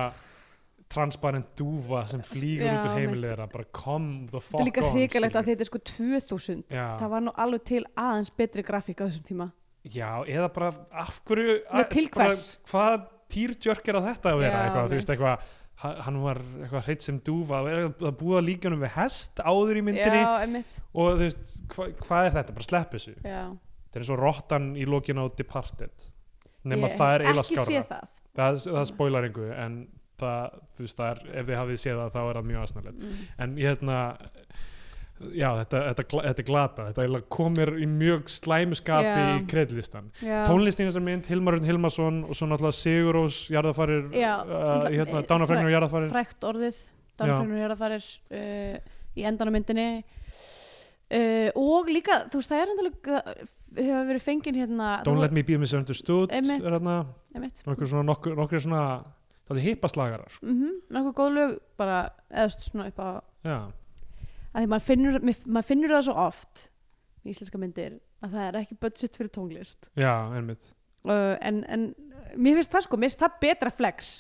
transparent dúfa sem flýgur Já, út úr mitt. heimilið þeirra, bara come the fuck þetta er on. líka hrikalegt að skilurðu. þetta er sko 2000 Já. Það var nú alveg til aðeins betri grafík á þessum tíma Já, eða bara af hverju Nei, til bara, hvers? Hvað týrtjörk er að þetta að vera Já, eitthvað, þú mitt. veist eitthvað ha- hann var eitthvað hreitt sem dúfa og er að búa líkanum við hest áður í myndinni Já, einmitt og þú veist, hva, hvað er þetta, bara slepp þessu Já. þetta er svo rottan í lokin á Departed nema Ég það er hef eila Ekki sé skára það það, það spoilar engu en það, þú veist, það er, ef þið hafið séð það þá er það mjög aðsnarlegt Mm. en ég hérna já, þetta, þetta, gla- þetta er glata þetta eiginlega kom mér í mjög slæmu skapi Já. í kredlistan Já. tónlistin í þessar mynd, Hilmar Rönn Hilmarsson og svo náttúrulega Sigurós, Jarðafarir Já, eh, uh, hérna, náttúrulega- Dánafregnur og Jarðafarir frækt orðið dánfrænur er að farir uh, í endan á myndinni uh, og líka þú veist það er endalega hefur verið fengin hérna Don't Let Me Be Misunderstood Einmitt. er þarna, me og einhver svona nokkur, nokkur svona það allir hippaslagarar sko. mm eitthvað góð lög bara eða svona upp á já, að því maður finnur, mér- maður finnur það svo oft í íslenska myndir að það er ekki budget fyrir tónlist já, einmitt uh, en, en mér finnst það sko, mér finnst það betra flex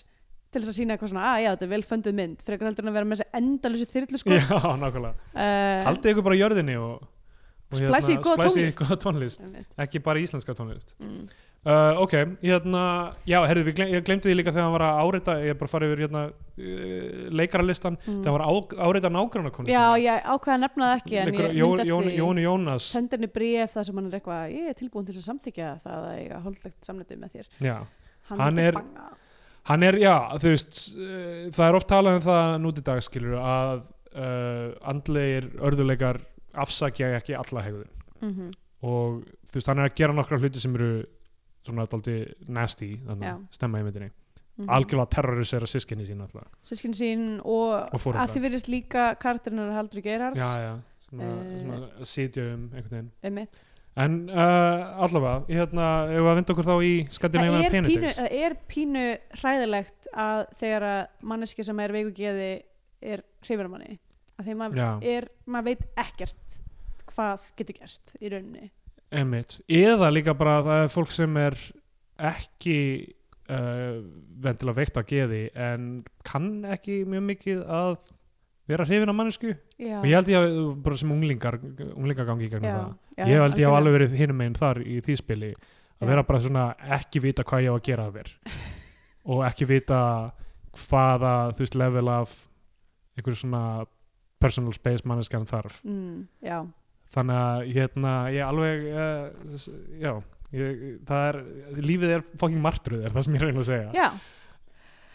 til þess að sína eitthvað svona, að já, þetta er vel fönduð mynd frekar heldur en að vera með þessi endalösu þyrlu sko já, nákvæmlega, uh, haldið ykkur bara á jörðinni og, og hérna, Splæsið í góða splæsið í tónlist. góða tónlist einmitt. ekki bara íslenska tónlist Mm. uh, ok, hérna já, herðu, við glem, ég glemdi því líka þegar hann var að árita ég er bara farið yfir hérna uh, leikaralistan, Mm. þegar hann var að á- árita nágrannakonu já, ég ákvaða að nefna það ekki en ég Jón, myndi Jón, eftir Jón Jónas senda henni bréf þar sem hann er eitthvað ég er tilbúin til að samþykja það að eiga holdlegt samnætti með þér já. Hann hann er- er banga hann er, já, þú veist uh, það er oft talað um það núti dag skilur að uh, andlegir örðuleikar afsakja ekki alla hegðun mm -hmm. og þú veist, hann er að gera nokkra hluti sem eru svona daldi nasty, þannig Já. Mhm. að stemma í myndinni algjörlega terrorisera sískinni sín alltaf sískin sín og, Og foreldra. að því virðist líka karakterinn er haldur Geirars já, já, svona, Eh. svona sitja um einhvern veginn einmitt. en uh, allavega, ég hérna ef við að vinda okkur þá í það Skandinavian er, pínu, eh, Penitents það er pínu hræðilegt að þegar að manneski sem er veikugeði er hrifur af manni að því maður, Já. er, maður veit ekkert hvað getur gerst í rauninni Einmitt. eða líka bara að það er fólk sem er ekki uh, vendilega veikt að geði en kann ekki mjög mikið að vera hrifin af mannesku já, og ég held ég að bara sem unglingar unglingar gangi í gegnum já, það já, ég held ég hafa algjörlega. alveg verið hinum meginn þar í því spili að Já. vera bara svona ekki vita hvað ég á að gera af þér og ekki vita hvaða þú veist level af einhverju svona personal space manneskjan þarf mm, já, þannig að hérna ég alveg uh, s- já ég, það er, lífið er fucking martröð er það sem ég reyna að segja já,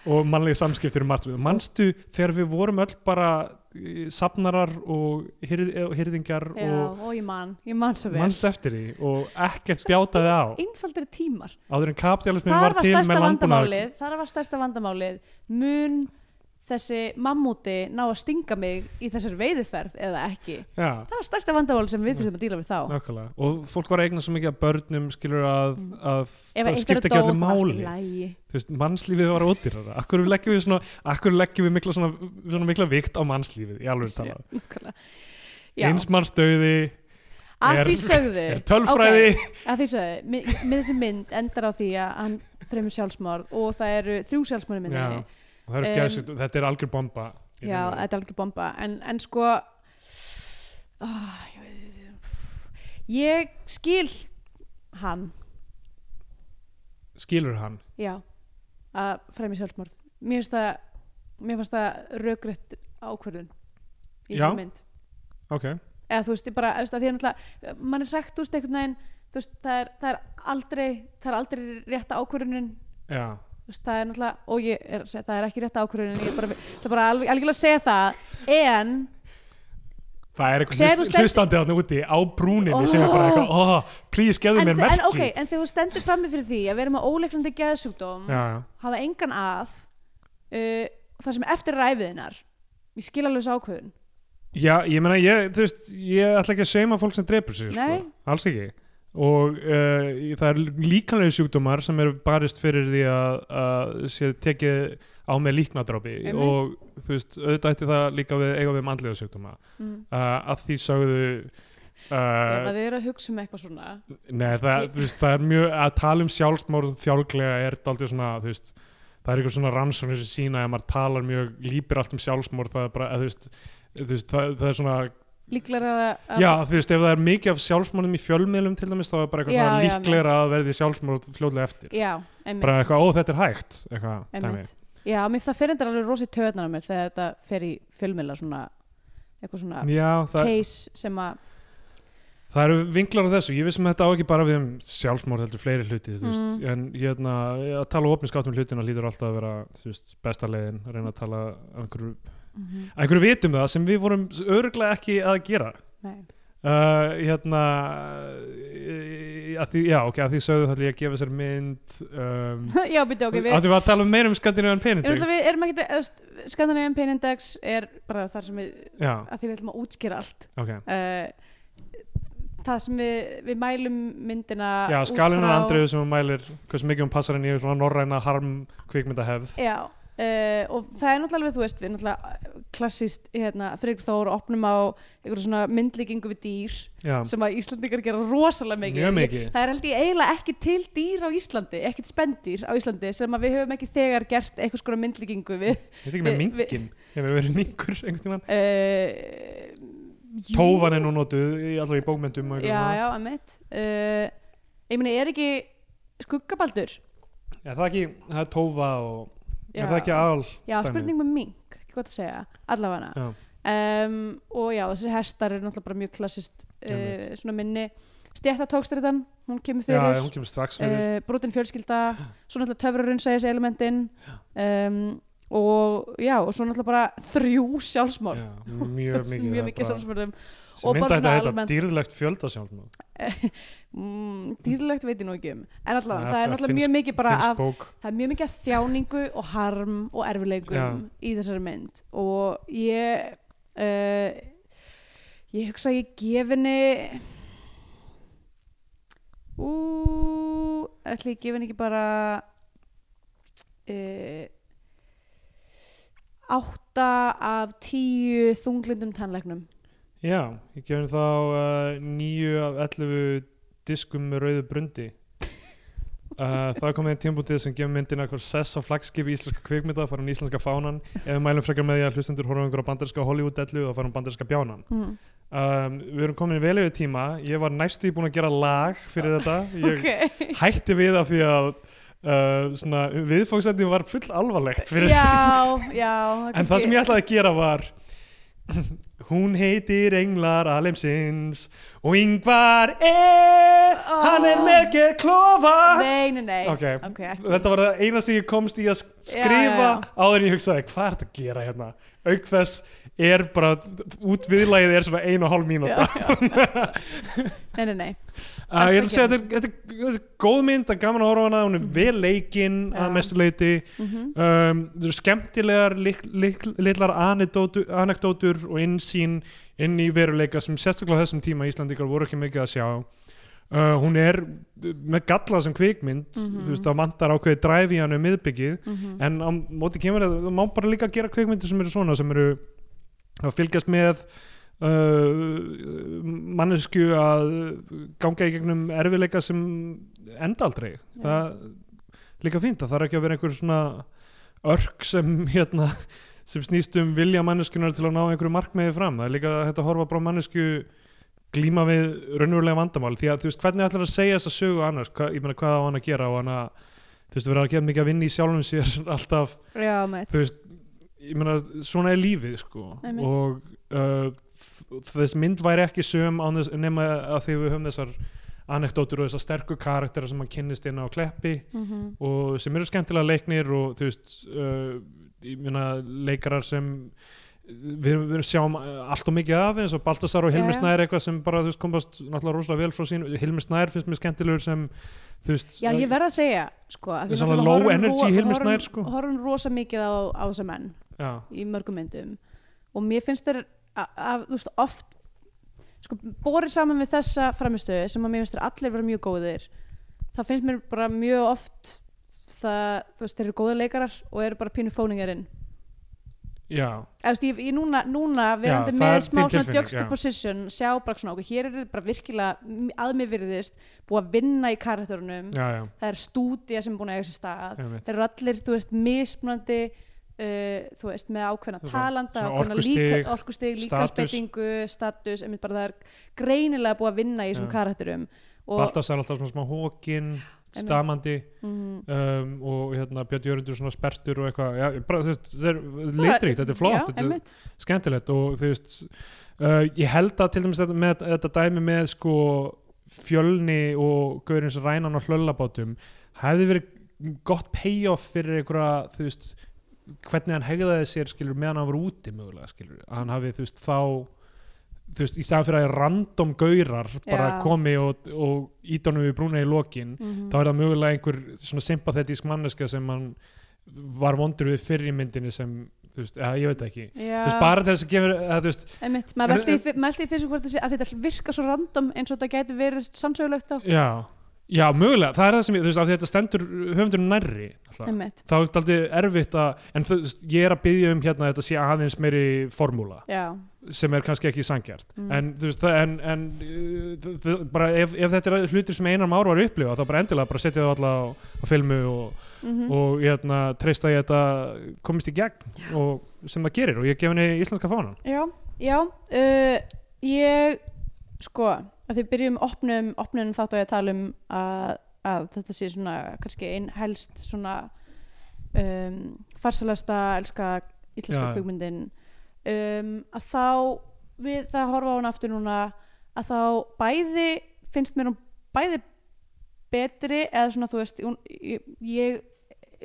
og mannlega samskiptir um martröð manstu þegar við vorum öll bara eh, safnarar og hirð, eh, hirðingjar já og og, ég man, ég man svo vel mannst eftir því og ekkert bjátaði á einfaldri tímar áður en kapitalismin það var var til stærsta með landbúnaði vandamálið það var stærsta vandamálið mun þessi mammúti ná að stinga mig í þessari veiðiferð eða ekki já, það var stærsta vandamálið sem við þurfum að díla við þá nákvæmlega og fólk var að eigna svo mikið að börnum skilur að, Mm. að ef það eitt er skipti ekki dóð allir það var allt í máli lagi Þú veist, mannslífið var ódýrara akkur leggjum við, svona, akkur leggjum við mikla, svona, svona mikla vikt á mannslífið í alveg talað, Nákvæmlega. Já, eins mannsdauði að er- því sögðu er tölfræði Ok, að því sögðu, mi- með þessi mynd endar á því að hann fremur sjálfsmorð og það eru þrjú sjálfsmorði myndinni já, og það eru Um, geðsjúkt- þetta er algjör bomba Hérna, í Já, rauninni. þetta er alveg bomba en, en sko oh, ég, veit- ég skil hann skilur hann já, að fremja sjálfsmorð mér finnst það mér fannst það rökrætt ákvörðun Já. í þessari mynd ok, eða þú veist, ég bara, þú veist, að því að náttúrulega mann er sagt, þú veist, einhvern veginn þú veist, það er, það er aldrei það er aldrei rétta ákvörðunin já, þú veist, það er náttúrulega, og ég er að segja, það er ekki rétta ákvörðunin, ég er bara, það er bara alveg, alveg að segja það, en það er eitthvað Þegar þú hlust, stendur- hlustandi þarna úti á brúninni sem er bara eitthvað, oh, please, gefðu en, mér en merki ok, en þegar þú stendur frammi fyrir því að vera með óleiklandi geðsjúkdóm já, já hafa engan að uh, það sem eftir ræfiðinar ég skil alveg þessu ákvörðun Já, ég meina, ég, þú veist, ég ætla ekki að seima fólk sem drepur sig, Nei. sko, alls ekki og uh, það er líkanlega sjúkdómar sem eru barist fyrir því að, að sé tekið á með líknadrópi Einmitt. og þú veist, auðvitað ætti það líka við eiga við mannlega sjúkdóma uh, mm. að því sögðu eh, ef uh, að þið eru að hugsa um eitthvað svona Nei, það, þú veist, það er mjög að tala um sjálfsmórð fjálglega er daldið svona, þú veist það er eitthvað svona rannsóknir sem sína ef maður talar mjög, lípir allt um sjálfsmórð það er bara, að, þú veist, þú veist það, það er svona líklega að, að Já, þú veist, ef það er mikið af sjálfsmórnum í fjölmiðlum til dæmis, þá er bara eitthvað Já, svona já, líklegra að verði sjálfsmórn fljóðlega eftir. já einmitt, Bara eitthvað, ó, þetta er hægt, eitthvað, dæmi. einmitt. já, mér það fer endur alveg rosi töðnar á mér þegar þetta fer í fjölmila svona, eitthvað svona Já, það, case sem að það eru vinglar á þessu. Ég vissum að þetta á ekki bara við um sjálfsmórn heldur fleiri hluti, þú veist. Mhm. En hérna, að tala opinskátt um hlutina lítur alltaf að vera, þú veist, besta leiðin, að reyna að tala að einhverju, að einhverju vitum það sem við vorum öruglega ekki að gera. nei, Uh, hérna, eh, að því, já, ok, að því sögðu þá ætla ég að gefa sér mynd, um, já, byrja, ok, við Áttum við að tala meira um Scandinavian Ég veit að Penindex? við erum ekkert, skandanegin penindex er bara þar sem við, Já, að því við ætlum að útskýra allt ok. uh, það sem við, við mælum myndina Já, út skalinn frá- og Andriðu sem hún mælir hversu mikið hún passar henni í svona norræna harm kvikmyndahefð. já, uh, og það er náttúrulega alveg, þú veist, við náttúrulega klassist, hérna, Freyr Þór opnum á einhverjum svona myndlíkingu við dýr já, sem að Íslandingar gera rosalega mikið Mjög mikið. það er held ég eiginlega ekki til dýr á Íslandi ekkert spendýr á Íslandi sem að við höfum ekki þegar gert einhvers konar myndlíkingu við þetta ekki með við- við- minkin hefur verið minkur einhvern tímann uh, tófan er nú notuð í- allavega í bókmyndum og eitthvað já, svona. já, emitt uh, ég meina, er ekki skuggabaldur Já, það er ekki, það er tófa og já, er það ekki aðal já dæmið? spurning með mink, ekki gott að segja allavega já, um, og já, þessir hestar eru náttúrulega bara mjög klassist uh, Einmitt. svona minni stjættatókstriðan, hún kemur já, fyrir hún kemur strax fyrir uh, brotin fjölskylda svo náttúrulega töfrarun segis elementin um, og já, og svo náttúrulega bara þrjú sjálfsmorð já, mjög mikið mjög mikið sjálfsmorðum sem og mynda bara þetta svona heita almennt- dýrlegt fjölda sjálfsmóð mm, dýrlegt veit ég nú ekki um en allavega, Ja, það er það náttúrulega finnst- mjög mikið bara finnst af, bók það er mjög mikið af þjáningu og harm og erfileikum í þessari mynd og ég uh, ég hugsa að ég gef henni ú ætli ég gef henni ekki bara uh, átta af tíu þunglindum tannleiknum já, ég gefur þá uh, nýju af 11 diskum með rauðu brundi Uh, það kom einn tímpútið sem gefur myndina eitthvað sess á flagskipi íslenska kvikmynda það farum íslenska fánan ef við mælum frekar með því að hlustendur horfum einhverja bandarska Hollywood-dellu og farum bandarska bjánan mm. um, við erum komin í vel yfir tíma ég var næstu í búin að gera lag fyrir þetta ég Ah, ok hætti við af því að uh, svona, viðfóksendin var full alvarlegt fyrir já, já en það sem ég ætlaði að gera var hún heitir Englar Alemsins og Ingvar er Oh. hann er með ekki klofa Nei, nei, nei Ok. ekki. þetta var það eina sem ég komst í að sk- skrifa Já, já, áður en ég hugsaði hvað er þetta að gera hérna auk þess er bara útviðlægið er svona einu og hálf mínúta Nei, nei, nei Uh, ég ætla að Alls segja ekki. þetta er- þetta er, þetta er góð mynd, það er gaman að horfa á hana, hún er vel leikinn Já. að mestu leiti, mm um, það eru skemmtilegar lik, lik, litlar anekdótu- anekdótur og innsýn inn í veruleika sem sérstaklega á þessum tíma Íslandingar voru ekki mikið að sjá. Uh, hún er uh, með galla sem kvikmynd, Mhm. þú veist, það vantar ákveðið dræfi í hann um miðbyggið, -hmm. en á móti kemur að það má bara líka gera kveikmyndir sem eru svona sem eru að fylgjast með uh, mannesku að ganga í gegnum erfileika sem enda aldrei það líka fínt að það er ekki að vera einhver svona örk sem hérna sem snýst um vilja manneskunar til að ná einhverju markmiði fram það er líka hægt að horfa bara á mannesku glíma við raunverulega vandamál því að þú veist hvernig ætlar að segja þess að sögu annars Hva, ég meina hvað á hann að gera á hann að þú veist, vera að gera mikið að vinna í sjálfum sér alltaf, Já, meitt þú veist ég meina, svona er lífið, sko Einmitt. og uh, þ- þess mynd væri ekki söm án þess, nema að því við höfum þessar anekdótur og þessar sterku karaktera sem hann kynnist inn á kleppi mm Mhm. -hmm. og sem eru skemmtilega leiknir og þú veist uh, ég meina, leikarar sem við, við sjáum uh, allt og mikið af eins og Baltasar og Hilmi Já, já. Snær eitthvað sem bara, þú veist, komast náttúrulega rosalega vel frá sín Hilmi Snær finnst mér skemmtilegur sem þú veist, uh, Já, ég verð að segja sko, að því Svona náttúrulega low horfum energy ro- Hilmi horfum- Snær, sko. Horfum rosa mikið á, á þessa menn já, í mörgum myndum og mér finnst þeir a- að, þú veist, oft sko, borið saman við þessa framistöðu sem að mér finnst þeir allir vera mjög góðir þá finnst mér bara mjög oft það, þú veist, þeir eru góðir leikarar og eru bara pínu fóningarinn já Eða, þú veist, ég, ég núna, núna verandi Já, það með er smá þín svona tilfinning, juxtaposition sjá bara svona okkur, hér er bara virkilega m- að mér virðist búið að vinna í karakterunum já, já, það er stúdía sem er búin að eiga sér stað einmitt þeir eru allir, þú veist, mismunandi uh, þú veist, með ákveðna Svona- talanda svona ákveðna orkustig, líka, orkustig status. líkansbeitingu, status einmitt bara það er greinilega búið að vinna í þessum Já. karakterum og Baltasar alltaf svona smá hókin stamandi mm, um, og hérna Björn Jörundur svona spertur og eitthvað, já, bara, þú veist, þetta er bara- litríkt, þetta er flott, já, þetta er einmitt, skemmtilegt og þú veist uh, ég held að til dæmis þetta, með, þetta dæmi með sko fjölni og gaurins rænan og hlöllabátum hefði verið gott payoff fyrir einhverja, þú veist hvernig hann hegðaði sér, skilur, meðan hann var úti mögulega, skilur, að hann hafi, þú veist, þá þú veist, í staðan fyrir að random gaurar bara Já. komi og, og ítanum við brúna í lokin mhm. þá er það mögulega einhver svona sympathetísk manneska sem hann var vondur við fyrir í myndinni sem, þú veist, eða, ég veit það ekki Já, þú veist, bara þess að gefur, eða, þú veist einmitt, En- maður veldi í fyr- maður velti í fyrir sig hvort þessi að þetta virkar svo random eins og þetta gæti verið sannsögulegt þá já, já, mögulega, það er það sem ég, þú veist, af því að þetta stendur höfundurinn nærri alltaf. Einmitt. þá er þetta aldrei erfitt að en þú veist, ég er að byggja um hérna að þetta sé aðeins meiri formúla Já, sem er kannski ekki sangjart Mm. en þú veist, það- en, en uh, þ- þ- bara ef, ef þetta er hlutir sem einar már var að upplifa þá bara endilega bara setja það alla á, á filmu og, mhm. og hérna, treysta ég að þetta komist í gegn og, sem það gerir og ég gef henni íslenska fánan já, já uh, Ég, sko að þið byrjum opnum, opnum þátt og ég að tala um að, að þetta sé svona kannski ein helst svona um, farsalasta elska íslenska Já, já. kvikmyndin um, að þá við það að horfa á hún aftur núna að þá bæði finnst mér hún bæði betri eða svona þú veist hún, ég, ég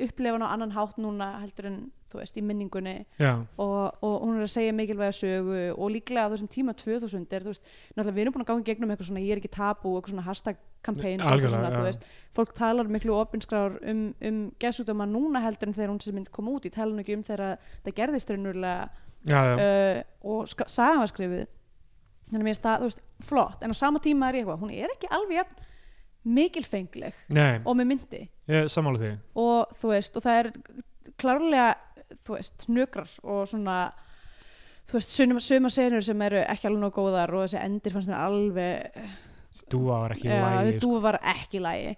upplefa hann á annan hátt núna heldur en þú veist í minningunni já, og, og hún er að segja mikilvæga sögu og líklega á þessum tíma 2000 er, þú veist, náttúrulega við erum búin að ganga í gegnum eitthvað svona ég er ekki tabu og eitthvað svona hashtag campaigns og Algjörlega, eitthvað svona, þú já. veist, fólk talar miklu opinskrar um, um geðsúkdóma núna heldur en þegar hún sem mynd kom út í talan ekki um þegar það gerðist raunverulega já, já, uh, og sk- sagan var skrifið þannig að mér finnst það, þú veist, flott en á sama tíma er ég eitthvað, hún er ekki alveg jafn mikilfengleg nei, og með myndi ég er sammála því og þú veist, og það er klárlega, þú veist, nökrar og svona þú veist, suma, suma senur sem eru ekki alveg nóg góðar og þessi endir fannst mér alveg dúa var ekki í eða, lagi sko. dúfa var ekki í lægi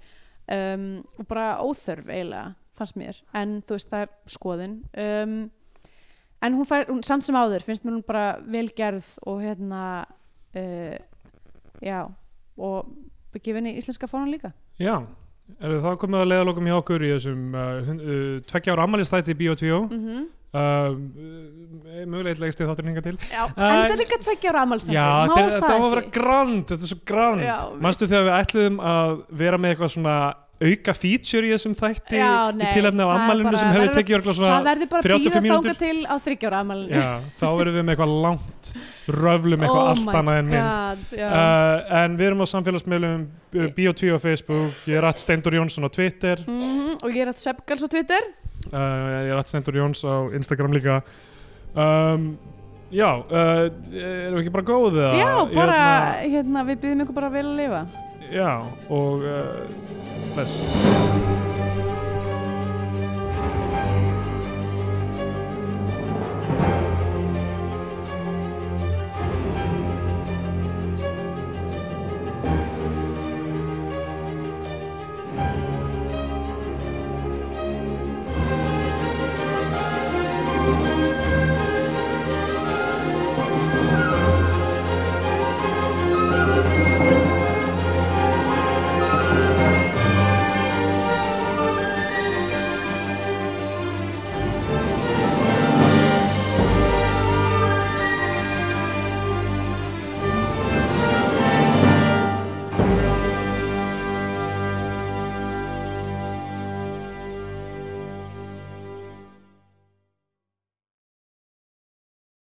um, og bara óþörf eiginlega fannst mér, en þú veist, það er skoðin um, en hún fær, hún, samt sem áður finnst mér hún bara velgerð og hérna uh, já og gefið henni íslenska fánan líka Já, er það komið að leiðalokum hjá okkur í þessum uh, hun- uh, tveggja ára ammælistætti í Bíotvíó mm. mm uh, mögulega leggst ég þáttur hinga til já, en Eh, þetta er líka tveggja ára amalstætti Já, má þetta er- það þetta á ekki að vera grand þetta er svo grand, Já, manstu þegar við ætluðum að vera með eitthvað svona auka feature í þessum þætti Já, í nei, tilefni af það er ammælinu bara- sem hefði verður- tekið örgla það svona verður bara að 35 býða mínútur. þanga til á þryggjára amalinu Já, þá verðum við með eitthvað langt röflum Oh eitthvað allt annað en minn Uh, en við erum á samfélagsmiðlum uh, Bíotvíó á Facebook, ég er Ratt Steindur Jónsson á Twitter Mhm, og ég er að Seppgals á Twitter uh, ég er Atstendur Jóns á Instagram líka um, já uh, erum við ekki bara góð eða? já, bara, Hérna, hérna, við býðum ykkur bara vel að lifa já, og uh, bless